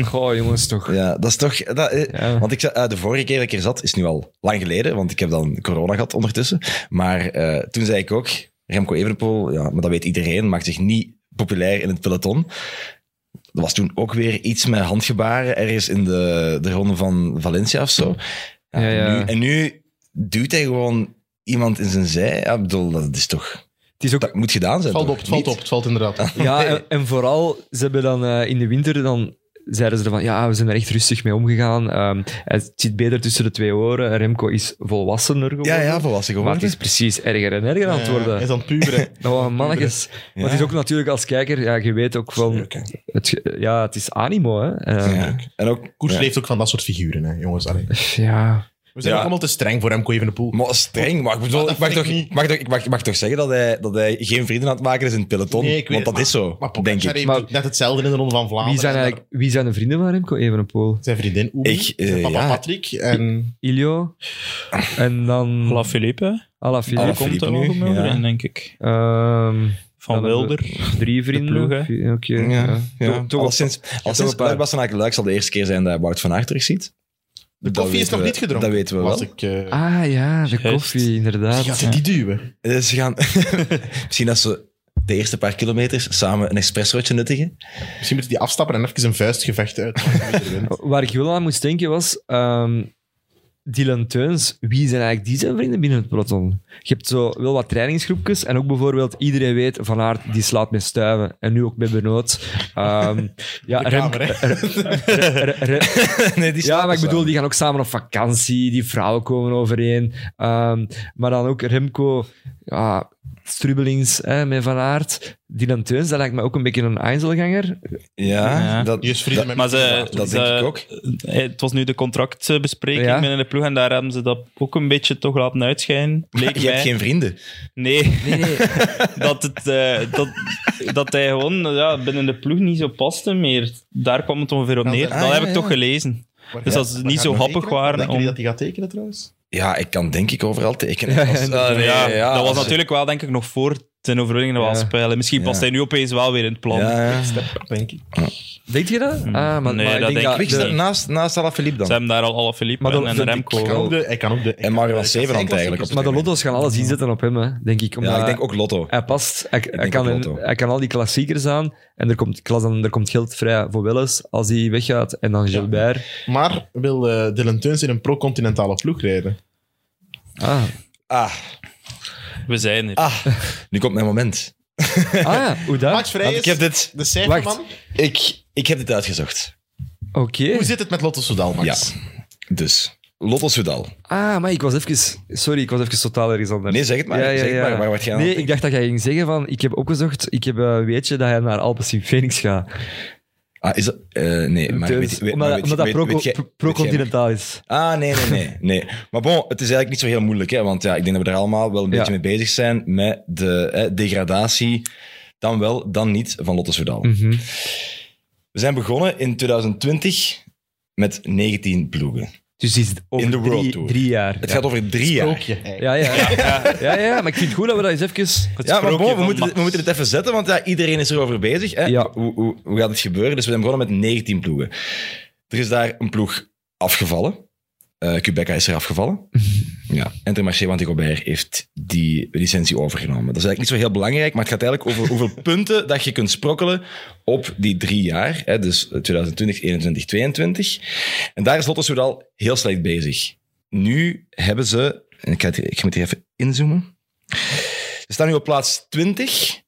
Speaker 3: Goh, jongens, toch.
Speaker 4: Ja, dat is toch... Dat, eh,
Speaker 3: Ja.
Speaker 4: Want ik, zei, eh, de vorige keer dat ik er zat, is nu al lang geleden, want ik heb dan corona gehad ondertussen. Maar eh, toen zei ik ook, Remco Evenepoel, ja, maar dat weet iedereen, maakt zich niet populair in het peloton. Er was toen ook weer iets met handgebaren ergens in de, de ronde van Valencia of zo. Ja,
Speaker 3: Ja, ja.
Speaker 4: Nu, en nu duwt hij gewoon iemand in zijn zij. Ja, ik bedoel, dat is toch...
Speaker 3: Het is ook
Speaker 4: Dat moet gedaan zijn,
Speaker 2: Het valt
Speaker 4: toch?
Speaker 2: op, het valt
Speaker 4: Niet?
Speaker 2: op, het valt inderdaad.
Speaker 3: Ja, en, en vooral, ze hebben dan eh, in de winter dan zeiden ze ervan, ja, we zijn er echt rustig mee omgegaan. Ehm, het zit beter tussen de twee oren. Remco is volwassener geworden.
Speaker 4: Ja, ja, volwassen
Speaker 3: maar het
Speaker 4: geworden.
Speaker 3: is precies erger en erger aan het
Speaker 2: Ja, Eh, Hij
Speaker 3: worden.
Speaker 2: is aan het puberen.
Speaker 3: <laughs> Oh, mannetjes. Maar het is ook natuurlijk als kijker, ja, je weet ook van... Het, ge- ja, het is animo, hè. Eh, ja.
Speaker 4: Ja. En ook...
Speaker 2: Koers
Speaker 4: ja.
Speaker 2: leeft ook van dat soort figuren, hè, jongens. Allee. We zijn
Speaker 4: Ja.
Speaker 2: ook allemaal te streng voor Remco Evenepoel.
Speaker 4: Maar streng, maar ik bedoel,
Speaker 2: dat
Speaker 4: ik mag,
Speaker 2: vind
Speaker 4: toch,
Speaker 2: ik niet.
Speaker 4: ik mag, toch- ik mag, ik mag toch zeggen dat hij, dat hij geen vrienden aan het maken is in het peloton?
Speaker 2: Nee, ik weet
Speaker 4: want dat
Speaker 2: het,
Speaker 4: is zo,
Speaker 2: Maar
Speaker 4: denk
Speaker 2: Pogacar
Speaker 4: ik.
Speaker 2: heeft
Speaker 3: Maar-
Speaker 2: ook net hetzelfde in de Ronde van
Speaker 5: Ah,
Speaker 2: Vlaanderen.
Speaker 3: Wie, zijn
Speaker 2: En daar-
Speaker 3: eigenlijk, wie zijn de vrienden van Remco Evenepoel?
Speaker 2: Zijn vriendin Oemi,
Speaker 4: Ik, eh,
Speaker 2: zijn papa
Speaker 4: ja.
Speaker 2: Patrick en...
Speaker 3: Ilio? En dan
Speaker 5: Alaphilippe,
Speaker 3: Alaphilippe.
Speaker 5: daar
Speaker 4: Alaphilippe.
Speaker 5: komt er wel
Speaker 4: nu,
Speaker 5: goed mee
Speaker 4: ja.
Speaker 5: in, denk ik.
Speaker 3: Ehm,
Speaker 5: Van
Speaker 3: Dan hebben we
Speaker 5: Wilder.
Speaker 3: drie vrienden.
Speaker 5: ploeg,
Speaker 3: Oké. ja.
Speaker 4: Ja, ja.
Speaker 3: Toch- toch
Speaker 4: al
Speaker 3: op-
Speaker 4: sinds, al
Speaker 3: toch
Speaker 4: sinds
Speaker 3: een paar.
Speaker 4: Luik Bastenaken Luik zal de eerste keer zijn dat Wout van Aert terugziet.
Speaker 2: De koffie is nog niet gedronken.
Speaker 4: Dat weten we
Speaker 2: was
Speaker 4: wel.
Speaker 2: Ik, eh,
Speaker 3: Ah ja, de
Speaker 5: Juist.
Speaker 3: koffie, inderdaad.
Speaker 2: die gaat ze die duwen.
Speaker 4: Dus ze
Speaker 2: <laughs>
Speaker 4: gaan... Misschien dat ze de eerste paar kilometers samen een expressrotje nuttigen.
Speaker 2: Misschien moeten die afstappen en even een vuistgevecht uit.
Speaker 3: Waar ik wel aan moest denken was... ehm, Dylan Teuns, wie zijn eigenlijk die zijn vrienden binnen het peloton? Je hebt zo wel wat trainingsgroepjes en ook bijvoorbeeld iedereen weet Van Aert, die slaat met stuiven en nu ook met Benoot.
Speaker 2: <laughs>
Speaker 3: Ehm, ja,
Speaker 2: De
Speaker 3: Remco-
Speaker 2: kamer, hè.
Speaker 3: Re-
Speaker 2: <laughs>
Speaker 3: Re-
Speaker 4: nee, die
Speaker 3: ja,
Speaker 4: slapen
Speaker 3: maar
Speaker 2: dus
Speaker 3: ik bedoel,
Speaker 4: samen.
Speaker 3: die gaan ook samen op vakantie, die vrouwen komen overeen. Ehm, maar dan ook Remco, ja, Strubbelings hè, met Van Aert. Dylan Teuns, dat lijkt me ook een beetje een Einzelganger.
Speaker 4: Ja,
Speaker 5: Ja.
Speaker 4: Dat,
Speaker 2: Die is vrienden met
Speaker 5: Maar ze,
Speaker 4: dat
Speaker 5: ze-
Speaker 4: denk ik ook.
Speaker 5: eh, Het was nu de contractbespreking
Speaker 3: Ja.
Speaker 5: binnen de ploeg en daar hebben ze dat ook een beetje toch laten uitschijnen.
Speaker 4: Maar <laughs>
Speaker 5: Bleek
Speaker 4: je hebt
Speaker 5: mij.
Speaker 4: geen vrienden. <laughs>
Speaker 5: Nee,
Speaker 3: Nee, nee.
Speaker 5: <laughs> dat, het, eh, dat, dat hij gewoon ja, binnen de ploeg niet zo paste meer. Daar kwam het ongeveer op
Speaker 2: Ah,
Speaker 5: neer.
Speaker 2: ja,
Speaker 5: dat heb ik
Speaker 4: ja.
Speaker 5: toch gelezen. Dus als ze niet zo happig waren
Speaker 2: Denk
Speaker 5: om...
Speaker 2: je dat die gaat tekenen trouwens?
Speaker 4: Ja, ik kan denk ik overal
Speaker 5: <laughs>
Speaker 4: tekenen. Als- ah, nee,
Speaker 5: ja, dat was
Speaker 4: als-
Speaker 5: natuurlijk wel denk ik nog voor zijn overwinning dat
Speaker 3: Ja.
Speaker 5: was spelen. Misschien past
Speaker 4: Ja.
Speaker 5: hij nu opeens wel weer in het plan.
Speaker 4: Ja, ja.
Speaker 2: Step, denk
Speaker 4: Oh.
Speaker 2: ik.
Speaker 3: Denk je
Speaker 2: Hmm.
Speaker 3: dat? Ah, maar, maar
Speaker 5: Nee, dat denk ik
Speaker 4: Quickstep
Speaker 3: de-
Speaker 5: niet.
Speaker 4: naast, naast Alaphilippe dan.
Speaker 5: Ze hebben daar al alle Philippe
Speaker 3: Maar dan
Speaker 5: en, en
Speaker 3: vind ik
Speaker 5: Remco.
Speaker 2: Hij kan ook de, hij kan ook de,
Speaker 4: En Mario was zeven hand
Speaker 2: eigenlijk
Speaker 4: eigenlijk. Op
Speaker 3: Maar de
Speaker 4: dit moment.
Speaker 3: Lotto's gaan alles inzetten op hem, hè, denk ik. Omdat
Speaker 4: Ja, ik denk ook Lotto.
Speaker 3: Hij past, hij, hij
Speaker 4: denk
Speaker 3: kan,
Speaker 4: ook
Speaker 3: een-
Speaker 4: Lotto.
Speaker 3: hij kan al die klassiekers aan en er komt, ik las dan, er komt geld vrij voor Welles als hij weggaat en dan
Speaker 4: <laughs>
Speaker 3: Gilbert.
Speaker 2: Maar wil eh Dylan Teuns in een pro-continentale ploeg rijden?
Speaker 3: Ah,
Speaker 4: Ah,
Speaker 5: We zijn er.
Speaker 4: ah, nu komt mijn moment.
Speaker 3: ah ja, hoe dat?
Speaker 2: Max
Speaker 4: Want
Speaker 2: Vrijs,
Speaker 4: ik heb dit,
Speaker 2: de cijferman.
Speaker 3: Wacht.
Speaker 4: ik, ik heb dit uitgezocht.
Speaker 3: Oké.
Speaker 2: Hoe zit het met Lotto Soudal, Max?
Speaker 4: Dus, Lotto Soudal.
Speaker 3: Ah, maar ik was even... Sorry, ik was even totaal ergens anders.
Speaker 4: Nee, zeg het maar.
Speaker 3: Ja, ja,
Speaker 4: zeg het
Speaker 3: ja.
Speaker 4: maar. Waar word jij aan?
Speaker 3: Nee, ik dacht dat jij ging zeggen van... Ik heb opgezocht, ik heb, eh, weet je dat hij naar Alpes in Phoenix gaat.
Speaker 4: Ah, is dat... eh, nee, maar
Speaker 3: Dus,
Speaker 4: weet, weet,
Speaker 3: omdat
Speaker 4: maar weet-
Speaker 3: omdat dat
Speaker 4: weet-
Speaker 3: pro-
Speaker 4: weet jij-
Speaker 3: pro-
Speaker 4: weet jij-
Speaker 3: pro-continentaal is.
Speaker 4: Ah, nee, nee, nee, nee. Maar bon, het is eigenlijk niet zo heel moeilijk, hè, want ja, ik denk dat we er allemaal wel een
Speaker 3: Ja.
Speaker 4: beetje mee bezig zijn met de hè, degradatie, dan wel, dan niet, van Lotte Soudal.
Speaker 3: Hm. Mhm.
Speaker 4: We zijn begonnen in 2020 met 19 ploegen.
Speaker 3: Dus die zit over
Speaker 4: In de World
Speaker 3: drie,
Speaker 4: Tour.
Speaker 3: drie jaar.
Speaker 4: Het
Speaker 3: ja.
Speaker 4: gaat over drie jaar.
Speaker 2: Sprookje. eigenlijk.
Speaker 3: ja, ja, ja. ja, ja, maar ik vind het goed dat we dat eens even...
Speaker 5: Het
Speaker 4: Ja, maar
Speaker 5: sprookje
Speaker 4: bon, we,
Speaker 5: van
Speaker 4: moeten,
Speaker 5: Max.
Speaker 4: we moeten het even zetten, want ja, iedereen is erover bezig. Hè?
Speaker 3: Ja.
Speaker 4: Hoe, hoe, hoe gaat het gebeuren? Dus we zijn begonnen met 19 ploegen. Er is daar een ploeg afgevallen. Eh Quebec is er afgevallen. ja. Intermarché Wanty-Gobert heeft die licentie overgenomen. Dat is eigenlijk niet zo heel belangrijk, maar het gaat eigenlijk over
Speaker 2: <laughs>
Speaker 4: hoeveel punten dat je kunt sprokkelen op die drie jaar. Hè? Dus 2020, 21, 22. En daar is Lotto Soudal heel slecht bezig. Nu hebben ze... en Ik ga, het- ik ga het hier even inzoomen. Ze staan nu op plaats 20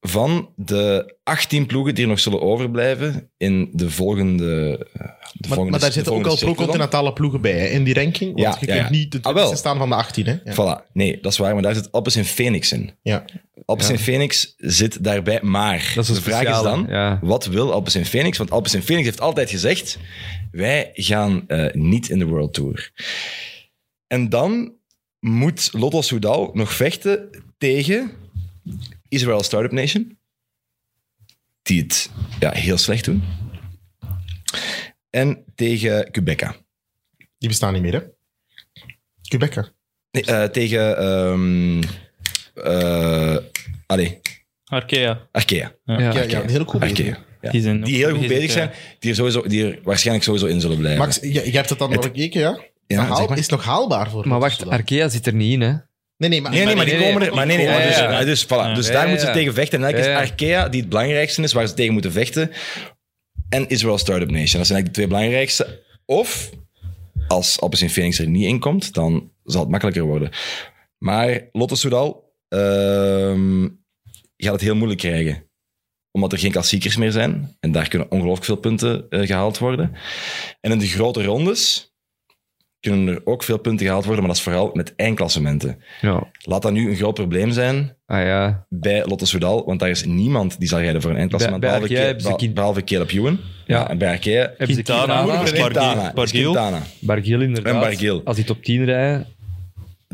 Speaker 4: van de 18 ploegen die er nog zullen overblijven in de volgende. eh, De
Speaker 2: Maar,
Speaker 4: volgende
Speaker 2: maar daar
Speaker 4: de
Speaker 2: zitten ook
Speaker 4: volgende
Speaker 2: al
Speaker 4: cirkel dan.
Speaker 2: pro-continentale ploegen bij hè, in die ranking. Want
Speaker 4: Ja,
Speaker 2: je
Speaker 4: ja,
Speaker 2: kunt
Speaker 4: ja.
Speaker 2: niet de
Speaker 4: Ah, wel.
Speaker 2: twintigste staan van de 18. Hè? Ja.
Speaker 4: Voilà. Nee, dat is waar, maar daar zit Appels en Phoenix in.
Speaker 2: Ja.
Speaker 4: Appels en Phoenix zit daarbij, maar
Speaker 3: Dat is een
Speaker 4: de vraag is
Speaker 3: speciale,
Speaker 4: dan,
Speaker 3: ja.
Speaker 4: wat wil Appels en Phoenix? Want Appels en Phoenix heeft altijd gezegd, wij gaan eh, niet in de World Tour. En dan moet Lotto Soudal nog vechten tegen Israel Startup Nation, die het ja, heel slecht doen, en tegen Quebeca.
Speaker 2: Die bestaan niet meer, hè? Quebeca.
Speaker 4: Nee, eh, tegen... ehm eh, allee,
Speaker 5: Arkea.
Speaker 4: Arkea.
Speaker 2: Ja,
Speaker 5: Ja,
Speaker 2: ja,
Speaker 4: Arkea.
Speaker 2: die zijn ook goed bezig.
Speaker 4: Arkea, ja.
Speaker 5: Die, zijn ook
Speaker 4: die heel goed bezig
Speaker 5: eh,
Speaker 4: zijn, die er, sowieso, die er waarschijnlijk sowieso in zullen blijven.
Speaker 2: Max, je, je hebt het dan
Speaker 4: Het-
Speaker 2: nog gekeken, ja?
Speaker 4: Ja,
Speaker 2: Haal-
Speaker 4: zeg maar.
Speaker 2: Is het nog haalbaar voor
Speaker 3: Maar wacht,
Speaker 2: Rotterdam?
Speaker 3: Arkea zit er niet in, hè?
Speaker 2: Nee, nee, maar,
Speaker 4: Nee, nee, maar die
Speaker 3: nee,
Speaker 4: komen
Speaker 3: nee,
Speaker 4: er. Maar nee, nee,
Speaker 5: die
Speaker 4: maar
Speaker 5: komen
Speaker 4: dus,
Speaker 5: er.
Speaker 4: ja, dus, voilà.
Speaker 5: Ja.
Speaker 4: dus
Speaker 3: Ja,
Speaker 4: daar
Speaker 3: ja,
Speaker 4: moeten ze
Speaker 3: ja.
Speaker 4: tegen vechten. En eigenlijk
Speaker 3: Ja,
Speaker 4: is
Speaker 3: ja.
Speaker 4: het Arkea die het belangrijkste is, waar ze tegen moeten vechten. En Israel Startup Nation. Dat zijn eigenlijk de twee belangrijkste. Of, als Appels in Phoenix er niet in komt, dan zal het makkelijker worden. Maar Lotte Soudal ehm, gaat het heel moeilijk krijgen. Omdat er geen klassiekers meer zijn. En daar kunnen ongelooflijk veel punten eh, gehaald worden. En in de grote rondes kunnen er ook veel punten gehaald worden. Maar dat is vooral met eindklassementen.
Speaker 3: Ja.
Speaker 4: Laat dat nu een groot probleem zijn
Speaker 3: Ah ja.
Speaker 4: bij Lotte Soudal, want daar is niemand die zal rijden voor een eindklassement.
Speaker 3: Bij- bij
Speaker 4: behalve,
Speaker 3: Arkea
Speaker 4: Ke-
Speaker 3: hebben ze
Speaker 4: behal-
Speaker 3: Kin-
Speaker 4: behalve Caleb Ewan.
Speaker 3: Ja.
Speaker 4: en bij Arkea...
Speaker 3: Hebben ze
Speaker 5: Quintana,
Speaker 3: Quintana,
Speaker 5: Bargiel.
Speaker 4: Quintana. Dus
Speaker 5: Bargiel.
Speaker 4: Quintana.
Speaker 3: Bargiel inderdaad.
Speaker 4: En Bargiel.
Speaker 3: Als die top 10 rijden.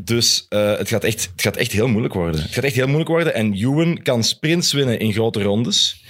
Speaker 4: Dus eh, het, gaat echt, het gaat echt heel moeilijk worden. Het gaat echt heel moeilijk worden. En Ewan kan sprints winnen in grote rondes.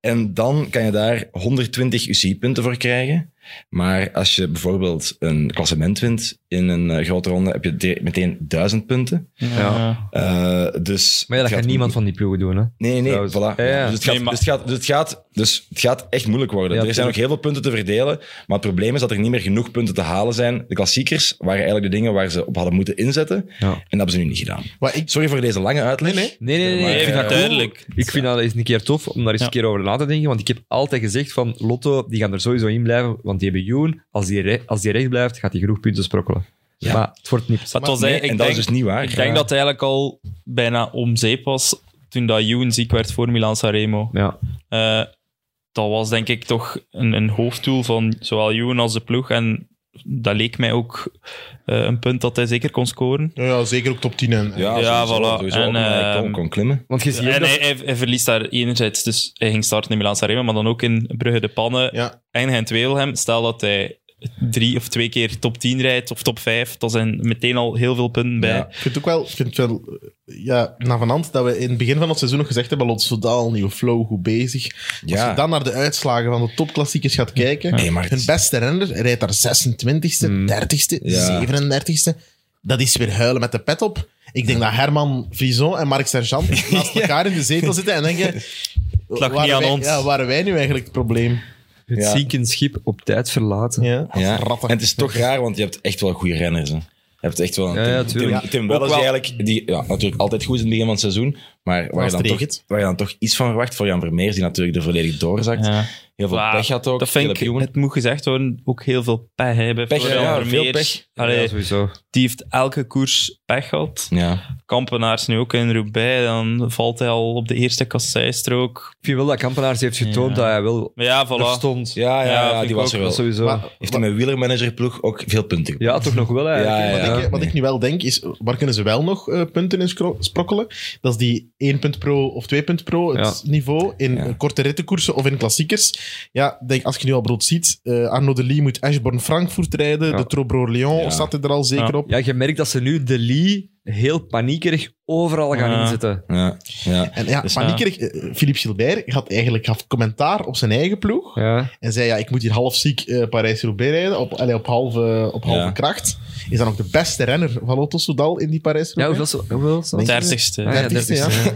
Speaker 4: En dan kan je daar 120 UC-punten voor krijgen. Maar als je bijvoorbeeld een klassement wint in een eh, grote ronde, heb je de- meteen 1000 punten.
Speaker 5: Ja.
Speaker 4: Eh, dus
Speaker 3: Maar ja,
Speaker 4: het
Speaker 3: dat gaat niemand van die ploegen doen, hè?
Speaker 4: Nee, nee,
Speaker 3: Trouwens.
Speaker 4: voilà.
Speaker 3: Ja, ja.
Speaker 4: Dus, het gaat,
Speaker 5: Nee, maar-
Speaker 4: dus, het gaat, dus, het gaat, dus het gaat echt moeilijk worden.
Speaker 3: Ja,
Speaker 4: er zijn nog heel veel punten te verdelen, maar het probleem is dat er niet meer genoeg punten te halen zijn. De klassiekers waren eigenlijk de dingen waar ze op hadden moeten inzetten,
Speaker 3: Ja.
Speaker 4: en dat hebben ze nu niet gedaan.
Speaker 2: maar ik,
Speaker 4: Sorry voor deze lange uitleg.
Speaker 2: Nee, nee.
Speaker 3: Nee, nee, nee.
Speaker 4: Maar,
Speaker 3: ik vind
Speaker 4: eh,
Speaker 3: dat
Speaker 5: duidelijk.
Speaker 3: cool. Ik vind dat eens een keer tof om daar eens
Speaker 5: Ja.
Speaker 3: een keer over na te denken. Want ik heb altijd gezegd van Lotto, die gaan er sowieso in blijven. Want die hebben Joen. Als die, re- als die recht blijft, gaat die genoeg punten sprokkelen.
Speaker 4: Ja.
Speaker 3: Maar het wordt niet.
Speaker 5: Dat was,
Speaker 4: Nee,
Speaker 5: eigenlijk-
Speaker 4: en
Speaker 5: ik
Speaker 4: dat
Speaker 5: denk,
Speaker 4: is dus niet waar.
Speaker 5: ik denk dat het eigenlijk al bijna om zeep was toen dat Youn ziek werd voor Milan Sanremo.
Speaker 3: Ja.
Speaker 5: Eh, dat was denk ik toch een, een hoofddoel van zowel Youn als de ploeg. En dat leek mij ook eh, een punt dat hij zeker kon scoren.
Speaker 2: nou ja, zeker ook top 10. En,
Speaker 4: Ja,
Speaker 5: Ja,
Speaker 4: sowieso,
Speaker 5: voilà.
Speaker 4: sowieso
Speaker 5: En,
Speaker 4: ook, maar hij
Speaker 5: ehm,
Speaker 4: kon, kon klimmen.
Speaker 3: Want je ziet ook
Speaker 5: en
Speaker 3: dat-
Speaker 5: hij, hij, hij verliest daar enerzijds, dus hij ging starten in Milan Sanremo, maar dan ook in Brugge de Pannen
Speaker 2: Ja.
Speaker 5: en Gent-Wevelgem. Stel dat hij drie of twee keer top 10 rijdt of top 5, dan zijn meteen al heel veel punten bij.
Speaker 4: Ja.
Speaker 2: Ik vind het ook wel, ik vind het wel eh, ja, navenant dat we in het begin van het seizoen nog gezegd hebben: Lotte Soudal, nieuwe flow, goed bezig. Als je
Speaker 4: Ja.
Speaker 2: dan naar de uitslagen van de topklassiekers gaat kijken,
Speaker 4: Nee, maar het
Speaker 2: hun
Speaker 4: is- Mm.
Speaker 2: beste renner rijdt daar 26e, 30e,
Speaker 4: Ja.
Speaker 2: 37e. Dat is weer huilen met de pet op. Ik denk dat Herman Frison en Marc
Speaker 4: <laughs>
Speaker 2: Sergeant naast elkaar in de zetel zitten en denken...
Speaker 5: lag
Speaker 2: waren
Speaker 5: niet aan
Speaker 2: wij,
Speaker 5: ons.
Speaker 2: Ja, waren wij nu eigenlijk het probleem?
Speaker 3: Het
Speaker 4: Ja.
Speaker 3: zinkend schip op tijd verlaten.
Speaker 2: Ja,
Speaker 4: Ja.
Speaker 2: rattig.
Speaker 4: En het is toch raar, want je hebt echt wel goede renners. Hè. Je hebt echt wel een
Speaker 3: Ja, ja,
Speaker 4: Tim,
Speaker 3: tuurlijk.
Speaker 4: Tim, Tim Wellens
Speaker 5: Ook wel-
Speaker 4: die eigenlijk, die ja, natuurlijk altijd goed is in het begin van het seizoen, maar waar je,
Speaker 2: het
Speaker 4: dan toch,
Speaker 2: regent.
Speaker 4: waar je dan toch iets van verwacht voor Jan Vermeers, die natuurlijk er volledig doorzakt.
Speaker 5: Ja.
Speaker 4: Heel veel
Speaker 5: Waar-
Speaker 4: pech had ook.
Speaker 5: Dat vind ik,
Speaker 4: Caleb Ewan.
Speaker 5: het moet gezegd worden, ook heel veel pech hebben.
Speaker 4: Pech, ja, veel pech.
Speaker 5: Allee,
Speaker 3: Ja, sowieso.
Speaker 5: die heeft elke koers pech gehad.
Speaker 4: Ja.
Speaker 5: Kampenaars nu ook in Roubaix, dan valt hij al op de eerste kasseistrook.
Speaker 3: Ik vind wel dat Kampenaars heeft getoond
Speaker 5: Ja.
Speaker 3: dat hij wel
Speaker 5: Maar ja,
Speaker 3: er
Speaker 5: voilà.
Speaker 3: stond.
Speaker 4: Ja, ja,
Speaker 5: Ja,
Speaker 4: ja,
Speaker 5: vind
Speaker 4: die
Speaker 5: ik
Speaker 4: was
Speaker 5: ook
Speaker 4: er
Speaker 3: Dat
Speaker 4: wel.
Speaker 3: sowieso.
Speaker 2: Maar-
Speaker 4: Heeft hij met wielermanagerploeg ook veel punten
Speaker 3: ja, toch nog wel eigenlijk.
Speaker 4: Ja, ja,
Speaker 2: Wat,
Speaker 4: ja.
Speaker 2: ik, wat ik nu wel denk is, waar kunnen ze wel nog eh, punten in scro- sprokkelen? Dat is die 1 punt pro of 2 punt pro het niveau in
Speaker 3: Ja.
Speaker 2: eh, korte rittenkoersen of in klassiekers. Ja, denk, als je nu al brood ziet, eh, Arnaud de Lee moet Ashborn-Frankfurt rijden,
Speaker 3: Ja.
Speaker 2: de Trobro-Lyon
Speaker 4: Ja.
Speaker 2: staat er al zeker
Speaker 5: Ja.
Speaker 2: op.
Speaker 3: Ja, je merkt dat ze nu de Lee heel paniekerig overal gaan
Speaker 5: Ja.
Speaker 3: inzetten.
Speaker 4: Ja, ja.
Speaker 2: En ja,
Speaker 5: Dus,
Speaker 2: paniekerig, eh, Philippe Gilbert had eigenlijk gaf commentaar op zijn eigen ploeg
Speaker 3: Ja.
Speaker 2: en zei, ja, ik moet hier half ziek eh, Parijs-Roubaix rijden, op, allee, op halve, op halve
Speaker 4: Ja.
Speaker 2: kracht. Is dan ook de beste renner van Lotto Soudal in die
Speaker 3: Ja,
Speaker 2: Parijs-Roubaix?
Speaker 3: hoeveel, zo- hoeveel zo-
Speaker 2: Denk je?
Speaker 5: 30ste.
Speaker 3: Ah, ja,
Speaker 2: 30ste, ja.
Speaker 3: 30ste,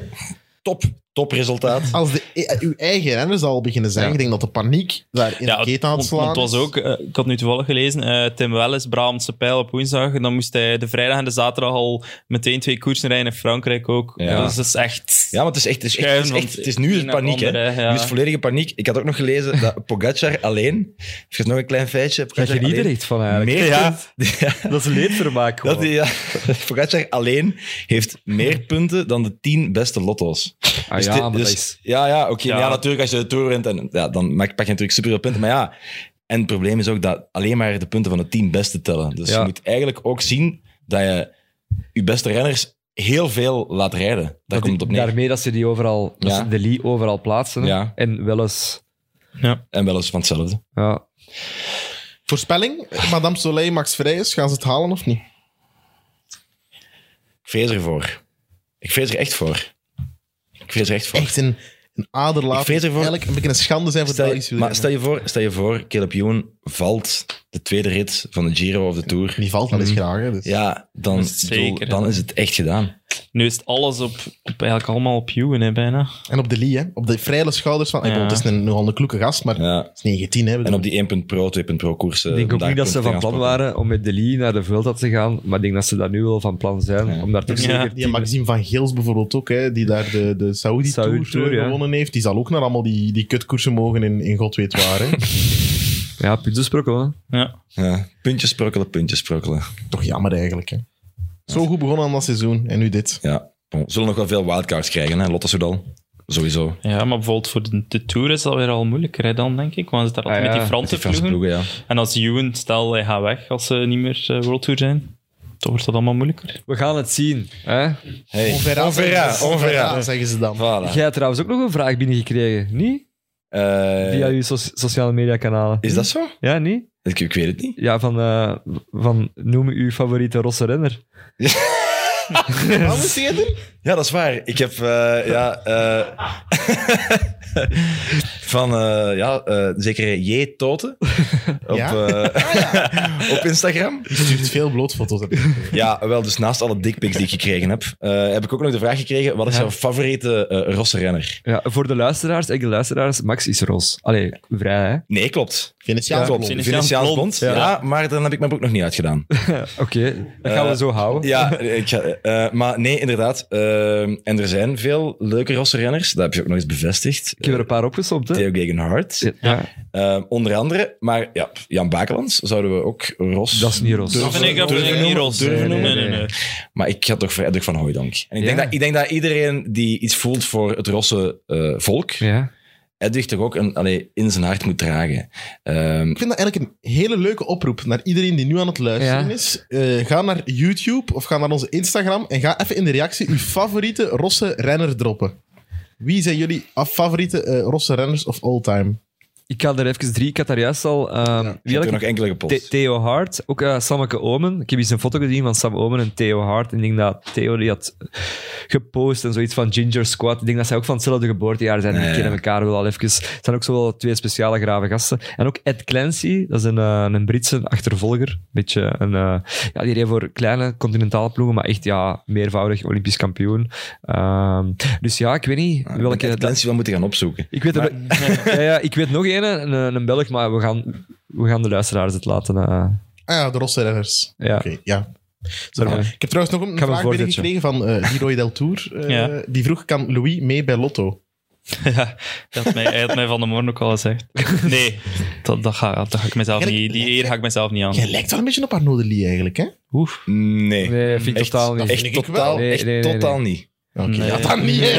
Speaker 4: Top, top resultaat.
Speaker 2: Als de, eh, uw eigen renners al beginnen zijn,
Speaker 3: Ja.
Speaker 2: ik denk dat de paniek daar in
Speaker 5: Ja,
Speaker 2: de keten aan het
Speaker 5: want- want
Speaker 2: slaan
Speaker 5: het was
Speaker 2: is.
Speaker 5: ook, eh, ik had nu toevallig gelezen, eh, Tim Welles, Brabantse pijl op woensdag. En dan moest hij de vrijdag en de zaterdag al meteen twee koersen rijden in Frankrijk ook.
Speaker 4: Ja.
Speaker 5: Dus dat is echt...
Speaker 4: Ja, maar het is echt, het is echt, het is
Speaker 5: schuiven,
Speaker 4: echt-
Speaker 5: want
Speaker 4: het is nu
Speaker 5: een
Speaker 4: is
Speaker 5: naar de
Speaker 4: paniek, hè.
Speaker 5: andere, ja.
Speaker 4: Nu is volledige paniek. Ik had ook nog gelezen dat Pogacar alleen, even nog een klein feitje,
Speaker 3: Daar
Speaker 4: Pogacar
Speaker 3: geniet er
Speaker 4: alleen,
Speaker 3: echt van eigenlijk.
Speaker 4: meer
Speaker 3: Ja.
Speaker 4: punten, ja,
Speaker 3: Dat is leedvermaak
Speaker 4: dat
Speaker 3: gewoon.
Speaker 4: die, ja, Pogacar alleen heeft meer punten dan de tien beste lotto's.
Speaker 3: Ah,
Speaker 4: Dus
Speaker 3: ja,
Speaker 4: dit-
Speaker 3: maar
Speaker 4: dus-
Speaker 3: dat is...
Speaker 4: ja, ja, oké. maar
Speaker 5: Ja.
Speaker 4: ja, natuurlijk, als je de Tour wint, en, ja, dan maak- pak je natuurlijk superveel punten. Maar ja, en het probleem is ook dat alleen maar de punten van de tien beste tellen. Dus
Speaker 3: Ja.
Speaker 4: je moet eigenlijk ook zien dat je je beste renners heel veel laat rijden. Daar
Speaker 3: dat
Speaker 4: komt het
Speaker 3: die-
Speaker 4: op neer.
Speaker 3: Daarmee dat ze, die overal, dat
Speaker 4: Ja.
Speaker 3: ze de Lee overal plaatsen. hè.
Speaker 4: Ja.
Speaker 3: En wel eens...
Speaker 4: En wel eens van hetzelfde.
Speaker 3: Ja.
Speaker 2: Voorspelling, Madame Soleil, Max Vrijs, gaan ze het halen of niet?
Speaker 4: Ik vrees ervoor. Ik vrees er echt voor. Ik vrees er echt voor.
Speaker 2: Echt een, een aderlaat.
Speaker 4: Ik vrees ervoor-
Speaker 2: Eigenlijk een beetje een schande zijn voor de
Speaker 4: Stel,
Speaker 2: Belgische
Speaker 4: maar
Speaker 2: wielrennen.
Speaker 4: stel je voor, stel je voor Caleb Ewan valt de tweede rit van de Giro of de Tour.
Speaker 2: Die valt wel eens graag. Hè, dus.
Speaker 4: Mm. Ja, dan,
Speaker 5: Dat is het
Speaker 4: bedoel,
Speaker 5: zeker, hè.
Speaker 4: dan is het echt gedaan.
Speaker 5: Nu is het alles op, op eigenlijk allemaal op Ewan, hè, bijna.
Speaker 2: En op de Lee, hè, op de vrije schouders van. ik bedoel, Het is een, nogal een kloeke gast, maar
Speaker 4: Ja.
Speaker 2: het is 19. Hè,
Speaker 4: En op die 1 punt pro, 2 punt pro koersen.
Speaker 3: Ik denk ook
Speaker 4: daar
Speaker 3: niet dat ze
Speaker 4: punten
Speaker 3: van
Speaker 4: te
Speaker 3: plan
Speaker 4: gaan pakken.
Speaker 3: waren om met de Lee naar de Vuelta te gaan, maar ik denk dat ze dat nu wel van plan zijn,
Speaker 4: Ja.
Speaker 3: om daar toch
Speaker 5: Ja.
Speaker 3: zeker
Speaker 2: die Maxime van Geels bijvoorbeeld ook, hè, die daar de, de Saudi Tour,
Speaker 3: Saudi Tour,
Speaker 2: eh,
Speaker 3: ja.
Speaker 2: gewonnen heeft. Die zal ook naar allemaal die, die kutkoersen mogen in, in God weet waar.
Speaker 4: <laughs>
Speaker 2: Hè.
Speaker 3: Ja, punten sprokkel, hè.
Speaker 5: Ja.
Speaker 4: Ja. Puntjes sprokkelen, puntjes sprokkelen.
Speaker 2: Toch jammer eigenlijk. Hè. Zo goed begonnen aan dat seizoen en nu dit.
Speaker 4: Ja. We zullen nog wel veel wildcards krijgen, hè? Lotte Soudal. Sowieso.
Speaker 5: ja, maar bijvoorbeeld voor de, de Tour is dat weer al moeilijker hè, dan, denk ik. Want het daar altijd
Speaker 3: Ah, ja,
Speaker 5: met die
Speaker 4: Met die
Speaker 5: Franse
Speaker 4: Franse
Speaker 5: ploegen.
Speaker 4: ploegen, ja.
Speaker 5: En als Ewan, stel, hij gaat weg als ze niet meer eh, World Tour zijn, dan wordt dat allemaal moeilijker.
Speaker 3: We gaan het zien. Hè?
Speaker 4: Hey.
Speaker 2: Onverra,
Speaker 4: Onverra, onverra.
Speaker 2: zeggen ze dan.
Speaker 4: Voilà.
Speaker 3: Jij hebt trouwens ook nog een vraag binnengekregen, niet?
Speaker 4: Eh,
Speaker 3: Via je so- sociale media kanalen.
Speaker 4: is dat zo?
Speaker 3: Ja, niet?
Speaker 4: Ik, ik weet het niet.
Speaker 3: Ja, van, eh, van noem uw favoriete rosse renner.
Speaker 2: Wat moest je doen?
Speaker 4: Ja, dat is waar. Ik heb eh, ja, eh, <laughs> van eh, ja, eh, zeker J. Toten op,
Speaker 2: Ja?
Speaker 4: eh,
Speaker 3: Ah,
Speaker 4: <laughs> op Instagram.
Speaker 2: Je stuurt veel blootfoto's. heb ik gehoord.
Speaker 4: Ja, wel, dus naast alle dickpics die ik gekregen heb, eh, heb ik ook nog de vraag gekregen: wat is
Speaker 3: Ja.
Speaker 4: jouw favoriete eh rosse renner?
Speaker 3: Ja, voor de luisteraars, ik de luisteraars, Max is roze. Allee, vrij, hè?
Speaker 4: Nee, klopt.
Speaker 2: Venetiaans
Speaker 4: klopt.
Speaker 2: blond.
Speaker 5: Venetiaans
Speaker 4: Venetiaans blond.
Speaker 5: blond,
Speaker 4: Ja.
Speaker 5: ja.
Speaker 4: maar dan heb ik mijn boek nog niet uitgedaan.
Speaker 3: Oké, dat gaan we
Speaker 4: Eh,
Speaker 3: zo houden.
Speaker 4: <laughs> Ja, ik ga, eh, maar nee, inderdaad. eh, en er zijn veel leuke rosse renners. Dat heb je ook nog eens bevestigd.
Speaker 3: Ik heb er een paar opgesomd, hè?
Speaker 4: Theo Gegenhardt.
Speaker 3: Ja,
Speaker 4: Eh, onder andere, maar ja, Jan Bakelands zouden we ook Ros.
Speaker 3: Dat is niet roze.
Speaker 5: Dat vind ik, dat vind ik
Speaker 4: noemen?
Speaker 5: niet roze.
Speaker 4: Durven
Speaker 5: nee, nee,
Speaker 4: noemen?
Speaker 5: nee, nee.
Speaker 4: Maar ik ga toch voor Edwig van Hooydonk. En ik, denk
Speaker 3: Ja.
Speaker 4: dat, ik denk dat iedereen die iets voelt voor het Rosse eh, volk,
Speaker 3: Ja.
Speaker 4: Edwig toch ook een, allee, in zijn hart moet dragen. Ehm,
Speaker 2: Ik vind dat eigenlijk een hele leuke oproep naar iedereen die nu aan het luisteren
Speaker 3: Ja.
Speaker 2: is. Eh, ga naar YouTube of ga naar onze Instagram en ga even in de reactie uw favoriete rosse renner droppen. Wie zijn jullie af- favoriete eh, rosse renners of all time?
Speaker 3: Ik had er even drie. Ik had daar juist al... ehm, wie had
Speaker 4: ik heb
Speaker 3: ik
Speaker 4: er nog enkele
Speaker 3: The-
Speaker 4: gepost.
Speaker 3: Theo Hart, ook eh, Sammeke Omen. Ik heb eens een foto gezien van Sam Omen en Theo Hart. En ik denk dat Theo die had gepost en zoiets van Ginger Squad. Ik denk dat zij ook van hetzelfde geboortejaar zijn.
Speaker 4: Ja,
Speaker 3: die
Speaker 4: ja.
Speaker 3: kennen elkaar wel al even. Het zijn ook zo wel twee speciale grave gasten. En ook Ed Clancy, dat is een, eh, een Britse achtervolger. Beetje een, eh, ja, die reed voor kleine continentale ploegen, maar echt ja, meervoudig Olympisch kampioen. Ehm, dus ja, ik weet niet
Speaker 4: Ja,
Speaker 3: welke...
Speaker 4: dat mensen wel moeten gaan opzoeken.
Speaker 3: Ik weet, er- <laughs> ja, ja, ik weet nog één, een, een Belg, maar we gaan, we gaan de luisteraars het laten. eh,
Speaker 2: Ah ja, de rosse renners.
Speaker 3: ja.
Speaker 2: Oké, ja. Sorry.
Speaker 3: Ja.
Speaker 2: Ik heb trouwens nog een
Speaker 3: Ik ga me
Speaker 2: vraag
Speaker 3: voorzetten.
Speaker 2: binnengekregen van eh Leroy Del Tour. eh,
Speaker 5: Ja.
Speaker 2: Die vroeg, kan Louis mee bij Lotto?
Speaker 5: Ja, dat had mij, hij had mij van de morgen ook al gezegd. Nee, dat, dat, ga, dat ga ik mezelf
Speaker 2: Eigenlijk-
Speaker 5: niet... Die eer ga ik mezelf niet aan.
Speaker 2: Jij lijkt wel een beetje op Arnaud de Lee eigenlijk, hè?
Speaker 5: Oef.
Speaker 4: Nee.
Speaker 3: Nee, vind ik
Speaker 4: Echt,
Speaker 3: totaal niet.
Speaker 4: Echt
Speaker 2: vind ik
Speaker 4: totaal,
Speaker 2: wel.
Speaker 3: Nee,
Speaker 4: echt
Speaker 3: nee, nee,
Speaker 4: totaal niet.
Speaker 2: Oké,
Speaker 5: Nee.
Speaker 2: ja, dan niet. hè.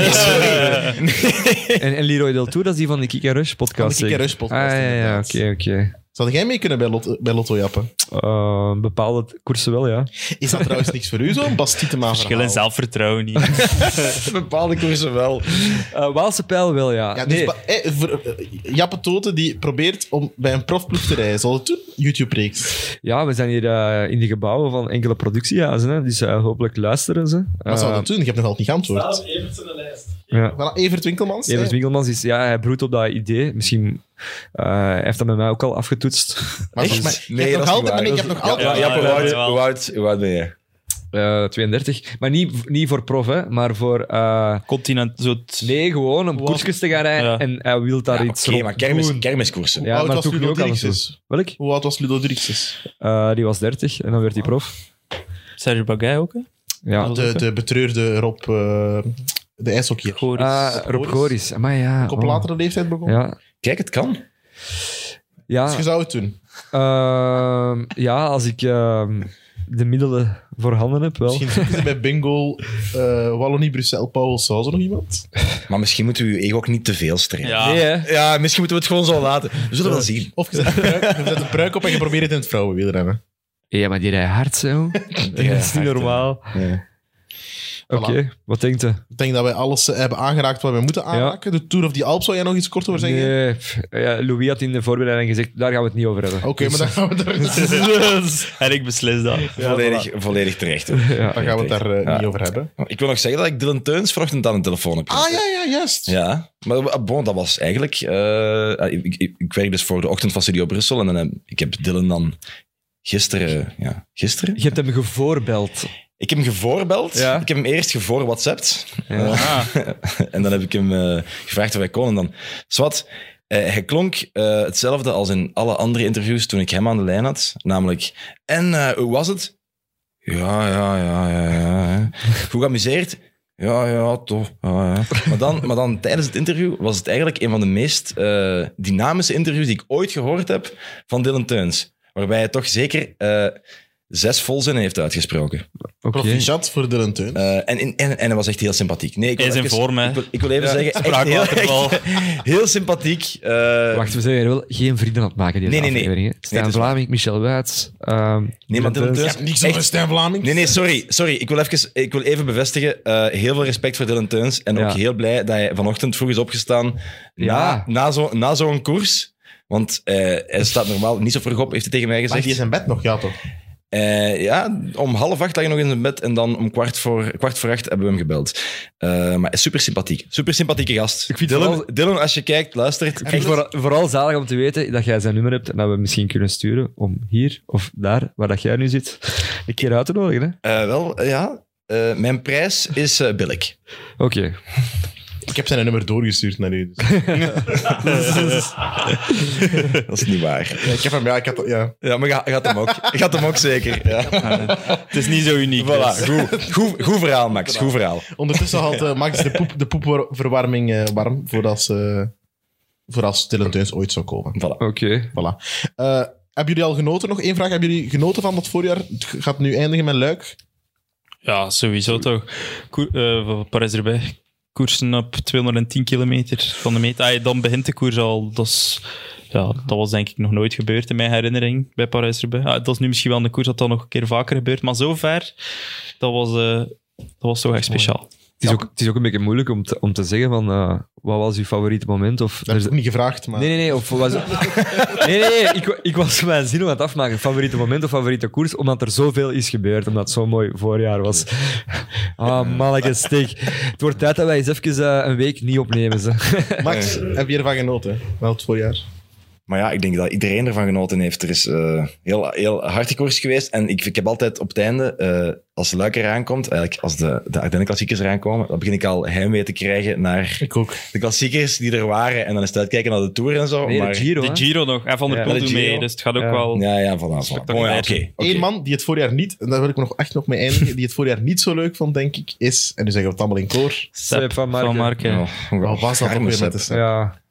Speaker 5: Nee.
Speaker 2: Sorry.
Speaker 3: En, en Leroy Del Tour, dat is die van de Kika Rush
Speaker 2: Kan
Speaker 3: podcast.
Speaker 2: ik een keer
Speaker 3: zeker?
Speaker 2: rustpodcast,
Speaker 3: Ah, ja, ja,
Speaker 2: inderdaad.
Speaker 3: oké, oké.
Speaker 2: Zou jij mee kunnen bij, lot, bij Lotto Jappen?
Speaker 3: Eh, bepaalde koersen wel, ja.
Speaker 2: Is dat trouwens niks voor u, zo'n Bastietema
Speaker 5: Verschil in zelfvertrouwen niet.
Speaker 4: Bepaalde koersen wel.
Speaker 3: Eh Waalse pijl wel, ja.
Speaker 2: Ja, dus
Speaker 3: nee,
Speaker 2: ba- eh, voor, eh, Jappe Toten die probeert om bij een profploeg te rijden. Zal het doen? YouTube-reeks.
Speaker 3: ja, we zijn hier eh, in de gebouwen van enkele productiehuizen, hè, dus eh, hopelijk luisteren ze.
Speaker 2: Wat zou
Speaker 3: Eh,
Speaker 2: dat doen? Je hebt nog altijd niet geantwoord.
Speaker 3: ja.
Speaker 2: Voilà, Evert Winkelmans.
Speaker 3: Evert
Speaker 2: eh,
Speaker 3: Winkelmans is, ja, hij broedt op dat idee. Misschien eh, hij heeft dat met mij ook al afgetoetst. <laughs>
Speaker 2: Eh, Maar,
Speaker 4: Echt?
Speaker 2: volgens mij-
Speaker 4: Nee,
Speaker 2: je hebt nog
Speaker 4: dat is niet
Speaker 2: altijd...
Speaker 4: waar.
Speaker 2: nee, je
Speaker 4: Dat
Speaker 2: hebt nog altijd...
Speaker 4: Ja, ja,
Speaker 5: ja,
Speaker 4: hoe
Speaker 5: ja,
Speaker 4: oud-
Speaker 5: jawel.
Speaker 4: hoe oud- hoe oud ben je?
Speaker 3: Eh, 32. Maar niet, niet voor prof, hè, maar voor. eh,
Speaker 5: Continent, zo t-
Speaker 3: nee, gewoon om
Speaker 5: Wat?
Speaker 3: koersjes te gaan rijden.
Speaker 5: Ja.
Speaker 3: En hij wil daar
Speaker 4: Ja,
Speaker 3: iets
Speaker 4: Oké,
Speaker 3: rond
Speaker 4: maar kermis,
Speaker 3: doen.
Speaker 4: kermiskoersen.
Speaker 3: Ja,
Speaker 2: Hoe
Speaker 3: maar
Speaker 2: oud was
Speaker 3: toen
Speaker 2: Ludo
Speaker 3: ook alles
Speaker 2: Dirkses?
Speaker 3: Welk?
Speaker 2: Hoe oud was Ludo Dirkses?
Speaker 3: Eh, die was 30 en dan werd hij prof.
Speaker 5: Serge Bagay ook, hè?
Speaker 3: Ja.
Speaker 2: De, de betreurde Rob... eh, de ijshockeyer.
Speaker 5: Goris.
Speaker 3: Ah, Rob Goris. Maar ja.
Speaker 2: Ook op
Speaker 3: oh.
Speaker 2: latere leeftijd begonnen.
Speaker 3: Ja.
Speaker 4: Kijk, het kan.
Speaker 2: Dus
Speaker 3: Ja,
Speaker 2: je zou het doen.
Speaker 3: ehm, ja, als ik ehm, de middelen voorhanden heb, wel.
Speaker 2: Misschien zitten ze bij Bingo, eh Wallonie, Bruxelles, Paul, zou zo nog iemand?
Speaker 4: Maar misschien moeten we je ego ook niet te veel strelen.
Speaker 5: Ja.
Speaker 3: Nee, hè?
Speaker 4: Ja, misschien moeten we het gewoon zo laten. We zullen wel zien.
Speaker 2: Of je zet, een pruik, je zet een pruik op en je probeert het in het vrouwenwielrennen.
Speaker 3: Ja, maar die rijdt hard, <laughs> zo. dat is niet
Speaker 4: hard,
Speaker 3: normaal.
Speaker 4: Ja.
Speaker 3: Oké, wat denkt u?
Speaker 2: Ik denk dat wij alles eh, hebben aangeraakt wat we moeten aanraken. De Tour of die Alp, zou jij nog iets kort over zeggen?
Speaker 3: Nee, pff, ja, Louis had in de voorbereiding gezegd, daar gaan we het niet over hebben.
Speaker 2: Oké,
Speaker 3: <laughs>
Speaker 2: maar dan gaan we <laughs> daar,
Speaker 5: en ik beslis dat.
Speaker 4: volledig, volledig terecht. hoor.
Speaker 3: Ja.
Speaker 2: dan gaan we het daar eh,
Speaker 4: Ja.
Speaker 2: niet over hebben.
Speaker 4: Ik wil nog zeggen dat ik Dylan Teuns vanochtend aan de telefoon heb
Speaker 2: Ah
Speaker 4: gezet.
Speaker 2: ja, ja, juist.
Speaker 4: Ja, maar eh, bon, dat was eigenlijk... eh, eh, ik, ik, ik werk dus voor de ochtend van Studio Brussel en dan, heb- ik heb Dylan dan gisteren... Ja, gisteren?
Speaker 3: Je hebt hem gevoorbeld.
Speaker 4: Ik heb hem gevoorbeld.
Speaker 3: Ja.
Speaker 4: Ik heb hem eerst gevoor WhatsAppt.
Speaker 5: Ah,
Speaker 4: <laughs> En dan heb ik hem eh, gevraagd of hij kon. En dan, zwart, eh, hij klonk eh, hetzelfde als in alle andere interviews toen ik hem aan de lijn had. Namelijk, en eh, hoe was het? Ja, ja, ja, ja, ja. hè. Goed geamuseerd? Ja, ja, toch. Ja, ja. Maar, dan, maar dan tijdens het interview was het eigenlijk een van de meest eh, dynamische interviews die ik ooit gehoord heb van Dylan Teuns. Waarbij hij toch zeker eh, zes volzinnen heeft uitgesproken.
Speaker 3: Oké.
Speaker 2: Proficiat voor Dylan Teun.
Speaker 4: Eh, en, en, en hij was echt heel sympathiek. Nee, ik wil
Speaker 5: Hij is in
Speaker 4: even-
Speaker 5: vorm, hè.
Speaker 4: Ik wil, ik wil even zeggen, echt heel,
Speaker 5: Spraakwaterval.
Speaker 4: echt <laughs> heel sympathiek. eh,
Speaker 3: Wacht, we zijn hier wel geen vrienden aan het maken, die
Speaker 4: Nee, nee, nee.
Speaker 3: aflevering. hè. Stijn
Speaker 4: het is waar.
Speaker 3: Vlaming, Michel Wuits. ehm,
Speaker 4: nee, maar Dylan Teuns...
Speaker 2: niks
Speaker 4: echt-
Speaker 2: over Stijn Vlaming.
Speaker 4: Nee, nee, sorry. sorry. Ik, wil even, ik wil even bevestigen. eh, heel veel respect voor Dylan Teuns. En
Speaker 3: Ja.
Speaker 4: ook heel blij dat hij vanochtend vroeg is opgestaan
Speaker 3: Ja.
Speaker 4: na, na zo'n na zo'n koers. Want eh, hij staat normaal niet zo vroeg op, heeft hij tegen mij
Speaker 2: Lag
Speaker 4: gezegd.
Speaker 2: die in zijn bed nog? Ja, toch?
Speaker 4: Eh, ja, om half acht lag je nog in zijn bed en dan om kwart voor, kwart voor acht hebben we hem gebeld. Eh, maar super sympathiek. Super sympathieke gast.
Speaker 3: Ik vind
Speaker 4: Dylan,
Speaker 3: vooral-
Speaker 4: Dylan, als je kijkt, luistert.
Speaker 3: Echt voor, vooral zalig om te weten dat jij zijn nummer hebt en dat we hem misschien kunnen sturen om hier of daar, waar dat jij nu zit, een keer uit te nodigen. hè.
Speaker 4: Eh, wel, eh, ja. Eh, mijn prijs is eh, <laughs> billig.
Speaker 3: Oké.
Speaker 2: Ik heb zijn nummer doorgestuurd naar u. dus.
Speaker 4: Dat is niet waar.
Speaker 2: <laughs> Ja, ik heb hem, ja, ik had, ja.
Speaker 4: Ja, maar je gaat hem ook. Je gaat hem ook zeker. <laughs> Ja.
Speaker 5: het is niet zo uniek.
Speaker 4: Voilà,
Speaker 5: dus.
Speaker 4: goed, goed, goed verhaal, Max. Goed verhaal.
Speaker 2: Ondertussen had eh, Max de, poep, de poepverwarming eh, warm voordat ze, voordat Dylan Teuns ooit zou komen.
Speaker 4: Voilà.
Speaker 3: Oké.
Speaker 2: Voilà. Eh, hebben jullie al genoten? Nog één vraag. Hebben jullie genoten van dat voorjaar? Het gaat nu eindigen met Luik.
Speaker 5: Ja, sowieso toch. Koer, eh, van Parijs erbij. Koersen op 210 kilometer van de meet. Ah, ja, dan begint de koers al. Dat, is, ja, dat was denk ik nog nooit gebeurd in mijn herinnering bij Parijs erbij. Ah, dat is nu misschien wel een koers dat dat nog een keer vaker gebeurt. Maar zover, dat was, eh, dat was toch echt speciaal.
Speaker 3: Het, is ook, het is ook een beetje moeilijk om te, om te zeggen van eh, wat was uw favoriete moment? Of,
Speaker 2: Dat heb ik
Speaker 3: er-
Speaker 2: ook niet gevraagd, maar...
Speaker 3: Nee, nee, nee. Of <laughs> was... nee, nee, nee. Ik, wa- ik was mijn zin om aan het afmaken. Favoriete moment of favoriete koers? Omdat er zoveel is gebeurd. Omdat het zo'n mooi voorjaar was. <laughs> Ah, manneke steek. Het wordt tijd dat wij eens even eh, een week niet opnemen. Ze.
Speaker 2: Max, heb je ervan genoten? Wel het voorjaar.
Speaker 4: Maar ja, ik denk dat iedereen ervan genoten heeft. Er is eh, heel, heel hard koers geweest. En ik, ik heb altijd op het einde, eh, als Luik eraan komt, eigenlijk als de, de Ardennen klassiekers eraan komen, dan begin ik al heimwee te krijgen naar
Speaker 2: Ik ook.
Speaker 4: de klassiekers die er waren. En dan is het uitkijken naar de Tour en zo.
Speaker 3: Nee, de
Speaker 4: maar,
Speaker 3: Giro. hè?
Speaker 5: De Giro nog. En Van der
Speaker 3: Ja,
Speaker 5: Poel
Speaker 4: de
Speaker 5: doet mee,
Speaker 4: Giro.
Speaker 5: dus het gaat ook
Speaker 3: Ja.
Speaker 5: wel...
Speaker 4: Ja, ja, voilà. voilà.
Speaker 5: Spectaculair.
Speaker 4: Oh, ja, oké, oké.
Speaker 2: Eén man die het voorjaar niet... En daar wil ik nog echt nog mee eindigen. Die het voorjaar niet zo leuk vond, denk ik, is... En nu zeggen we het allemaal in koor.
Speaker 5: Sepp
Speaker 3: Sepp van Marken.
Speaker 5: Marken.
Speaker 4: Oh,
Speaker 2: Wat was dat ook
Speaker 4: arme
Speaker 2: weer
Speaker 4: Sepp.
Speaker 2: met de Sepp?
Speaker 3: <laughs> Ja.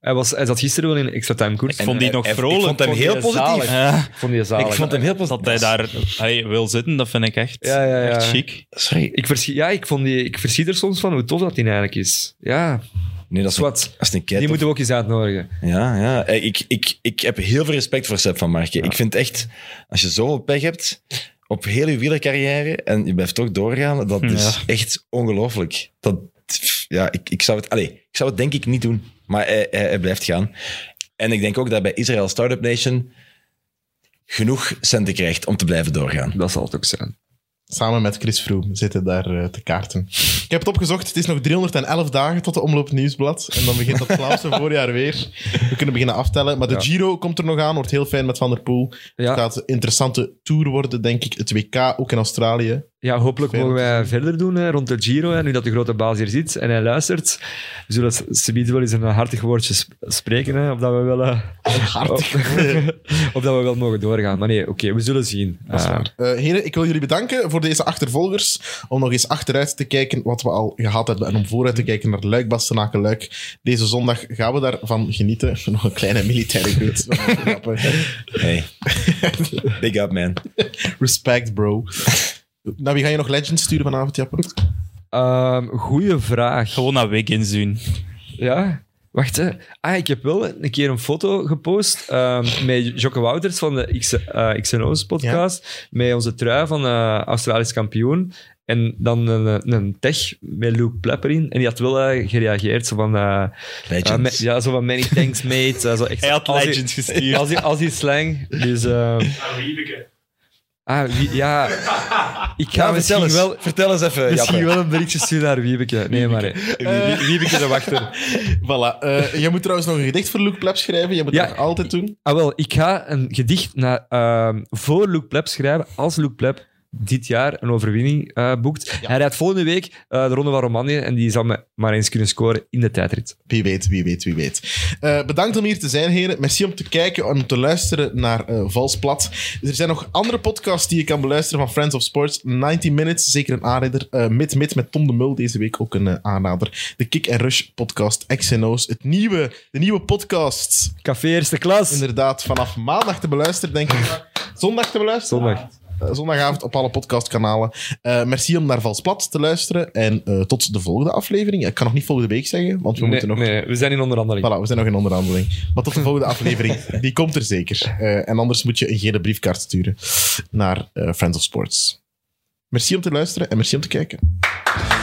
Speaker 3: Hij, was, hij zat gisteren wel in een extra time koers.
Speaker 5: Ik vond die
Speaker 4: En,
Speaker 5: nog
Speaker 4: eh, ik
Speaker 5: vrolijk.
Speaker 4: vond hem heel
Speaker 3: die
Speaker 4: positief.
Speaker 3: zalig.
Speaker 5: Ja,
Speaker 3: Ik vond die zalig.
Speaker 4: Ik vond hem heel positief.
Speaker 5: dat hij daar hij wil zitten, dat vind ik echt,
Speaker 3: Ja, ja, ja.
Speaker 5: echt chic.
Speaker 4: Sorry.
Speaker 3: Ik verschiet, ja, ik, vond die, ik verschiet er soms van hoe tof dat hij eigenlijk is. Ja,
Speaker 4: Nee, dat is
Speaker 3: Zwat.
Speaker 4: wat. Dat is een
Speaker 3: die
Speaker 4: kei tof-
Speaker 3: moeten we ook eens uitnodigen.
Speaker 4: Ja, ja. Eh, Ik, ik, ik heb heel veel respect voor Sepp van Marken. Ik vind echt, als je zoveel pech hebt op heel je wielercarrière en je blijft toch doorgaan, dat is echt ongelooflijk. Dat, ja, ik, ik zou het, allez, ik zou het denk ik niet doen, maar hij, hij, hij blijft gaan. En ik denk ook dat bij Israël Startup Nation genoeg centen krijgt om te blijven doorgaan.
Speaker 3: Dat zal het ook zijn.
Speaker 2: Samen met Chris Froome zitten daar eh, te kaarten. Ik heb het opgezocht. Het is nog 311 dagen tot de omloop nieuwsblad. En dan begint dat Vlaamse voorjaar weer. We kunnen beginnen aftellen. Maar de
Speaker 3: Ja.
Speaker 2: Giro komt er nog aan. Wordt heel fijn met Van der Poel.
Speaker 3: Ja.
Speaker 2: Het gaat een interessante tour worden, denk ik. Het WK, ook in Australië.
Speaker 3: Ja, hopelijk
Speaker 2: Veel
Speaker 3: mogen wij verder doen hè, rond de Giro. Hè, nu dat de grote baas hier zit en hij luistert. We zullen s- subiet wel eens een hartig woordje sp- spreken. Hè, of dat we wel... eh, <laughs>
Speaker 2: <laughs> Hartig.
Speaker 3: Of, of dat we wel mogen doorgaan. Maar nee, oké, we zullen zien. Eh,
Speaker 2: Eh, heren, ik wil jullie bedanken voor deze achtervolgers. Om nog eens achteruit te kijken wat we al gehad hebben. En om vooruit te kijken naar Luik, Bastenaken, Luik. Deze zondag gaan we daarvan genieten. <laughs> Nog een kleine militaire groet. Dat was grappig.
Speaker 4: <laughs> Hey. Big up, man.
Speaker 2: Respect, <laughs> bro. Nou, wie ga je nog Legends sturen vanavond, Jappe?
Speaker 3: ehm, goeie vraag.
Speaker 5: Gewoon naar Wiggins doen.
Speaker 3: Ja, wacht hè. Ah, ik heb wel een keer een foto gepost ehm, met Jocke Wouters van de X, eh, XNO's podcast. Met onze trui van eh, Australisch kampioen. En dan een, eh, een tech met Luke Plepper in. En die had wel eh, gereageerd. Zo van, eh,
Speaker 4: Legends.
Speaker 3: ah, me- ja, zo van many thanks mate. Eh, zo echt,
Speaker 5: Hij had
Speaker 3: als die-
Speaker 5: Legends gestuurd.
Speaker 3: Als die, als die slang. Dus... ehm, Ah, wie- ja.
Speaker 4: <laughs>
Speaker 3: Ik ga
Speaker 4: Ja, vertel,
Speaker 3: misschien
Speaker 4: eens,
Speaker 3: wel,
Speaker 4: vertel eens even,
Speaker 3: misschien
Speaker 4: Jappe.
Speaker 3: wel een berichtje sturen naar Wiebeke. Nee, maar hè. Wie- Wiebeke de wachter.
Speaker 2: Voilà. <laughs> Eh jij moet trouwens nog een gedicht voor Luke Pleb schrijven. Je moet
Speaker 3: Ja.
Speaker 2: dat altijd doen.
Speaker 3: Ah, wel, ik ga een gedicht naar, ehm, voor Luke Pleb schrijven, als Luke Pleb dit jaar een overwinning eh, boekt. Hij rijdt volgende week eh, de Ronde van Romandie en die zal me maar eens kunnen scoren in de tijdrit.
Speaker 2: Wie weet, wie weet, wie weet. Eh, bedankt om hier te zijn, heren. Merci om te kijken en om te luisteren naar eh Valsplat. Er zijn nog andere podcasts die je kan beluisteren van Friends of Sports. 90 Minutes, zeker een aanrader. Eh, Mid Mid met Tom de Mul, deze week ook een eh, aanrader. De Kick and Rush podcast, XNO's. Het nieuwe, de nieuwe podcast.
Speaker 3: Café Eerste Klas.
Speaker 2: Inderdaad, vanaf maandag te beluisteren, denk
Speaker 3: <laughs>
Speaker 2: ik. Zondag te beluisteren?
Speaker 3: Zondag.
Speaker 2: Eh, zondagavond op alle podcastkanalen. Eh, merci om naar Vals Plat te luisteren. En eh, tot de volgende aflevering. Ik kan nog niet volgende week zeggen, want we
Speaker 3: Nee,
Speaker 2: moeten nog...
Speaker 3: nee, we zijn in onderhandeling.
Speaker 2: Voilà, we zijn nog in onderhandeling. Maar tot de volgende
Speaker 3: <laughs>
Speaker 2: aflevering. Die komt er zeker. Eh, en anders moet je een gele briefkaart sturen naar eh, Friends of Sports. Merci om te luisteren en merci om te kijken.